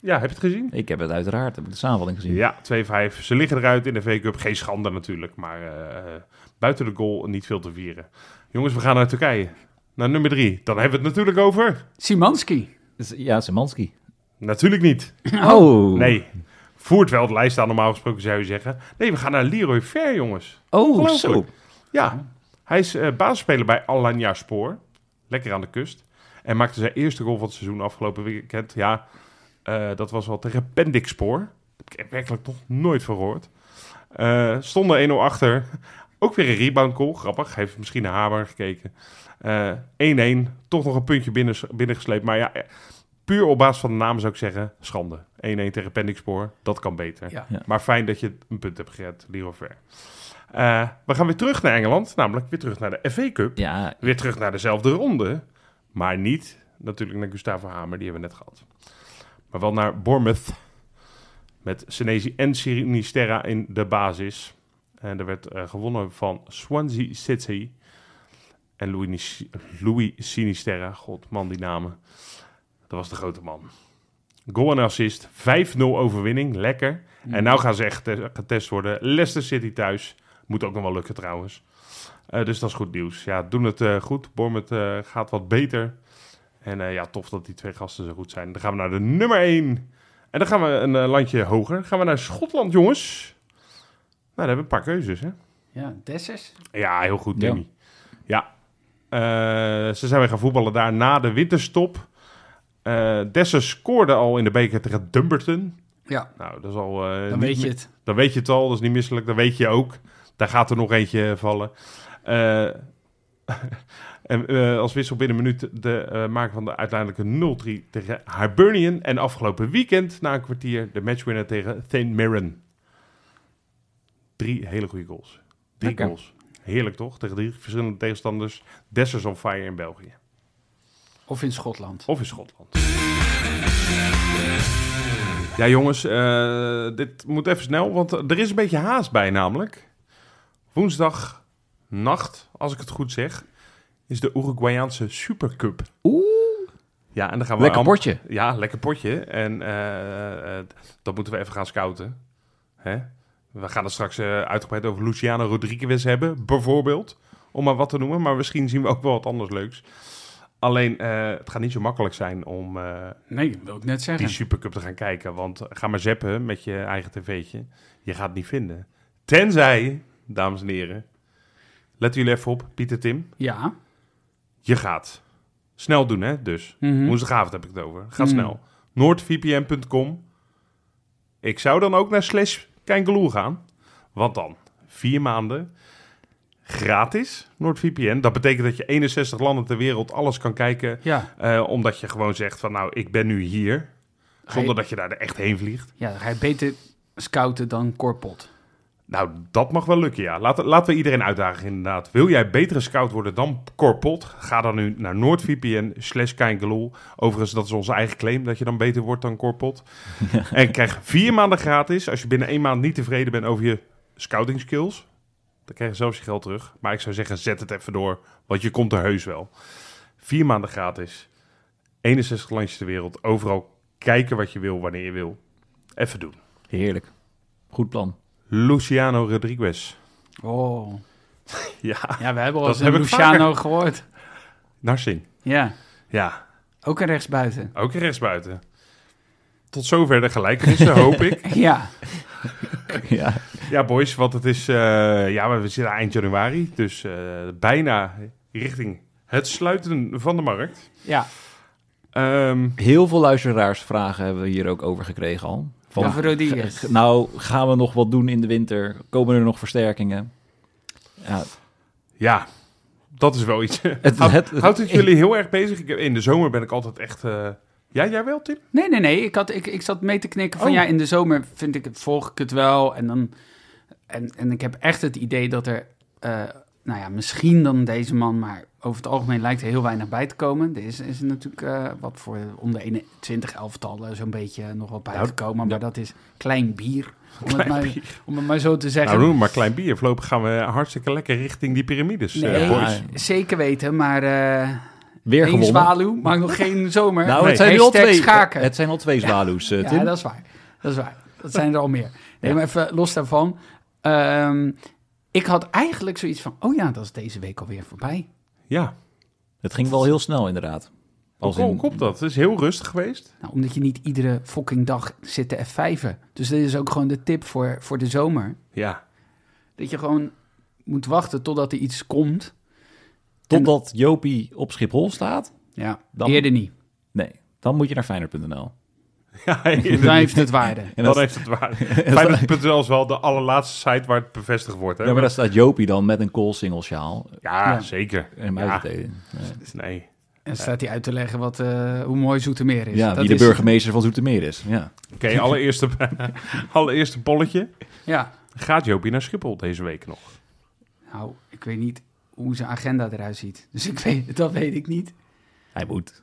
[SPEAKER 1] Ja, heb je het gezien?
[SPEAKER 2] Ik heb het uiteraard, heb ik de samenvatting gezien.
[SPEAKER 1] Ja, 2-5. Ze liggen eruit in de V-Cup. Geen schande natuurlijk, maar eh, eh, buiten de goal niet veel te vieren. Jongens, we gaan naar Turkije. Naar nummer 3. Dan hebben we het natuurlijk over.
[SPEAKER 3] Simanski.
[SPEAKER 2] Dus- Ja, Simanski.
[SPEAKER 1] Natuurlijk niet.
[SPEAKER 2] Oh.
[SPEAKER 1] Nee. Voert wel het lijst aan, normaal gesproken zou je zeggen. Nee, we gaan naar Leroy Fair, jongens.
[SPEAKER 2] Oh,
[SPEAKER 1] Geloof
[SPEAKER 2] zo.
[SPEAKER 1] ik. Ja, hij is eh basisspeler bij Alanya Spoor. Lekker aan de kust. En maakte zijn eerste goal van het seizoen afgelopen weekend. Ja, eh, dat was wel tegen Pendixpoor. Heb ik er werkelijk nog nooit van gehoord. Eh, stonden 1-0 achter. Ook weer een rebound goal. Grappig. Hij heeft misschien naar Hamer gekeken. Eh, 1-1. Toch nog een puntje binnen, binnengesleept. Maar ja, eh, puur op basis van de naam zou ik zeggen, schande. 1-1 tegen Pendixpoor. Dat kan beter.
[SPEAKER 3] Ja.
[SPEAKER 2] Ja.
[SPEAKER 1] Maar fijn dat je een punt hebt gered, Leroy Ver. Eh, we gaan weer terug naar Engeland, namelijk weer terug naar de FA Cup.
[SPEAKER 2] Ja,
[SPEAKER 1] Weer terug naar dezelfde ronde. Maar niet natuurlijk naar Gustavo Hamer, die hebben we net gehad. Maar wel naar Bournemouth. Met Senesi en Sinisterra in de basis. En er werd eh, gewonnen van Swansea City. En Louis, Nis- Louis Sinisterra, god man die namen. Dat was de grote man. Goal en assist, 5-0 overwinning, lekker. En nou gaan ze echt te- getest worden. Leicester City thuis, moet ook nog wel lukken trouwens. Eh, dus dat is goed nieuws. Ja, doen het eh, goed. Bournemouth eh, gaat wat beter. En eh, ja, tof dat die twee gasten zo goed zijn. Dan gaan we naar de nummer 1. En dan gaan we een eh, landje hoger. Dan gaan we naar Schotland, jongens. Nou, daar hebben we een paar keuzes, hè?
[SPEAKER 3] Ja, Dessers.
[SPEAKER 1] Ja, heel goed,
[SPEAKER 2] Ja.
[SPEAKER 1] Timmy. Ja. Eh, ze zijn weer gaan voetballen daar na de winterstop. Eh Dessen scoorde al in de beker tegen Dumbarton.
[SPEAKER 3] Ja,
[SPEAKER 1] Nou, dat is al... eh,
[SPEAKER 3] dan
[SPEAKER 1] niet
[SPEAKER 3] weet je
[SPEAKER 1] mi-
[SPEAKER 3] het.
[SPEAKER 1] Dan weet je het al, dat is niet misselijk. Dan weet je ook. Daar gaat er nog eentje vallen. Eh, <laughs> en eh, als wissel binnen een minuut de eh maken van de uiteindelijke 0-3 tegen Hibernian. En afgelopen weekend, na een kwartier, de matchwinner tegen St. Mirren. Drie hele goede goals. Drie
[SPEAKER 2] Lekker.
[SPEAKER 1] goals. Heerlijk toch? Tegen drie verschillende tegenstanders. Dessers on fire in België.
[SPEAKER 3] Of in Schotland.
[SPEAKER 1] Of in Schotland. Ja, jongens, eh, dit moet even snel, want er is een beetje haast bij namelijk. Woensdag nacht, als ik het goed zeg, is de Uruguayaanse Supercup.
[SPEAKER 2] Oeh.
[SPEAKER 1] Ja, en dan gaan we
[SPEAKER 2] Lekker
[SPEAKER 1] allemaal-
[SPEAKER 2] bordje.
[SPEAKER 1] Ja, lekker potje. En eh, eh, dat moeten we even gaan scouten. Hè? We gaan het straks eh, uitgebreid over Luciano Rodriguez hebben, bijvoorbeeld. Om maar wat te noemen, maar misschien zien we ook wel wat anders leuks. Alleen, eh, het gaat niet zo makkelijk zijn om eh,
[SPEAKER 3] Nee, dat wil ik net
[SPEAKER 1] die
[SPEAKER 3] zeggen.
[SPEAKER 1] Supercup te gaan kijken. Want ga maar zappen met je eigen tv'tje. Je gaat het niet vinden. Tenzij, dames en heren, letten jullie even op, Pieter Tim.
[SPEAKER 3] Ja.
[SPEAKER 1] Je gaat. Snel doen, hè, dus.
[SPEAKER 3] Mhm.
[SPEAKER 1] Woensdagavond heb ik het over. Ga
[SPEAKER 3] Mm.
[SPEAKER 1] snel. NoordVPN.com. Ik zou dan ook naar slash Kijngeloel gaan. Want dan, vier maanden gratis NoordVPN. Dat betekent dat je 61 landen ter wereld alles kan kijken.
[SPEAKER 3] Ja.
[SPEAKER 1] eh, omdat je gewoon zegt van nou, ik ben nu hier. Zonder
[SPEAKER 3] Hij-
[SPEAKER 1] dat je daar echt heen vliegt.
[SPEAKER 3] ja, dan ga je beter scouten dan Corpot.
[SPEAKER 1] Nou, dat mag wel lukken, ja. Laten, laten we iedereen uitdagen, inderdaad. Wil jij betere scout worden dan Corpot? Ga dan nu naar NoordVPN slash Kijngeloel. Overigens, dat is onze eigen claim, dat je dan beter wordt dan Corpot. en krijg vier maanden gratis als je binnen één maand niet tevreden bent over je scouting skills. Dan krijg je zelfs je geld terug. Maar ik zou zeggen, zet het even door, want je komt er heus wel. Vier maanden gratis. 61 landjes ter wereld. Overal kijken wat je wil, wanneer je wil. Even doen.
[SPEAKER 2] Heerlijk. Goed plan.
[SPEAKER 1] Luciano Rodriguez.
[SPEAKER 3] Oh.
[SPEAKER 1] Ja,
[SPEAKER 3] Ja, we hebben al
[SPEAKER 1] Dat
[SPEAKER 3] eens een
[SPEAKER 1] heb ik
[SPEAKER 3] Luciano gehoord.
[SPEAKER 1] Narsing.
[SPEAKER 3] Ja,
[SPEAKER 1] Ja,
[SPEAKER 3] ook een rechtsbuiten.
[SPEAKER 1] ook rechtsbuiten. Tot zover de gelijkenissen, hoop ik.
[SPEAKER 3] Ja,
[SPEAKER 2] ja.
[SPEAKER 1] Ja, boys, want het is... eh, ja, we zitten eind januari, dus eh, bijna richting het sluiten van de markt.
[SPEAKER 3] ja.
[SPEAKER 1] Ehm,
[SPEAKER 2] Heel veel luisteraarsvragen hebben we hier ook over gekregen al. Van,
[SPEAKER 3] Over Rodriguez.
[SPEAKER 2] G- Nou, gaan we nog wat doen in de winter? Komen er nog versterkingen? Ja,
[SPEAKER 1] ja, dat is wel iets.
[SPEAKER 2] het,
[SPEAKER 1] Houd-
[SPEAKER 2] het,
[SPEAKER 1] <laughs> Houdt het jullie heel erg bezig? Ik, heb- in de zomer ben ik altijd echt... eh, ja, jij wel, Tim?
[SPEAKER 3] Nee, nee, nee. Ik, had, ik, ik zat mee te knikken van
[SPEAKER 1] Oh.
[SPEAKER 3] ja, in de zomer vind ik het, volg ik het wel. En, dan, en, en ik heb echt het idee dat er, eh, nou ja, misschien dan deze man, maar over het algemeen lijkt er heel weinig bij te komen. Er is, is er natuurlijk eh, wat voor om de 21 elftallen zo'n beetje nog wat bij
[SPEAKER 1] Nou,
[SPEAKER 3] gekomen.
[SPEAKER 1] ja.
[SPEAKER 3] Maar dat is klein bier, om, het, maar, om het maar zo te zeggen.
[SPEAKER 1] Nou, noem maar klein bier. Voorlopig gaan we hartstikke lekker richting die piramides, eh,
[SPEAKER 3] Nee.
[SPEAKER 1] boys.
[SPEAKER 3] Zeker weten, maar eh
[SPEAKER 2] weer
[SPEAKER 3] één
[SPEAKER 2] gewonnen.
[SPEAKER 3] zwaluw maakt nog geen zomer.
[SPEAKER 2] Nou,
[SPEAKER 1] Nee.
[SPEAKER 2] het, zijn nu al
[SPEAKER 3] Hashtag
[SPEAKER 2] twee,
[SPEAKER 3] schaken.
[SPEAKER 2] het zijn al twee zwaluws, eh, Tim.
[SPEAKER 3] Ja, dat is waar. Dat is waar. Dat zijn er al meer. Nee,
[SPEAKER 2] Ja.
[SPEAKER 3] maar even los daarvan. Ehm, ik had eigenlijk zoiets van, oh ja, dat is deze week alweer voorbij.
[SPEAKER 1] Ja,
[SPEAKER 2] Het ging wel heel snel, inderdaad.
[SPEAKER 1] hoe
[SPEAKER 2] Als in-
[SPEAKER 1] hoe komt dat? Het is heel rustig geweest.
[SPEAKER 3] Nou, omdat je niet iedere fucking dag zit te F5'en. Dus dit is ook gewoon de tip voor, voor de zomer.
[SPEAKER 1] Ja, <laughs>
[SPEAKER 3] Dat je gewoon moet wachten totdat er iets komt.
[SPEAKER 2] Totdat Jopie op Schiphol staat?
[SPEAKER 3] Ja,
[SPEAKER 2] Dan-
[SPEAKER 3] eerder
[SPEAKER 2] <laughs>
[SPEAKER 3] niet.
[SPEAKER 2] Nee, dan moet je naar Feyenoord.nl.
[SPEAKER 1] ja
[SPEAKER 3] <laughs> Dan heeft het waarde.
[SPEAKER 2] En
[SPEAKER 1] dan
[SPEAKER 2] dan-
[SPEAKER 1] heeft het waar. Feyenoord.nl is wel de allerlaatste site waar het bevestigd wordt. Hè?
[SPEAKER 2] Ja, maar daar staat Jopie dan met een koolsingel sjaal
[SPEAKER 1] Ja,
[SPEAKER 3] Ja.
[SPEAKER 1] zeker.
[SPEAKER 2] en hem
[SPEAKER 1] Ja.
[SPEAKER 2] uit te delen. Nee.
[SPEAKER 1] Nee.
[SPEAKER 3] En staat hij uit te leggen wat, eh, hoe mooi Zoetermeer is.
[SPEAKER 2] Ja,
[SPEAKER 3] dat
[SPEAKER 2] wie de
[SPEAKER 3] is-
[SPEAKER 2] burgemeester van Zoetermeer is. Ja.
[SPEAKER 1] Oké, allereerste, <laughs> allereerste bolletje.
[SPEAKER 3] Ja,
[SPEAKER 1] Gaat Jopie naar Schiphol deze week nog?
[SPEAKER 3] nou, ik weet niet hoe zijn agenda eruit ziet. Dus ik weet, dat weet ik niet.
[SPEAKER 2] Hij moet.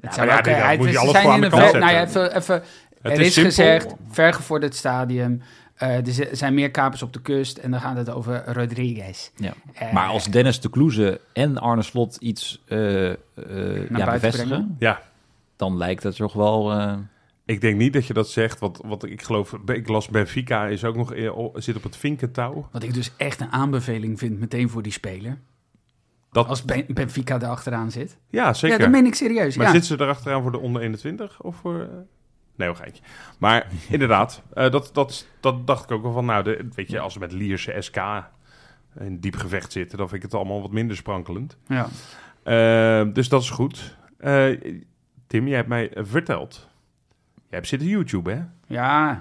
[SPEAKER 3] Het
[SPEAKER 1] maar ja,
[SPEAKER 3] ook,
[SPEAKER 1] nee,
[SPEAKER 3] eh,
[SPEAKER 1] dan
[SPEAKER 3] het-
[SPEAKER 1] moet je
[SPEAKER 3] ze
[SPEAKER 1] alles
[SPEAKER 3] zijn
[SPEAKER 1] voor aan
[SPEAKER 3] in
[SPEAKER 1] de
[SPEAKER 3] een
[SPEAKER 1] kant
[SPEAKER 3] ver-
[SPEAKER 1] zetten.
[SPEAKER 3] Nou ja, even, even,
[SPEAKER 1] Het
[SPEAKER 3] er
[SPEAKER 1] is
[SPEAKER 3] is,
[SPEAKER 1] simpel.
[SPEAKER 3] gezegd, vergevorderd stadium. eh, er zi- zijn meer kapers op de kust en dan gaat het over Rodriguez.
[SPEAKER 2] Ja.
[SPEAKER 3] Eh,
[SPEAKER 2] Maar als Dennis de Kloeze en Arne Slot iets eh, eh, ja,
[SPEAKER 3] buiten
[SPEAKER 2] bevestigen,
[SPEAKER 3] brengen.
[SPEAKER 1] Ja,
[SPEAKER 2] dan lijkt het toch wel... eh,
[SPEAKER 1] ik denk niet dat je dat zegt, want, want ik geloof, ik las Benfica is ook nog, eh, o- zit op het vinkentouw.
[SPEAKER 3] Wat ik dus echt een aanbeveling vind meteen voor die speler.
[SPEAKER 1] Dat-
[SPEAKER 3] Als Ben- Benfica erachteraan zit.
[SPEAKER 1] Ja, zeker.
[SPEAKER 3] Ja, dat meen ik serieus.
[SPEAKER 1] Maar
[SPEAKER 3] ja.
[SPEAKER 1] zit ze erachteraan voor de onder 21 of voor... eh, Nee, een geintje. Maar inderdaad, eh, dat, dat, is- dat dacht ik ook wel van... Nou, de, weet je, als ze met Lierse SK in diep gevecht zitten... dan vind ik het allemaal wat minder sprankelend.
[SPEAKER 3] Ja.
[SPEAKER 1] Eh, dus dat is goed. Eh, Tim, jij hebt mij verteld. Jij hebt zitten YouTube, hè?
[SPEAKER 3] Ja.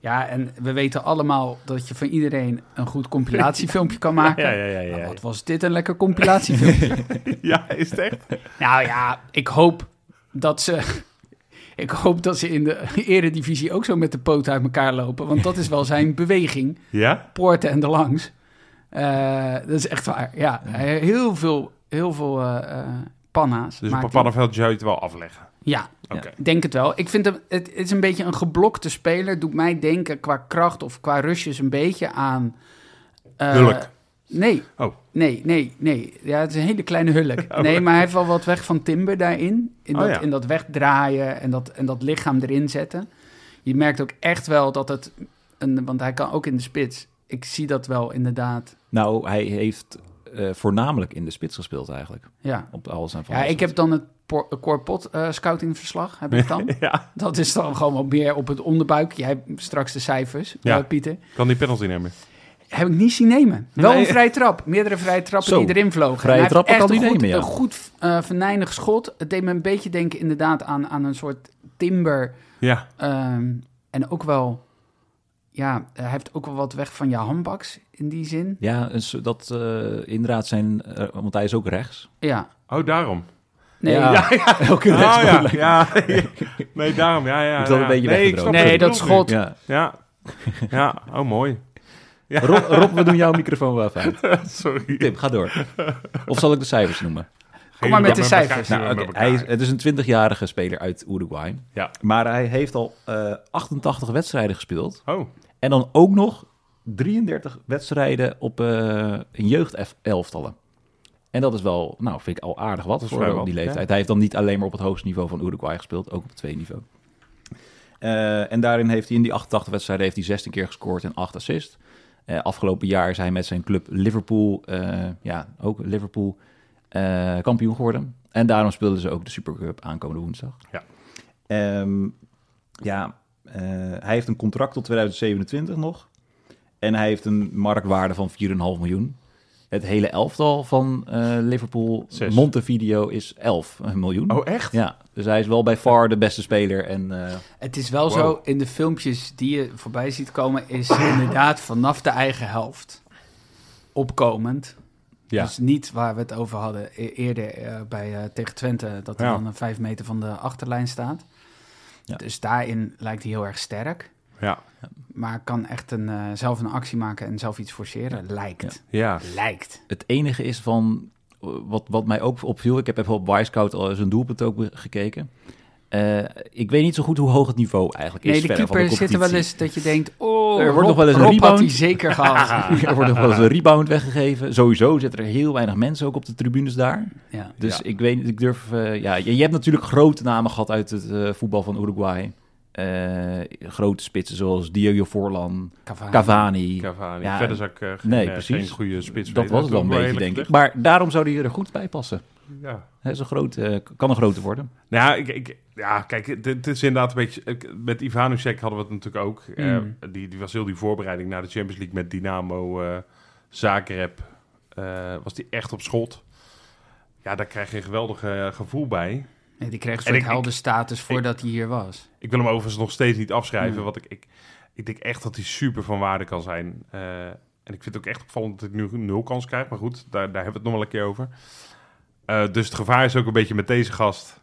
[SPEAKER 3] ja, en we weten allemaal dat je van iedereen een
[SPEAKER 1] <laughs>
[SPEAKER 3] goed compilatiefilmpje kan maken.
[SPEAKER 1] ja, ja.
[SPEAKER 3] Nou, wat was dit een lekker compilatiefilmpje?
[SPEAKER 1] <laughs> Ja, is het echt?
[SPEAKER 3] nou ja, ik hoop dat ze... <laughs> Ik hoop dat ze in de <laughs> eredivisie ook zo met de poot uit elkaar lopen. Want dat is wel
[SPEAKER 1] <laughs>
[SPEAKER 3] zijn beweging.
[SPEAKER 1] Ja?
[SPEAKER 3] Poorten en de langs. Eh, dat is echt waar. Ja, hij- heel veel, heel veel eh, eh, panna's.
[SPEAKER 1] Dus
[SPEAKER 3] maakt
[SPEAKER 1] op een
[SPEAKER 3] hij.
[SPEAKER 1] pannenveld zou je het wel afleggen.
[SPEAKER 3] Ja,
[SPEAKER 1] Oké.
[SPEAKER 3] denk het wel. Ik vind hem, het, het is een beetje een geblokte speler. Doet mij denken qua kracht of qua rushes een beetje aan... eh,
[SPEAKER 1] Hulk.
[SPEAKER 3] Nee.
[SPEAKER 1] Oh.
[SPEAKER 3] Nee, nee, nee. Ja, het is een hele kleine hulk.
[SPEAKER 1] <laughs>
[SPEAKER 3] Nee, maar hij heeft wel wat weg van Timber daarin. In
[SPEAKER 1] Oh,
[SPEAKER 3] dat,
[SPEAKER 1] ja.
[SPEAKER 3] in dat wegdraaien en dat, en dat lichaam erin zetten. Je merkt ook echt wel dat het... Een, want hij kan ook in de spits. Ik zie dat wel inderdaad.
[SPEAKER 2] nou, hij heeft eh, voornamelijk in de spits gespeeld eigenlijk.
[SPEAKER 3] Ja,
[SPEAKER 2] Op alles en van
[SPEAKER 3] ja
[SPEAKER 2] alles.
[SPEAKER 3] ik heb dan het por- Corpot eh scoutingverslag.
[SPEAKER 1] <laughs>
[SPEAKER 3] Heb ik dan.
[SPEAKER 1] Ja.
[SPEAKER 3] Dat is dan gewoon wat meer op het onderbuik. Jij hebt straks de cijfers,
[SPEAKER 1] Ja.
[SPEAKER 3] eh, Pieter.
[SPEAKER 1] Kan die penalty nemen?
[SPEAKER 3] Heb ik niet zien nemen. Wel
[SPEAKER 2] Nee.
[SPEAKER 3] een vrije trap. Meerdere vrije trappen
[SPEAKER 2] Zo,
[SPEAKER 3] die erin vlogen.
[SPEAKER 2] vrije
[SPEAKER 3] En hij
[SPEAKER 2] trappen
[SPEAKER 3] heeft echt
[SPEAKER 2] kan hij
[SPEAKER 3] een goed,
[SPEAKER 2] nemen, ja.
[SPEAKER 3] Een goed eh venijnig schot. Het deed me een beetje denken inderdaad aan, aan een soort timber.
[SPEAKER 1] Ja.
[SPEAKER 3] ehm, en ook wel... Ja, hij heeft ook wel wat weg van je handbaks in die zin.
[SPEAKER 2] Ja, een so- dat eh, inderdaad zijn... eh, want hij is ook rechts.
[SPEAKER 3] Ja.
[SPEAKER 2] <laughs>
[SPEAKER 1] Oh, daarom.
[SPEAKER 3] Nee,
[SPEAKER 2] Ja.
[SPEAKER 3] ja.
[SPEAKER 2] <laughs>
[SPEAKER 3] Ah,
[SPEAKER 2] Elke
[SPEAKER 1] Oh,
[SPEAKER 2] rechtsback
[SPEAKER 1] ja.
[SPEAKER 2] lijkt-
[SPEAKER 1] ja. <laughs> Nee, daarom. Ja, ja.
[SPEAKER 2] Ik zat een
[SPEAKER 1] ja.
[SPEAKER 2] beetje
[SPEAKER 1] nee, ik
[SPEAKER 2] weggedroogd.
[SPEAKER 1] snap wat je
[SPEAKER 3] nee dat
[SPEAKER 1] bedoelt nu.
[SPEAKER 3] schot.
[SPEAKER 2] Ja.
[SPEAKER 1] Ja. Ja, oh mooi.
[SPEAKER 2] Rob, Rob, we doen jouw microfoon wel even uit.
[SPEAKER 1] Sorry.
[SPEAKER 2] Tim, ga door. Of zal ik de cijfers noemen?
[SPEAKER 3] Kom maar met de cijfers.
[SPEAKER 2] Nou, oké, hij is, het is een 20-jarige speler uit Uruguay.
[SPEAKER 1] Ja.
[SPEAKER 2] Maar hij heeft al eh, 88 wedstrijden gespeeld.
[SPEAKER 1] Oh,
[SPEAKER 2] En dan ook nog 33 wedstrijden op eh een jeugdelftallen. En dat is wel, nou, vind ik al aardig wat
[SPEAKER 1] is
[SPEAKER 2] voor
[SPEAKER 1] vrij
[SPEAKER 2] op
[SPEAKER 1] wat,
[SPEAKER 2] die
[SPEAKER 1] ja.
[SPEAKER 2] leeftijd. Hij heeft dan niet alleen maar op het hoogste niveau van Uruguay gespeeld, ook op het tweede niveau. Eh, en daarin heeft hij in die 88 wedstrijden heeft hij 16 keer gescoord en 8 assist. Eh, afgelopen jaar is hij met zijn club Liverpool, eh, ja, ook Liverpool, eh, kampioen geworden. En daarom speelden ze ook de Supercup aankomende woensdag.
[SPEAKER 1] Ja.
[SPEAKER 2] Ehm, ja, eh, hij heeft een contract tot 2027 nog. En hij heeft een marktwaarde van 4,5 miljoen. Het hele elftal van eh, Liverpool,
[SPEAKER 1] Zes.
[SPEAKER 2] Montevideo, is 11 miljoen.
[SPEAKER 1] oh echt?
[SPEAKER 2] Ja, dus hij is wel bij far de beste speler. En eh,
[SPEAKER 3] Het is wel
[SPEAKER 1] Wow.
[SPEAKER 3] zo, in de filmpjes die je voorbij ziet komen, is inderdaad vanaf de eigen helft opkomend.
[SPEAKER 1] Ja.
[SPEAKER 3] Dus niet waar we het over hadden e- eerder eh, bij, eh, tegen Twente, dat hij
[SPEAKER 1] Ja.
[SPEAKER 3] dan een vijf meter van de achterlijn staat.
[SPEAKER 2] Ja.
[SPEAKER 3] Dus daarin lijkt hij heel erg sterk,
[SPEAKER 1] Ja.
[SPEAKER 3] maar kan echt een, eh, zelf een actie maken en zelf iets forceren. Lijkt.
[SPEAKER 1] Ja.
[SPEAKER 3] Lijkt.
[SPEAKER 2] het enige is van eh, wat, wat mij ook opviel. Ik heb even op Wisecout al zijn doelpunt ook be- gekeken. Eh, ik weet niet zo goed hoe hoog het niveau eigenlijk
[SPEAKER 3] Nee,
[SPEAKER 2] is.
[SPEAKER 3] de
[SPEAKER 2] verder van
[SPEAKER 3] keeper zit er wel
[SPEAKER 2] competitie.
[SPEAKER 3] eens dat je denkt, oh,
[SPEAKER 2] Er wordt
[SPEAKER 3] Rob-
[SPEAKER 2] nog wel eens een
[SPEAKER 3] Rob had
[SPEAKER 2] rebound.
[SPEAKER 3] hij zeker
[SPEAKER 2] <laughs>
[SPEAKER 3] gehad.
[SPEAKER 2] er wordt nog wel eens een rebound weggegeven. Sowieso zitten er heel weinig mensen ook op de tribunes daar.
[SPEAKER 3] ja.
[SPEAKER 2] Dus
[SPEAKER 1] Ja.
[SPEAKER 2] ik weet niet, ik durf... eh, ja, je, je hebt natuurlijk grote namen gehad uit het eh, voetbal van Uruguay. Eh, grote spitsen zoals Diego Forlan,
[SPEAKER 3] Cavani.
[SPEAKER 2] Cavani.
[SPEAKER 1] Cavani.
[SPEAKER 2] Ja,
[SPEAKER 1] Verder zou ik eh, geen,
[SPEAKER 2] nee,
[SPEAKER 1] eh,
[SPEAKER 2] precies.
[SPEAKER 1] geen goede spits
[SPEAKER 2] Dat
[SPEAKER 1] weten.
[SPEAKER 2] was het wel een
[SPEAKER 1] doet me
[SPEAKER 2] beetje,
[SPEAKER 1] eerlijk
[SPEAKER 2] denk ik.
[SPEAKER 1] gezegd.
[SPEAKER 2] Maar daarom zou die er goed bij passen.
[SPEAKER 1] Ja.
[SPEAKER 2] Hij is een groot, eh, kan een grote worden.
[SPEAKER 1] Nou, ja, ik, ik, ja, kijk, het- het is inderdaad een beetje... ik- Met Ivanusek hadden we het natuurlijk ook. Eh,
[SPEAKER 3] Mm.
[SPEAKER 1] die, die was heel die voorbereiding naar de Champions League met Dynamo eh Zagreb. eh, was die echt op schot. Ja, daar krijg je een geweldig eh, gevoel bij.
[SPEAKER 3] Nee, die kreeg een
[SPEAKER 1] En
[SPEAKER 3] soort
[SPEAKER 1] ik- ik-
[SPEAKER 3] heldenstatus voordat hij hier was.
[SPEAKER 1] Ik wil hem overigens nog steeds niet afschrijven.
[SPEAKER 2] Mm.
[SPEAKER 3] Nee.
[SPEAKER 1] Want ik, ik, ik denk echt dat hij super van waarde kan zijn. Eh, en ik vind het ook echt opvallend dat hij nu nul kans krijgt. Maar goed, daar, daar hebben we het nog wel een keer over. Eh, dus het gevaar is ook een beetje met deze gast.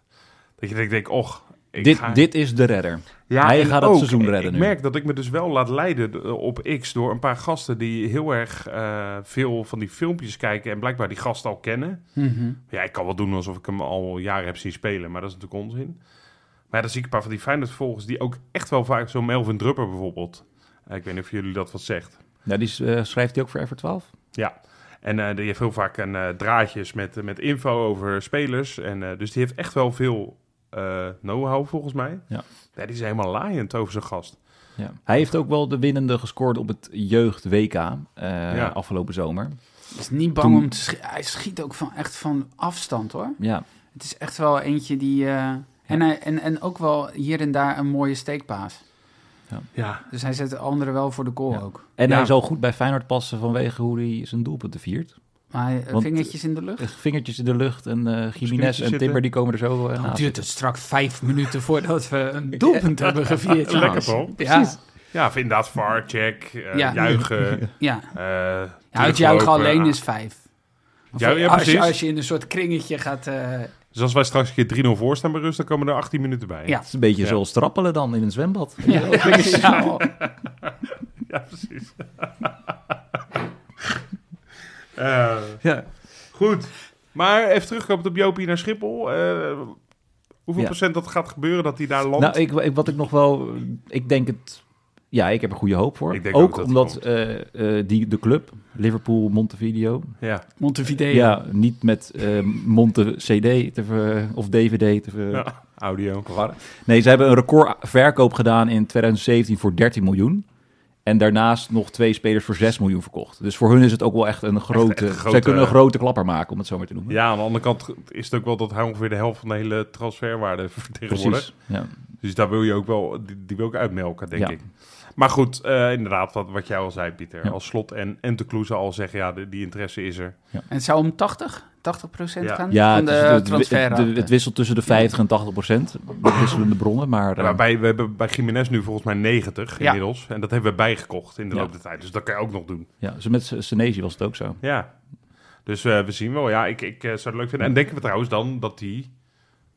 [SPEAKER 1] Dat je denkt, denk, och, ik
[SPEAKER 2] dit,
[SPEAKER 1] ga-
[SPEAKER 2] dit is de redder.
[SPEAKER 1] Ja,
[SPEAKER 2] Hij
[SPEAKER 1] en
[SPEAKER 2] gaat het
[SPEAKER 1] ook,
[SPEAKER 2] seizoen redden
[SPEAKER 1] ik
[SPEAKER 2] nu.
[SPEAKER 1] merk dat ik me dus wel laat leiden eh, op X door een paar gasten die heel erg eh, veel van die filmpjes kijken en blijkbaar die gasten al kennen.
[SPEAKER 3] Mhm.
[SPEAKER 1] Ja, ik kan wel doen alsof ik hem al jaren heb zien spelen, maar dat is natuurlijk onzin. Maar ja, dan zie ik een paar van die Feyenoord-volgers die ook echt wel vaak, zo'n Melvin Drupper bijvoorbeeld. Eh, ik weet niet of jullie dat wat zegt.
[SPEAKER 2] Nou, die eh, schrijft hij ook voor F12.
[SPEAKER 1] Ja, en eh, die heeft heel vaak een, eh, draadjes met, met info over spelers. En, eh, dus die heeft echt wel veel eh, know-how volgens mij.
[SPEAKER 2] Ja.
[SPEAKER 1] die is helemaal laaiend over zijn gast.
[SPEAKER 2] Ja. Hij heeft ook wel de winnende gescoord op het jeugd-WK eh,
[SPEAKER 1] Ja.
[SPEAKER 2] afgelopen zomer.
[SPEAKER 3] Is niet bang
[SPEAKER 2] Toen-
[SPEAKER 3] om te schieten. Hij schiet ook van, echt van afstand hoor.
[SPEAKER 2] Ja,
[SPEAKER 3] Het is echt wel eentje die. eh, en, hij, en, en ook wel hier en daar een mooie steekpaas.
[SPEAKER 1] Ja,
[SPEAKER 3] Dus hij zet de anderen wel voor de goal
[SPEAKER 2] Ja.
[SPEAKER 3] ook.
[SPEAKER 2] en
[SPEAKER 1] Ja.
[SPEAKER 2] hij zal goed bij Feyenoord passen vanwege hoe hij zijn doelpunten viert.
[SPEAKER 3] Maar hij- eh,
[SPEAKER 2] Want,
[SPEAKER 3] vingertjes in de lucht.
[SPEAKER 2] Eh, Vingertjes in de lucht en eh Jiménez en
[SPEAKER 1] zitten.
[SPEAKER 2] Timber die komen er zo eh,
[SPEAKER 3] Dan
[SPEAKER 2] naast.
[SPEAKER 3] duurt het strak vijf minuten voordat we een doelpunt hebben
[SPEAKER 1] <laughs>
[SPEAKER 3] gevierd.
[SPEAKER 1] Lekker,
[SPEAKER 3] trouwens.
[SPEAKER 1] Paul.
[SPEAKER 3] Ja,
[SPEAKER 1] Ja, of inderdaad, VAR, check, eh,
[SPEAKER 3] Ja.
[SPEAKER 1] juichen. eh
[SPEAKER 3] ja. Ja,
[SPEAKER 1] teruglopen.
[SPEAKER 3] het juichen alleen is vijf. Of
[SPEAKER 1] Ja, ja,
[SPEAKER 3] als, je,
[SPEAKER 1] precies.
[SPEAKER 3] als je in een soort kringetje gaat... eh,
[SPEAKER 1] Dus als wij straks een keer 3-0 voor staan bij rust, dan komen er 18 minuten bij.
[SPEAKER 3] Ja.
[SPEAKER 2] Het is een beetje
[SPEAKER 1] Ja.
[SPEAKER 2] zoals trappelen dan in een zwembad.
[SPEAKER 3] ja, <laughs> ja,
[SPEAKER 1] Ja, precies. <laughs> Eh,
[SPEAKER 2] Ja.
[SPEAKER 1] goed. Maar even terugkomen op Jopie naar Schiphol. Eh, hoeveel
[SPEAKER 2] Ja.
[SPEAKER 1] procent dat gaat gebeuren dat hij daar landt?
[SPEAKER 2] Nou, ik, ik- wat ik nog wel... Ik denk het... Ja, ik heb er goede hoop voor.
[SPEAKER 1] Ik denk
[SPEAKER 2] ook
[SPEAKER 1] ook dat het
[SPEAKER 2] omdat
[SPEAKER 1] komt.
[SPEAKER 2] eh, eh, die, de club, Liverpool, Montevideo...
[SPEAKER 1] ja.
[SPEAKER 3] Montevideo.
[SPEAKER 2] Ja, niet met eh, Monte CD te ver- of DVD te ver-
[SPEAKER 1] ja, audio.
[SPEAKER 2] verwarren. Nee, ze hebben een recordverkoop gedaan in 2017 voor 13 miljoen. En daarnaast nog twee spelers voor 6 miljoen verkocht. Dus voor hun is het ook wel echt een grote...
[SPEAKER 1] echt een grote- eh,
[SPEAKER 2] Zij kunnen een grote klapper maken, om het zo maar te noemen.
[SPEAKER 1] Ja, aan de andere kant is het ook wel dat hij ongeveer de helft van de hele transferwaarde <laughs> vertegenwoordigt.
[SPEAKER 2] Precies. Ja.
[SPEAKER 1] Dus daar wil je ook wel, die, die wil ik uitmelken, denk
[SPEAKER 2] Ja.
[SPEAKER 1] ik. Maar goed, eh, inderdaad, wat, wat jij al zei, Pieter.
[SPEAKER 2] Ja.
[SPEAKER 1] Als slot en, en de Kloeze al zeggen, ja, de- die interesse is er.
[SPEAKER 3] En het zou om 80, 80
[SPEAKER 1] Ja.
[SPEAKER 3] gaan
[SPEAKER 2] Ja,
[SPEAKER 3] van
[SPEAKER 2] het,
[SPEAKER 3] de
[SPEAKER 2] is- het- het- het,
[SPEAKER 3] transferruimte.
[SPEAKER 2] het wisselt tussen de 50 en 80 procent. met Wisselende bronnen, maar... eh,
[SPEAKER 1] Waarbij we hebben bij Jiménez nu volgens mij 90
[SPEAKER 3] Ja.
[SPEAKER 1] inmiddels. En dat hebben we bijgekocht in de
[SPEAKER 2] Ja.
[SPEAKER 1] loop der tijd. Dus dat kan je ook nog doen.
[SPEAKER 2] eh, ja, zo met Senezi was het ook zo.
[SPEAKER 1] Ja. Dus eh, we zien wel. Ja, ik, ik eh, zou het leuk vinden. En denken we trouwens dan dat die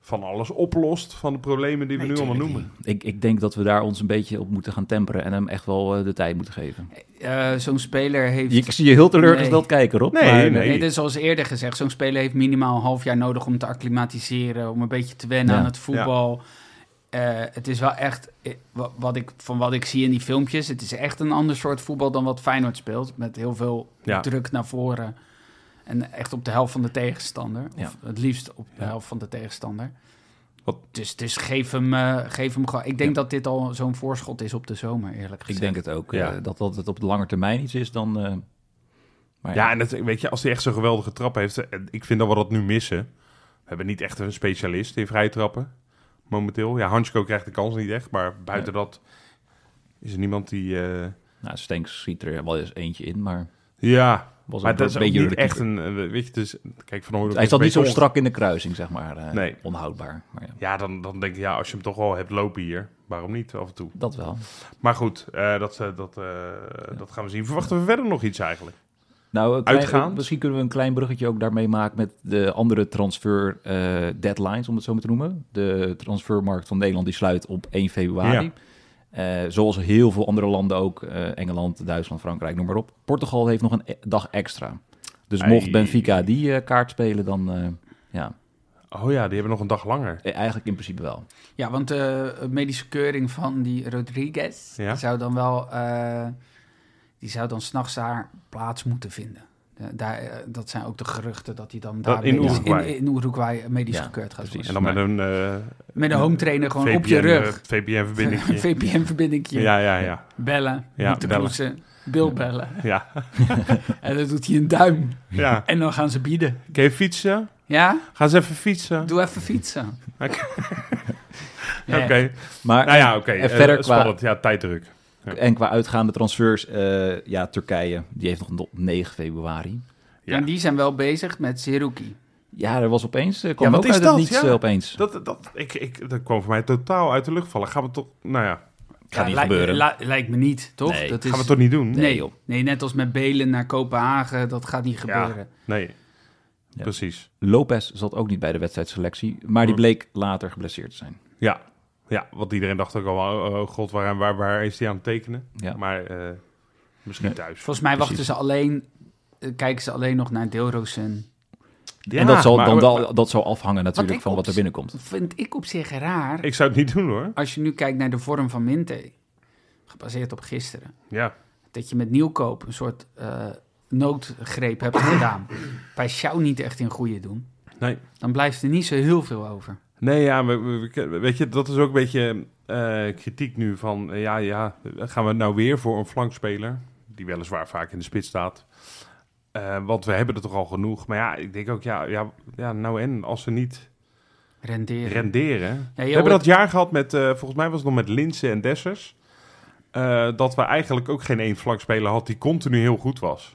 [SPEAKER 1] van alles oplost van de problemen die we nu allemaal noemen.
[SPEAKER 2] Ik, ik denk dat we daar ons een beetje op moeten gaan temperen... en hem echt wel eh, de tijd moeten geven.
[SPEAKER 3] Eh, zo'n speler heeft...
[SPEAKER 2] Ik zie je heel teleurgesteld
[SPEAKER 3] Nee.
[SPEAKER 2] kijken, Rob.
[SPEAKER 1] Nee,
[SPEAKER 2] maar, eh,
[SPEAKER 1] nee.
[SPEAKER 3] Nee, dus zoals eerder gezegd, zo'n speler heeft minimaal een half jaar nodig om te acclimatiseren, om een beetje te wennen
[SPEAKER 2] Ja.
[SPEAKER 3] aan het voetbal. Eh, het is wel echt, eh, wa- wat ik, van wat ik zie in die filmpjes, het is echt een ander soort voetbal dan wat Feyenoord speelt. Met heel veel
[SPEAKER 1] Ja.
[SPEAKER 3] druk naar voren en echt op de helft van de tegenstander.
[SPEAKER 2] Ja.
[SPEAKER 3] Of het liefst op de
[SPEAKER 1] Ja.
[SPEAKER 3] helft van de tegenstander.
[SPEAKER 1] Wat-
[SPEAKER 3] Dus, dus geef hem, eh, geef hem gewoon. Ik denk dat dit al zo'n voorschot is op de zomer, eerlijk gezegd.
[SPEAKER 2] Ik denk het ook.
[SPEAKER 1] Ja.
[SPEAKER 2] eh, dat, dat het op de lange termijn iets is dan... eh, maar
[SPEAKER 1] Ja, en het, weet je, als hij echt zo'n geweldige trap heeft... eh, Ik vind dat we dat nu missen. We hebben niet echt een specialist in vrije trappen. Momenteel. Ja, Hansko krijgt de kans niet echt. Maar buiten dat is er niemand die... eh,
[SPEAKER 2] Nou, Stenks schiet er wel eens eentje in, maar...
[SPEAKER 1] Ja,
[SPEAKER 2] Was
[SPEAKER 1] maar
[SPEAKER 2] ook
[SPEAKER 1] dat is
[SPEAKER 2] een
[SPEAKER 1] ook
[SPEAKER 2] beetje
[SPEAKER 1] niet
[SPEAKER 2] door de
[SPEAKER 1] echt
[SPEAKER 2] keeper.
[SPEAKER 1] een... eh, Weet je, dus... Kijk, Van Hooydonk
[SPEAKER 2] Hij
[SPEAKER 1] is
[SPEAKER 2] zat
[SPEAKER 1] een
[SPEAKER 2] niet zo
[SPEAKER 1] beetje on-
[SPEAKER 2] strak in de kruising, zeg maar. eh,
[SPEAKER 1] Nee.
[SPEAKER 2] Onhoudbaar. Maar ja,
[SPEAKER 1] Ja, dan, dan denk ik, ja, als je hem toch al hebt lopen hier... Waarom niet af en toe?
[SPEAKER 2] dat wel.
[SPEAKER 1] Maar goed, eh, dat, eh, dat, eh, dat gaan we zien. Verwachten we verder nog iets eigenlijk?
[SPEAKER 2] Nou, een klein-
[SPEAKER 1] Uitgaand.
[SPEAKER 2] misschien kunnen we een klein bruggetje ook daarmee maken met de andere transfer eh, deadlines, om het zo maar te noemen. De transfermarkt van Nederland die sluit op 1 februari.
[SPEAKER 1] Ja.
[SPEAKER 2] Eh, zoals heel veel andere landen ook, eh, Engeland, Duitsland, Frankrijk, noem maar op. Portugal heeft nog een e- dag extra. Dus
[SPEAKER 1] Ei.
[SPEAKER 2] mocht Benfica die eh, kaart spelen, dan eh, ja,
[SPEAKER 1] Oh ja, die hebben nog een dag langer.
[SPEAKER 2] eh, eigenlijk in principe wel.
[SPEAKER 3] Ja, want de medische keuring van die Rodriguez
[SPEAKER 1] Ja.
[SPEAKER 3] die zou dan wel, eh, die zou dan s'nachts daar plaats moeten vinden. Eh, daar, eh, dat zijn ook de geruchten dat hij dan
[SPEAKER 1] Dat-
[SPEAKER 3] daar
[SPEAKER 1] in
[SPEAKER 3] medisch-
[SPEAKER 1] Uruguay.
[SPEAKER 3] in, in Uruguay eh, medisch
[SPEAKER 2] Ja,
[SPEAKER 3] gekeurd gaat
[SPEAKER 2] precies.
[SPEAKER 1] En
[SPEAKER 3] worden.
[SPEAKER 1] dan met een eh,
[SPEAKER 3] Met een home trainer gewoon op je
[SPEAKER 1] VPN,
[SPEAKER 3] rug.
[SPEAKER 2] <laughs>
[SPEAKER 1] VPN-verbinding.
[SPEAKER 3] VPN-verbindingje.
[SPEAKER 1] Ja, ja, ja.
[SPEAKER 3] Bellen.
[SPEAKER 1] Ja,
[SPEAKER 3] moeten
[SPEAKER 1] bellen.
[SPEAKER 3] knoetsen, Bil bellen.
[SPEAKER 1] Ja.
[SPEAKER 3] En dan doet hij een duim.
[SPEAKER 1] ja.
[SPEAKER 3] En dan gaan ze bieden.
[SPEAKER 1] Kun je fietsen?
[SPEAKER 3] Ja?
[SPEAKER 1] Ga eens even fietsen.
[SPEAKER 3] Doe even fietsen.
[SPEAKER 1] <laughs> Oké.
[SPEAKER 3] Nee.
[SPEAKER 1] Oké.
[SPEAKER 2] Maar
[SPEAKER 1] Nou ja, oké.
[SPEAKER 2] en
[SPEAKER 1] Eh,
[SPEAKER 2] verder qua,
[SPEAKER 1] Spannend. Ja, tijddruk. Ja.
[SPEAKER 2] en qua uitgaande transfers, eh, ja, Turkije, die heeft nog tot 9 februari.
[SPEAKER 1] Ja.
[SPEAKER 3] En die zijn wel bezig met Zeruki.
[SPEAKER 2] Ja, er was opeens, eh kwam
[SPEAKER 1] wat
[SPEAKER 2] ook
[SPEAKER 1] is
[SPEAKER 2] uit het
[SPEAKER 1] dat?
[SPEAKER 2] niets
[SPEAKER 1] Ja.
[SPEAKER 2] eh, opeens.
[SPEAKER 1] Dat, dat, ik, ik, dat kwam voor mij totaal uit de lucht vallen. Gaan we toch... Nou ja,
[SPEAKER 2] Gaat niet gebeuren.
[SPEAKER 3] lijkt me niet, toch?
[SPEAKER 2] Nee.
[SPEAKER 3] dat
[SPEAKER 1] gaan we toch niet doen?
[SPEAKER 3] Nee, joh. Nee, net als met Belen naar Kopenhagen, dat gaat niet
[SPEAKER 1] Ja.
[SPEAKER 3] gebeuren.
[SPEAKER 1] Nee.
[SPEAKER 2] Ja.
[SPEAKER 1] Precies.
[SPEAKER 2] Lopez zat ook niet bij de wedstrijdselectie, maar die
[SPEAKER 1] Hm.
[SPEAKER 2] bleek later geblesseerd te zijn.
[SPEAKER 1] Ja. Ja, want iedereen dacht ook al, oh, oh, god, waar, waar, waar is hij aan het tekenen?
[SPEAKER 2] Ja.
[SPEAKER 1] Maar eh, misschien
[SPEAKER 2] Ja.
[SPEAKER 1] thuis.
[SPEAKER 3] Volgens mij wachten
[SPEAKER 2] Precies.
[SPEAKER 3] ze alleen, eh, kijken ze alleen nog naar Deelroosen.
[SPEAKER 2] en dat zal,
[SPEAKER 1] maar-
[SPEAKER 2] dan,
[SPEAKER 1] maar-
[SPEAKER 2] dat- dat zal afhangen natuurlijk
[SPEAKER 3] ik
[SPEAKER 2] van wat er
[SPEAKER 3] op-
[SPEAKER 2] binnenkomt.
[SPEAKER 3] Vind ik op zich raar.
[SPEAKER 1] Ik zou het niet doen hoor.
[SPEAKER 3] Als je nu kijkt naar de vorm van Minte, gebaseerd op gisteren.
[SPEAKER 1] Ja,
[SPEAKER 3] Dat je met nieuwkoop een soort eh, noodgreep hebt gedaan. Bij jou niet echt in goede doen.
[SPEAKER 1] nee.
[SPEAKER 3] Dan blijft er niet zo heel veel over.
[SPEAKER 1] Nee, ja, we, we- we- weet je, dat is ook een beetje eh, kritiek nu van, eh, ja, ja, gaan we nou weer voor een flankspeler, die weliswaar vaak in de spits staat. Eh, want we hebben er toch al genoeg. Maar ja, ik denk ook, ja, ja, ja nou en, als ze niet
[SPEAKER 3] Renderen.
[SPEAKER 1] renderen. we
[SPEAKER 3] hoort-
[SPEAKER 1] hebben dat jaar gehad met, eh, volgens mij was het nog met Linsen en Dessers, eh, dat we eigenlijk ook geen één flankspeler had die continu heel goed was.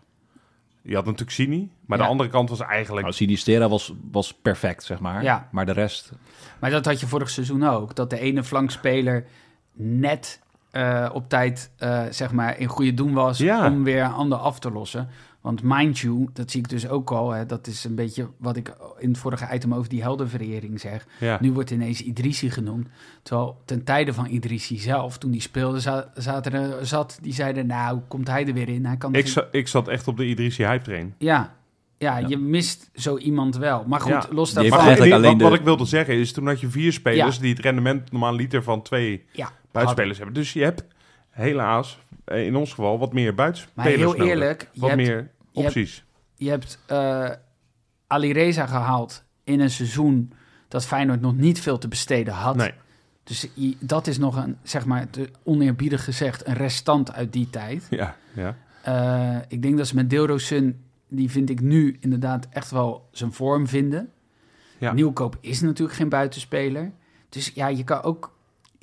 [SPEAKER 1] Je had natuurlijk Sini, maar
[SPEAKER 3] Ja.
[SPEAKER 1] de andere kant was eigenlijk...
[SPEAKER 2] Nou, Sinistera was, was perfect, zeg maar.
[SPEAKER 3] Ja.
[SPEAKER 2] Maar de rest...
[SPEAKER 3] Maar dat had je vorig seizoen ook. Dat de ene flankspeler net eh, op tijd eh, zeg maar in goede doen was
[SPEAKER 1] Ja.
[SPEAKER 3] om weer een ander af te lossen. Want mind you, dat zie ik dus ook al. Hè, dat is een beetje wat ik in het vorige item over die heldenverering zeg.
[SPEAKER 1] ja.
[SPEAKER 3] Nou, Nu wordt ineens Idrissi genoemd. Terwijl ten tijde van Idrissi zelf, toen die speelde, za- zaten er, zat, die zeiden nou, komt hij er weer in. Hij kan
[SPEAKER 1] ik,
[SPEAKER 3] natuurlijk-
[SPEAKER 1] za- ik zat echt op de Idrissi hype train.
[SPEAKER 3] ja, ja,
[SPEAKER 2] Ja.
[SPEAKER 3] je mist zo iemand wel. Maar goed,
[SPEAKER 1] Ja.
[SPEAKER 3] los
[SPEAKER 2] Die heeft
[SPEAKER 3] daarvan.
[SPEAKER 1] Maar
[SPEAKER 2] eigenlijk
[SPEAKER 1] goed,
[SPEAKER 2] alleen
[SPEAKER 1] wat, wat
[SPEAKER 2] de-
[SPEAKER 1] ik wilde zeggen is, toen had je vier spelers die het rendement normaal liter van twee
[SPEAKER 3] Ja,
[SPEAKER 1] buitenspelers hebben. Dus je hebt helaas, eh, in ons geval, wat meer
[SPEAKER 3] Maar
[SPEAKER 1] buitenspelers
[SPEAKER 3] heel
[SPEAKER 1] nodig.
[SPEAKER 3] eerlijk, je
[SPEAKER 1] Wat
[SPEAKER 3] hebt,
[SPEAKER 1] meer
[SPEAKER 3] hebt-
[SPEAKER 1] opties.
[SPEAKER 3] je hebt eh Ali Reza gehaald in een seizoen dat Feyenoord nog niet veel te besteden had.
[SPEAKER 1] Nee.
[SPEAKER 3] Dus i- dat is nog een, zeg maar, te- oneerbiedig gezegd, een restant uit die tijd.
[SPEAKER 1] Ja, ja.
[SPEAKER 3] Eh, ik denk dat ze met Deelroosun, die vind ik nu inderdaad echt wel zijn vorm vinden.
[SPEAKER 1] Ja.
[SPEAKER 3] Nieuwkoop is natuurlijk geen buitenspeler. Dus ja, je kan ook...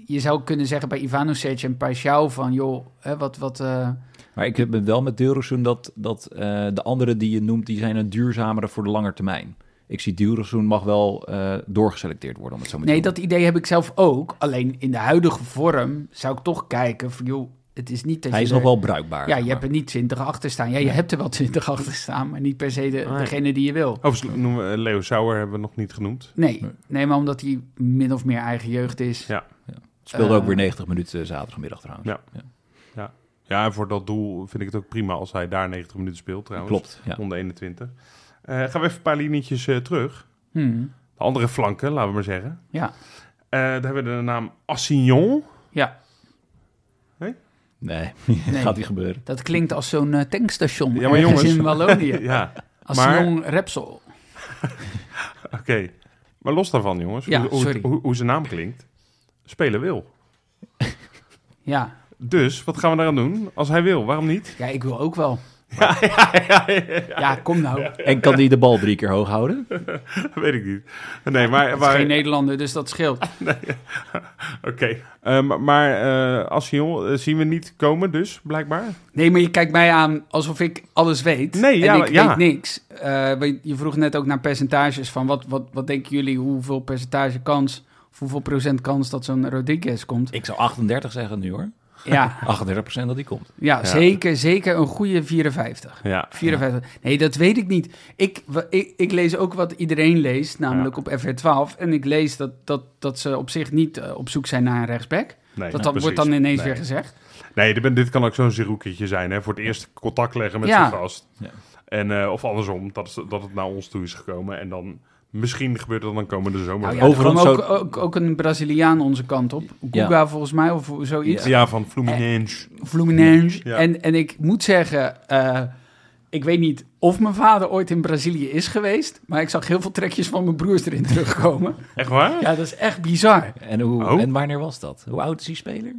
[SPEAKER 3] Je zou kunnen zeggen bij Ivanovic en Pajsjouw van... joh, hè, wat... wat eh,
[SPEAKER 2] Maar ik ben wel met Dilrosun dat, dat eh, de anderen die je noemt, die zijn een duurzamere voor de lange termijn. Ik zie Dilrosun mag wel eh, doorgeselecteerd worden, om het zo maar te
[SPEAKER 3] Nee,
[SPEAKER 2] noemen.
[SPEAKER 3] dat idee heb ik zelf ook. Alleen in de huidige vorm zou ik toch kijken van... joh, het is niet dat
[SPEAKER 2] Hij
[SPEAKER 3] je
[SPEAKER 2] is
[SPEAKER 3] er-
[SPEAKER 2] nog wel bruikbaar.
[SPEAKER 3] Ja,
[SPEAKER 2] zeg
[SPEAKER 3] je hebt
[SPEAKER 2] maar.
[SPEAKER 3] er niet 20 achter staan. Ja, je hebt er wel 20 achter staan, maar niet per se de,
[SPEAKER 1] Nee.
[SPEAKER 3] degene die je wil.
[SPEAKER 1] Overigens noemen we eh, Leo Sauer hebben we nog niet genoemd.
[SPEAKER 3] Nee,
[SPEAKER 2] Nee.
[SPEAKER 3] nee, maar omdat hij min of meer eigen jeugd is.
[SPEAKER 1] Ja.
[SPEAKER 2] Speelde ook
[SPEAKER 3] eh,
[SPEAKER 2] weer 90 minuten zaterdagmiddag trouwens.
[SPEAKER 1] Ja. Ja, en voor dat doel vind ik het ook prima als hij daar 90 minuten speelt trouwens.
[SPEAKER 2] Klopt, ja.
[SPEAKER 1] Onder 21. Eh, gaan we even een paar linietjes eh, terug.
[SPEAKER 3] Hmm.
[SPEAKER 1] De andere flanken, laten we maar zeggen.
[SPEAKER 3] Ja.
[SPEAKER 1] Eh, daar hebben we de naam Assignon.
[SPEAKER 3] Ja,
[SPEAKER 2] Nee, <laughs>
[SPEAKER 3] Nee.
[SPEAKER 2] gaat niet gebeuren.
[SPEAKER 3] dat klinkt als zo'n eh, tankstation
[SPEAKER 1] Ja, maar
[SPEAKER 3] ergens
[SPEAKER 1] jongens.
[SPEAKER 3] in
[SPEAKER 1] <laughs>
[SPEAKER 3] Wallonië.
[SPEAKER 1] Ja,
[SPEAKER 3] Als
[SPEAKER 1] maar-
[SPEAKER 3] jong Repsol.
[SPEAKER 1] oké. Maar los daarvan jongens,
[SPEAKER 3] Ja,
[SPEAKER 1] hoe, hoe,
[SPEAKER 3] sorry.
[SPEAKER 1] hoe, hoe zijn naam klinkt. Spelen wil.
[SPEAKER 3] Ja.
[SPEAKER 1] Dus, wat gaan we daaraan doen? Als hij wil, waarom niet? <laughs>
[SPEAKER 3] ja, ik wil ook wel. Ja, kom nou. Het
[SPEAKER 2] En kan die de bal drie keer hoog houden?
[SPEAKER 1] Weet ik niet. Nee, maar...
[SPEAKER 3] is
[SPEAKER 1] maar
[SPEAKER 3] geen Nederlander, dus dat scheelt.
[SPEAKER 1] Oké. Ehm, maar eh Assion eh, zien we niet komen dus, blijkbaar.
[SPEAKER 3] Nee, maar je kijkt mij aan alsof ik alles weet.
[SPEAKER 1] Nee, ja,
[SPEAKER 3] en ik
[SPEAKER 1] ja.
[SPEAKER 3] weet niks. Eh, want je vroeg net ook naar percentages van wat, wat, wat denken jullie, hoeveel percentage kans, of hoeveel procent kans dat zo'n
[SPEAKER 1] <laughs>
[SPEAKER 3] Rodriguez komt.
[SPEAKER 2] Ik zou 38 zeggen nu hoor.
[SPEAKER 3] Ja,
[SPEAKER 2] 38 dat die komt.
[SPEAKER 3] ja, Zeker, zeker een goede 54.
[SPEAKER 1] Ja.
[SPEAKER 3] 54. Nee, dat weet ik niet. Ik, wa- ik, ik lees ook wat iedereen leest, namelijk op FR12. En ik lees dat, dat, dat ze op zich niet eh, op zoek zijn naar een rechtsback.
[SPEAKER 1] Nee,
[SPEAKER 3] dat, dat
[SPEAKER 1] precies.
[SPEAKER 3] wordt dan ineens
[SPEAKER 1] Nee.
[SPEAKER 3] weer gezegd.
[SPEAKER 1] Nee, dit ben- dit kan ook zo'n zeroeketje zijn, hè. Voor het eerst contact leggen met
[SPEAKER 3] Ja.
[SPEAKER 1] zijn gast.
[SPEAKER 2] Ja.
[SPEAKER 1] En, eh, of andersom, dat, is, dat het naar ons toe is gekomen. En dan, misschien gebeurt dat dan komende zomer.
[SPEAKER 3] Nou ja,
[SPEAKER 1] wel.
[SPEAKER 3] er
[SPEAKER 2] Overigens
[SPEAKER 3] kwam ook,
[SPEAKER 2] zou-
[SPEAKER 3] ook, ook een Braziliaan onze kant op. Guga volgens mij, of zoiets.
[SPEAKER 1] ja, van
[SPEAKER 3] Eh,
[SPEAKER 1] Fluminense.
[SPEAKER 3] Fluminense.
[SPEAKER 1] Ja.
[SPEAKER 3] En, en ik moet zeggen, eh, ik weet niet of mijn vader ooit in Brazilië is geweest. Maar ik zag heel veel trekjes van mijn broers erin <laughs> terugkomen.
[SPEAKER 1] Echt waar?
[SPEAKER 3] Ja, dat is echt bizar.
[SPEAKER 2] En, hoe,
[SPEAKER 1] Oh.
[SPEAKER 2] en wanneer was dat? Hoe oud is die speler?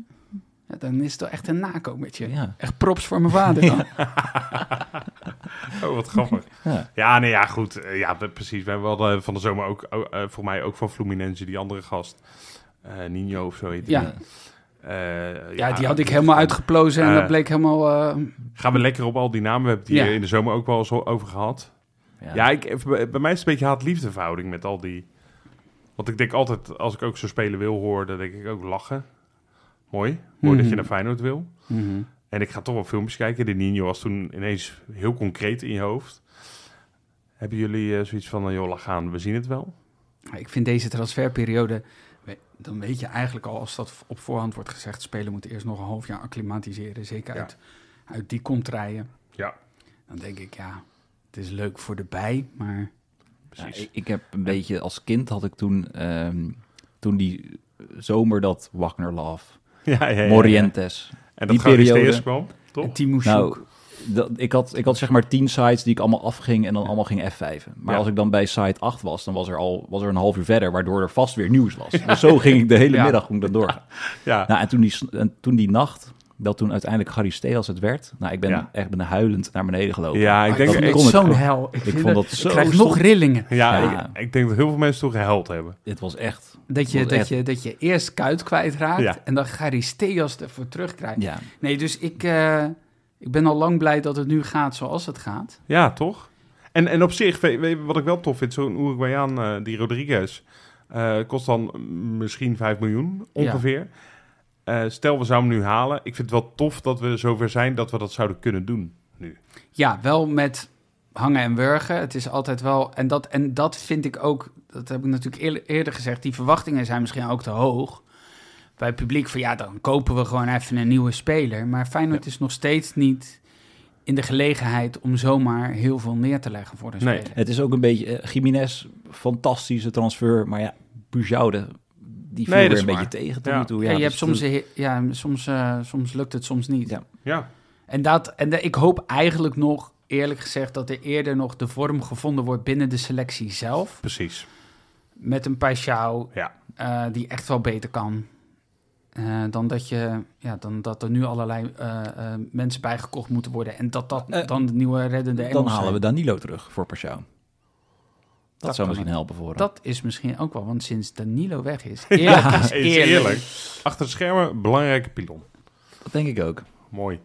[SPEAKER 3] Ja, dan is het wel echt een nakomertje.
[SPEAKER 2] Ja.
[SPEAKER 3] Echt props voor mijn vader <laughs> dan.
[SPEAKER 1] <laughs> Oh, wat
[SPEAKER 3] <laughs>
[SPEAKER 1] grappig.
[SPEAKER 2] Ja.
[SPEAKER 1] Ja, nee, ja, goed. Eh, Ja, we- precies. We hebben wel eh, van de zomer ook, oh, eh, voor mij ook van Fluminense, die andere gast. Eh Nino of zo heet die.
[SPEAKER 3] Ja.
[SPEAKER 1] Eh,
[SPEAKER 3] Ja, die had ik helemaal uitgeplozen en
[SPEAKER 1] Eh.
[SPEAKER 3] dat bleek helemaal... eh,
[SPEAKER 1] Gaan we lekker op al die namen. We hebben het hier
[SPEAKER 3] Ja.
[SPEAKER 1] in de zomer ook wel eens over gehad. Ja, ik, eh, bij bij mij is het een beetje haat-liefde verhouding met al die... Want ik denk altijd, als ik ook zo spelen wil hoor, dan denk ik ook lachen. Mooi. Mooi dat
[SPEAKER 3] Mhm.
[SPEAKER 1] je naar Feyenoord wil. En ik ga toch wel filmpjes kijken. De Nino was toen ineens heel concreet in je hoofd. Hebben jullie eh, zoiets van, eh, joh, laat gaan, we zien het wel?
[SPEAKER 3] Nou, Maar Ik vind deze transferperiode... dan weet je eigenlijk al, als dat op voorhand wordt gezegd, spelen moeten eerst nog een half jaar acclimatiseren. Zeker
[SPEAKER 1] Ja.
[SPEAKER 3] uit, uit die kontrijen.
[SPEAKER 1] Ja,
[SPEAKER 3] Dan denk ik, ja, het is leuk voor de bij, maar
[SPEAKER 1] precies.
[SPEAKER 2] Ja, ik, ik heb een beetje als kind had ik toen, ehm, toen die zomer dat Wagner Love,
[SPEAKER 1] Ja, ja, ja, ja.
[SPEAKER 2] Morientes.
[SPEAKER 1] En
[SPEAKER 2] die
[SPEAKER 1] dat Gauristeus
[SPEAKER 2] periode.
[SPEAKER 1] kwam, toch?
[SPEAKER 3] en Timo
[SPEAKER 2] Nou,
[SPEAKER 3] Sjoek,
[SPEAKER 2] dat, ik, had, ik had zeg maar tien sites die ik allemaal afging en dan allemaal ging F5. Maar
[SPEAKER 1] Ja.
[SPEAKER 2] als ik dan bij site 8 was, dan was er al was er een half uur verder, waardoor er vast weer nieuws was. Dus zo ging ik de hele
[SPEAKER 3] Ja.
[SPEAKER 2] middag gewoon dan door.
[SPEAKER 1] Ja,
[SPEAKER 2] Nou, en toen die, s- en toen die nacht, dat toen uiteindelijk Garisteas het werd. Nou, ik ben
[SPEAKER 1] Ja.
[SPEAKER 2] echt ben huilend naar beneden gelopen.
[SPEAKER 1] ja ik
[SPEAKER 3] ik
[SPEAKER 1] denk...
[SPEAKER 2] dat
[SPEAKER 1] Ik,
[SPEAKER 2] kon ik
[SPEAKER 3] zo'n
[SPEAKER 2] ook.
[SPEAKER 3] hel.
[SPEAKER 2] Ik
[SPEAKER 3] vind
[SPEAKER 2] vond
[SPEAKER 3] het-
[SPEAKER 2] dat
[SPEAKER 3] ik
[SPEAKER 2] zo
[SPEAKER 3] krijg
[SPEAKER 2] stom.
[SPEAKER 3] nog rillingen.
[SPEAKER 1] ja,
[SPEAKER 2] Ja.
[SPEAKER 1] Ik, ik denk dat heel veel mensen toen gehuild hebben.
[SPEAKER 2] Het was echt...
[SPEAKER 3] Dat je,
[SPEAKER 2] Wat
[SPEAKER 3] dat,
[SPEAKER 2] echt.
[SPEAKER 3] je, dat je eerst kuit kwijtraakt
[SPEAKER 1] Ja.
[SPEAKER 3] en dan Garisteas ervoor terugkrijgt.
[SPEAKER 2] Ja.
[SPEAKER 3] Nee, dus ik, eh, ik ben al lang blij dat het nu gaat zoals het gaat.
[SPEAKER 1] Ja, toch? En, en op zich, weet- weet je wat ik wel tof vind, zo'n Uruguayan, eh, die Rodriguez, eh, kost dan misschien 5 miljoen ongeveer. Eh, stel, we zouden hem nu halen. Ik vind het wel tof dat we zover zijn dat we dat zouden kunnen doen.
[SPEAKER 3] Ja, wel met hangen en wurgen. Het is altijd wel... En dat, en dat vind ik ook... Dat heb ik natuurlijk eerder, eerder gezegd. Die verwachtingen zijn misschien ook te hoog. Bij het publiek van ja, dan kopen we gewoon even een nieuwe speler. Maar Feyenoord is nog steeds niet in de gelegenheid om zomaar heel veel neer te leggen voor een
[SPEAKER 1] Nee.
[SPEAKER 3] speler.
[SPEAKER 2] Het is ook een beetje... eh, Jiménez, fantastische transfer. Maar ja, Bujoude, die viel
[SPEAKER 1] Nee, dat
[SPEAKER 2] weer
[SPEAKER 1] is
[SPEAKER 2] een beetje
[SPEAKER 1] waar.
[SPEAKER 2] tegen tot
[SPEAKER 1] Ja.
[SPEAKER 2] nu toe.
[SPEAKER 3] Ja,
[SPEAKER 2] Ja,
[SPEAKER 3] je
[SPEAKER 2] dus
[SPEAKER 3] hebt soms,
[SPEAKER 2] toen-
[SPEAKER 3] ja, soms, eh, soms lukt het, soms niet.
[SPEAKER 2] Ja.
[SPEAKER 1] Ja,
[SPEAKER 3] En, dat, en de- ik hoop eigenlijk nog, eerlijk gezegd, dat er eerder nog de vorm gevonden wordt binnen de selectie zelf.
[SPEAKER 1] precies.
[SPEAKER 3] Met een Paixão
[SPEAKER 1] Ja.
[SPEAKER 3] eh, die echt wel beter kan. Eh, dan, dat je, ja, dan dat er nu allerlei eh, eh, mensen bijgekocht moeten worden. En dat dat
[SPEAKER 2] Eh,
[SPEAKER 3] dan de nieuwe reddende engel
[SPEAKER 2] Dan halen we Danilo terug voor Persoon. Dat,
[SPEAKER 3] Dat
[SPEAKER 2] zou
[SPEAKER 3] kan
[SPEAKER 2] misschien helpen voor hem.
[SPEAKER 3] Dat is misschien ook wel, want sinds Danilo
[SPEAKER 2] <laughs>
[SPEAKER 3] weg is... Eerlijk is
[SPEAKER 1] Eens
[SPEAKER 3] eerlijk.
[SPEAKER 1] eerlijk. Achter de schermen, belangrijke pilon.
[SPEAKER 2] Dat denk ik ook.
[SPEAKER 1] Mooi.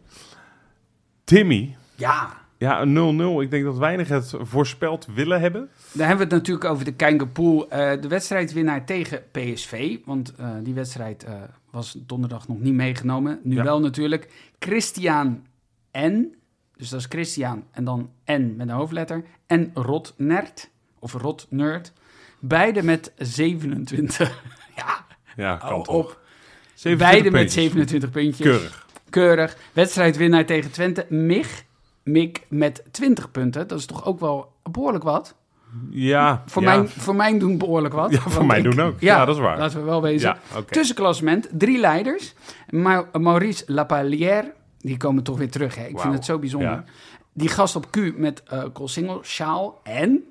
[SPEAKER 1] Timmy.
[SPEAKER 3] Ja,
[SPEAKER 1] Ja, een 0-0. Ik denk dat weinig het voorspeld willen hebben.
[SPEAKER 3] Dan hebben we het natuurlijk over de Kankerpool. eh de wedstrijdwinnaar tegen PSV. Want eh, die wedstrijd eh, was donderdag nog niet meegenomen. Nu
[SPEAKER 1] Ja.
[SPEAKER 3] wel natuurlijk. Christian N. Dus dat is Christian en dan N met een hoofdletter. En Rotnert. Of Rotnert. Beide met 27. <laughs> ja,
[SPEAKER 1] Ja, kan
[SPEAKER 3] hou
[SPEAKER 1] toch.
[SPEAKER 3] op.
[SPEAKER 1] 27
[SPEAKER 3] Oh, Beide met
[SPEAKER 1] puntjes.
[SPEAKER 3] 27 puntjes.
[SPEAKER 1] Keurig.
[SPEAKER 3] Keurig. Wedstrijdwinnaar tegen Twente. Mich. Mik met 20 punten. Dat is toch ook wel behoorlijk wat?
[SPEAKER 1] Ja.
[SPEAKER 3] Voor,
[SPEAKER 1] ja.
[SPEAKER 3] mijn, voor mijn doen behoorlijk wat.
[SPEAKER 1] <laughs> Ja, voor
[SPEAKER 3] Want
[SPEAKER 1] mij
[SPEAKER 3] ik-
[SPEAKER 1] doen ook. Ja, dat is waar.
[SPEAKER 3] Laten we wel wezen.
[SPEAKER 1] Ja, oké.
[SPEAKER 3] Tussenklassement, drie leiders. Ma Maurice Lapalière, die komen toch weer terug. Hè? Ik
[SPEAKER 1] Wauw.
[SPEAKER 3] vind het zo bijzonder.
[SPEAKER 1] Ja.
[SPEAKER 3] Die gast op Q met eh Colsingel, Sjaal en...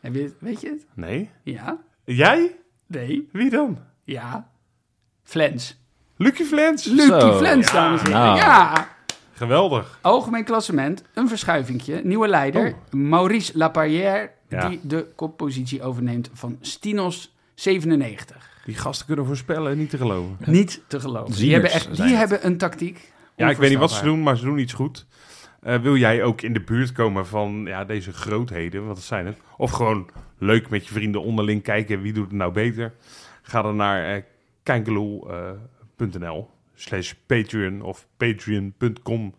[SPEAKER 3] Heb je, weet je het?
[SPEAKER 1] Nee.
[SPEAKER 3] Ja.
[SPEAKER 1] Jij?
[SPEAKER 3] Nee.
[SPEAKER 1] Wie dan?
[SPEAKER 3] Ja. Flens.
[SPEAKER 1] Lucky Flens.
[SPEAKER 3] Lucky
[SPEAKER 2] Zo.
[SPEAKER 3] Flens, dames en heren.
[SPEAKER 2] Nou.
[SPEAKER 3] Ja.
[SPEAKER 1] Geweldig.
[SPEAKER 3] Algemeen klassement, een verschuivingje. Nieuwe leider, Maurice Lapalière,
[SPEAKER 1] Oh. Ja.
[SPEAKER 3] die de koppositie overneemt van Stinos 97.
[SPEAKER 1] Die gasten kunnen voorspellen en niet te geloven.
[SPEAKER 3] Niet te geloven. Die
[SPEAKER 2] Zieners
[SPEAKER 3] hebben, echt,
[SPEAKER 2] zijn het.
[SPEAKER 3] die hebben een tactiek.
[SPEAKER 1] Ja, ik weet niet wat ze doen, maar ze doen iets goed. Eh, wil jij ook in de buurt komen van ja, deze grootheden? Wat zijn het? Of gewoon leuk met je vrienden onderling kijken wie doet het nou beter? Ga dan naar eh kijkeloel.nl slash patreon of patreon.com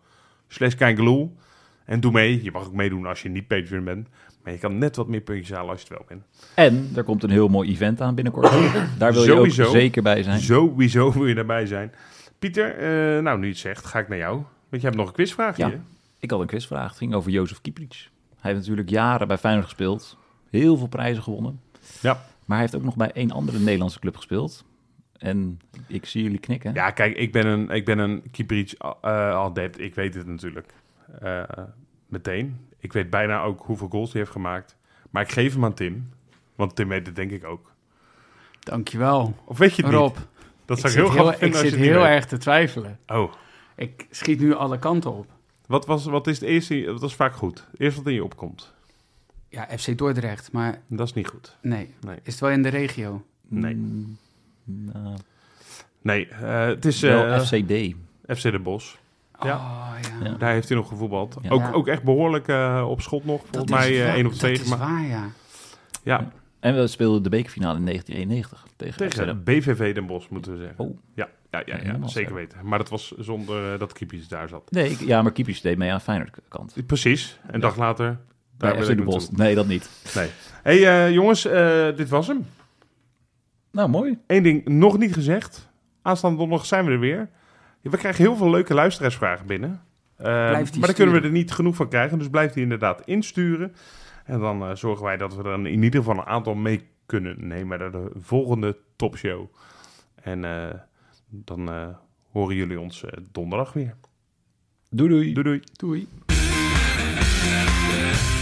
[SPEAKER 1] slash kijkeloel. En doe mee. Je mag ook meedoen als je niet patreon bent. Maar je kan net wat meer puntjes halen als je het wel bent.
[SPEAKER 2] En er komt een heel mooi event aan binnenkort.
[SPEAKER 1] <clears throat>
[SPEAKER 2] Daar wil je
[SPEAKER 1] Sowieso.
[SPEAKER 2] ook zeker bij zijn.
[SPEAKER 1] Sowieso wil je daarbij zijn. Pieter, eh, nou nu je het zegt, ga ik naar jou. Want je hebt nog een quizvraagje.
[SPEAKER 2] Ja.
[SPEAKER 1] hè?
[SPEAKER 2] Ik had een quizvraag. Het ging over Jozef Kieprits. Hij heeft natuurlijk jaren bij Feyenoord gespeeld. Heel veel prijzen gewonnen.
[SPEAKER 1] Ja.
[SPEAKER 2] Maar hij heeft ook nog bij één andere Nederlandse club gespeeld. En ik zie jullie knikken.
[SPEAKER 1] Ja, kijk, ik ben een, ik ben een Kieprits eh, adept. Ik weet het natuurlijk. Eh, meteen. Ik weet bijna ook hoeveel goals hij heeft gemaakt. Maar ik geef hem aan Tim. Want Tim weet het denk ik ook.
[SPEAKER 3] Dankjewel,
[SPEAKER 1] Of weet je het
[SPEAKER 3] Rob.
[SPEAKER 1] niet? Dat
[SPEAKER 3] ik
[SPEAKER 1] zou
[SPEAKER 3] zit
[SPEAKER 1] ik heel grappig
[SPEAKER 3] ik
[SPEAKER 1] vinden als
[SPEAKER 3] zit
[SPEAKER 1] je het niet
[SPEAKER 3] heel
[SPEAKER 1] weet.
[SPEAKER 3] erg te twijfelen.
[SPEAKER 1] Oh,
[SPEAKER 3] Ik schiet nu alle kanten op.
[SPEAKER 1] wat, was, wat is het eerste? Dat is vaak goed. Eerst wat in je opkomt.
[SPEAKER 3] Ja, FC Dordrecht, maar
[SPEAKER 1] Dat is niet goed.
[SPEAKER 3] nee.
[SPEAKER 1] Nee.
[SPEAKER 3] Is het wel in de regio?
[SPEAKER 1] Nee.
[SPEAKER 2] Mm, nou,
[SPEAKER 1] Nee, eh, het is eh,
[SPEAKER 2] wel FCD.
[SPEAKER 1] FC De Bos. Ja.
[SPEAKER 3] Oh, ja.
[SPEAKER 2] Ja.
[SPEAKER 1] Daar heeft hij nog gevoetbald.
[SPEAKER 2] Ja.
[SPEAKER 1] Ook,
[SPEAKER 3] Ja.
[SPEAKER 1] ook echt behoorlijk eh, op schot nog. Volgens mij
[SPEAKER 3] is
[SPEAKER 1] eh,
[SPEAKER 3] waar,
[SPEAKER 1] één of twee.
[SPEAKER 3] Dat is
[SPEAKER 1] gemaakt.
[SPEAKER 3] waar, ja.
[SPEAKER 1] Ja,
[SPEAKER 2] En we speelden de bekerfinale in 1991 tegen,
[SPEAKER 1] Tegen
[SPEAKER 2] FCD.
[SPEAKER 1] BVV Den Bosch, moeten we zeggen.
[SPEAKER 2] Oh.
[SPEAKER 1] Ja, ja, ja, ja,
[SPEAKER 2] Helemaal
[SPEAKER 1] zeker
[SPEAKER 2] zo.
[SPEAKER 1] weten. Maar dat was zonder eh, dat Kiepies daar zat.
[SPEAKER 2] Nee, ik- ja, maar Kieprits deed mee aan Feyenoord kant.
[SPEAKER 1] Precies. Een dag later, daar
[SPEAKER 2] bij
[SPEAKER 1] ben
[SPEAKER 2] FC
[SPEAKER 1] ik
[SPEAKER 2] de Bos.
[SPEAKER 1] naartoe.
[SPEAKER 2] Nee, dat niet.
[SPEAKER 1] Nee. hey, eh, jongens, eh, dit was hem.
[SPEAKER 2] Nou, mooi.
[SPEAKER 1] Eén ding nog niet gezegd. Aanstaande donderdag zijn we er weer. We krijgen heel veel leuke luisteraarsvragen binnen. Eh, maar
[SPEAKER 3] die
[SPEAKER 1] daar kunnen we er
[SPEAKER 3] sturen.
[SPEAKER 1] niet genoeg van krijgen. Dus blijf die inderdaad insturen. En dan eh, zorgen wij dat we er in ieder geval een aantal mee kunnen nemen naar de volgende topshow. En eh, dan eh, horen jullie ons eh, donderdag weer.
[SPEAKER 2] Doei doei.
[SPEAKER 1] Doei doei.
[SPEAKER 3] Doei.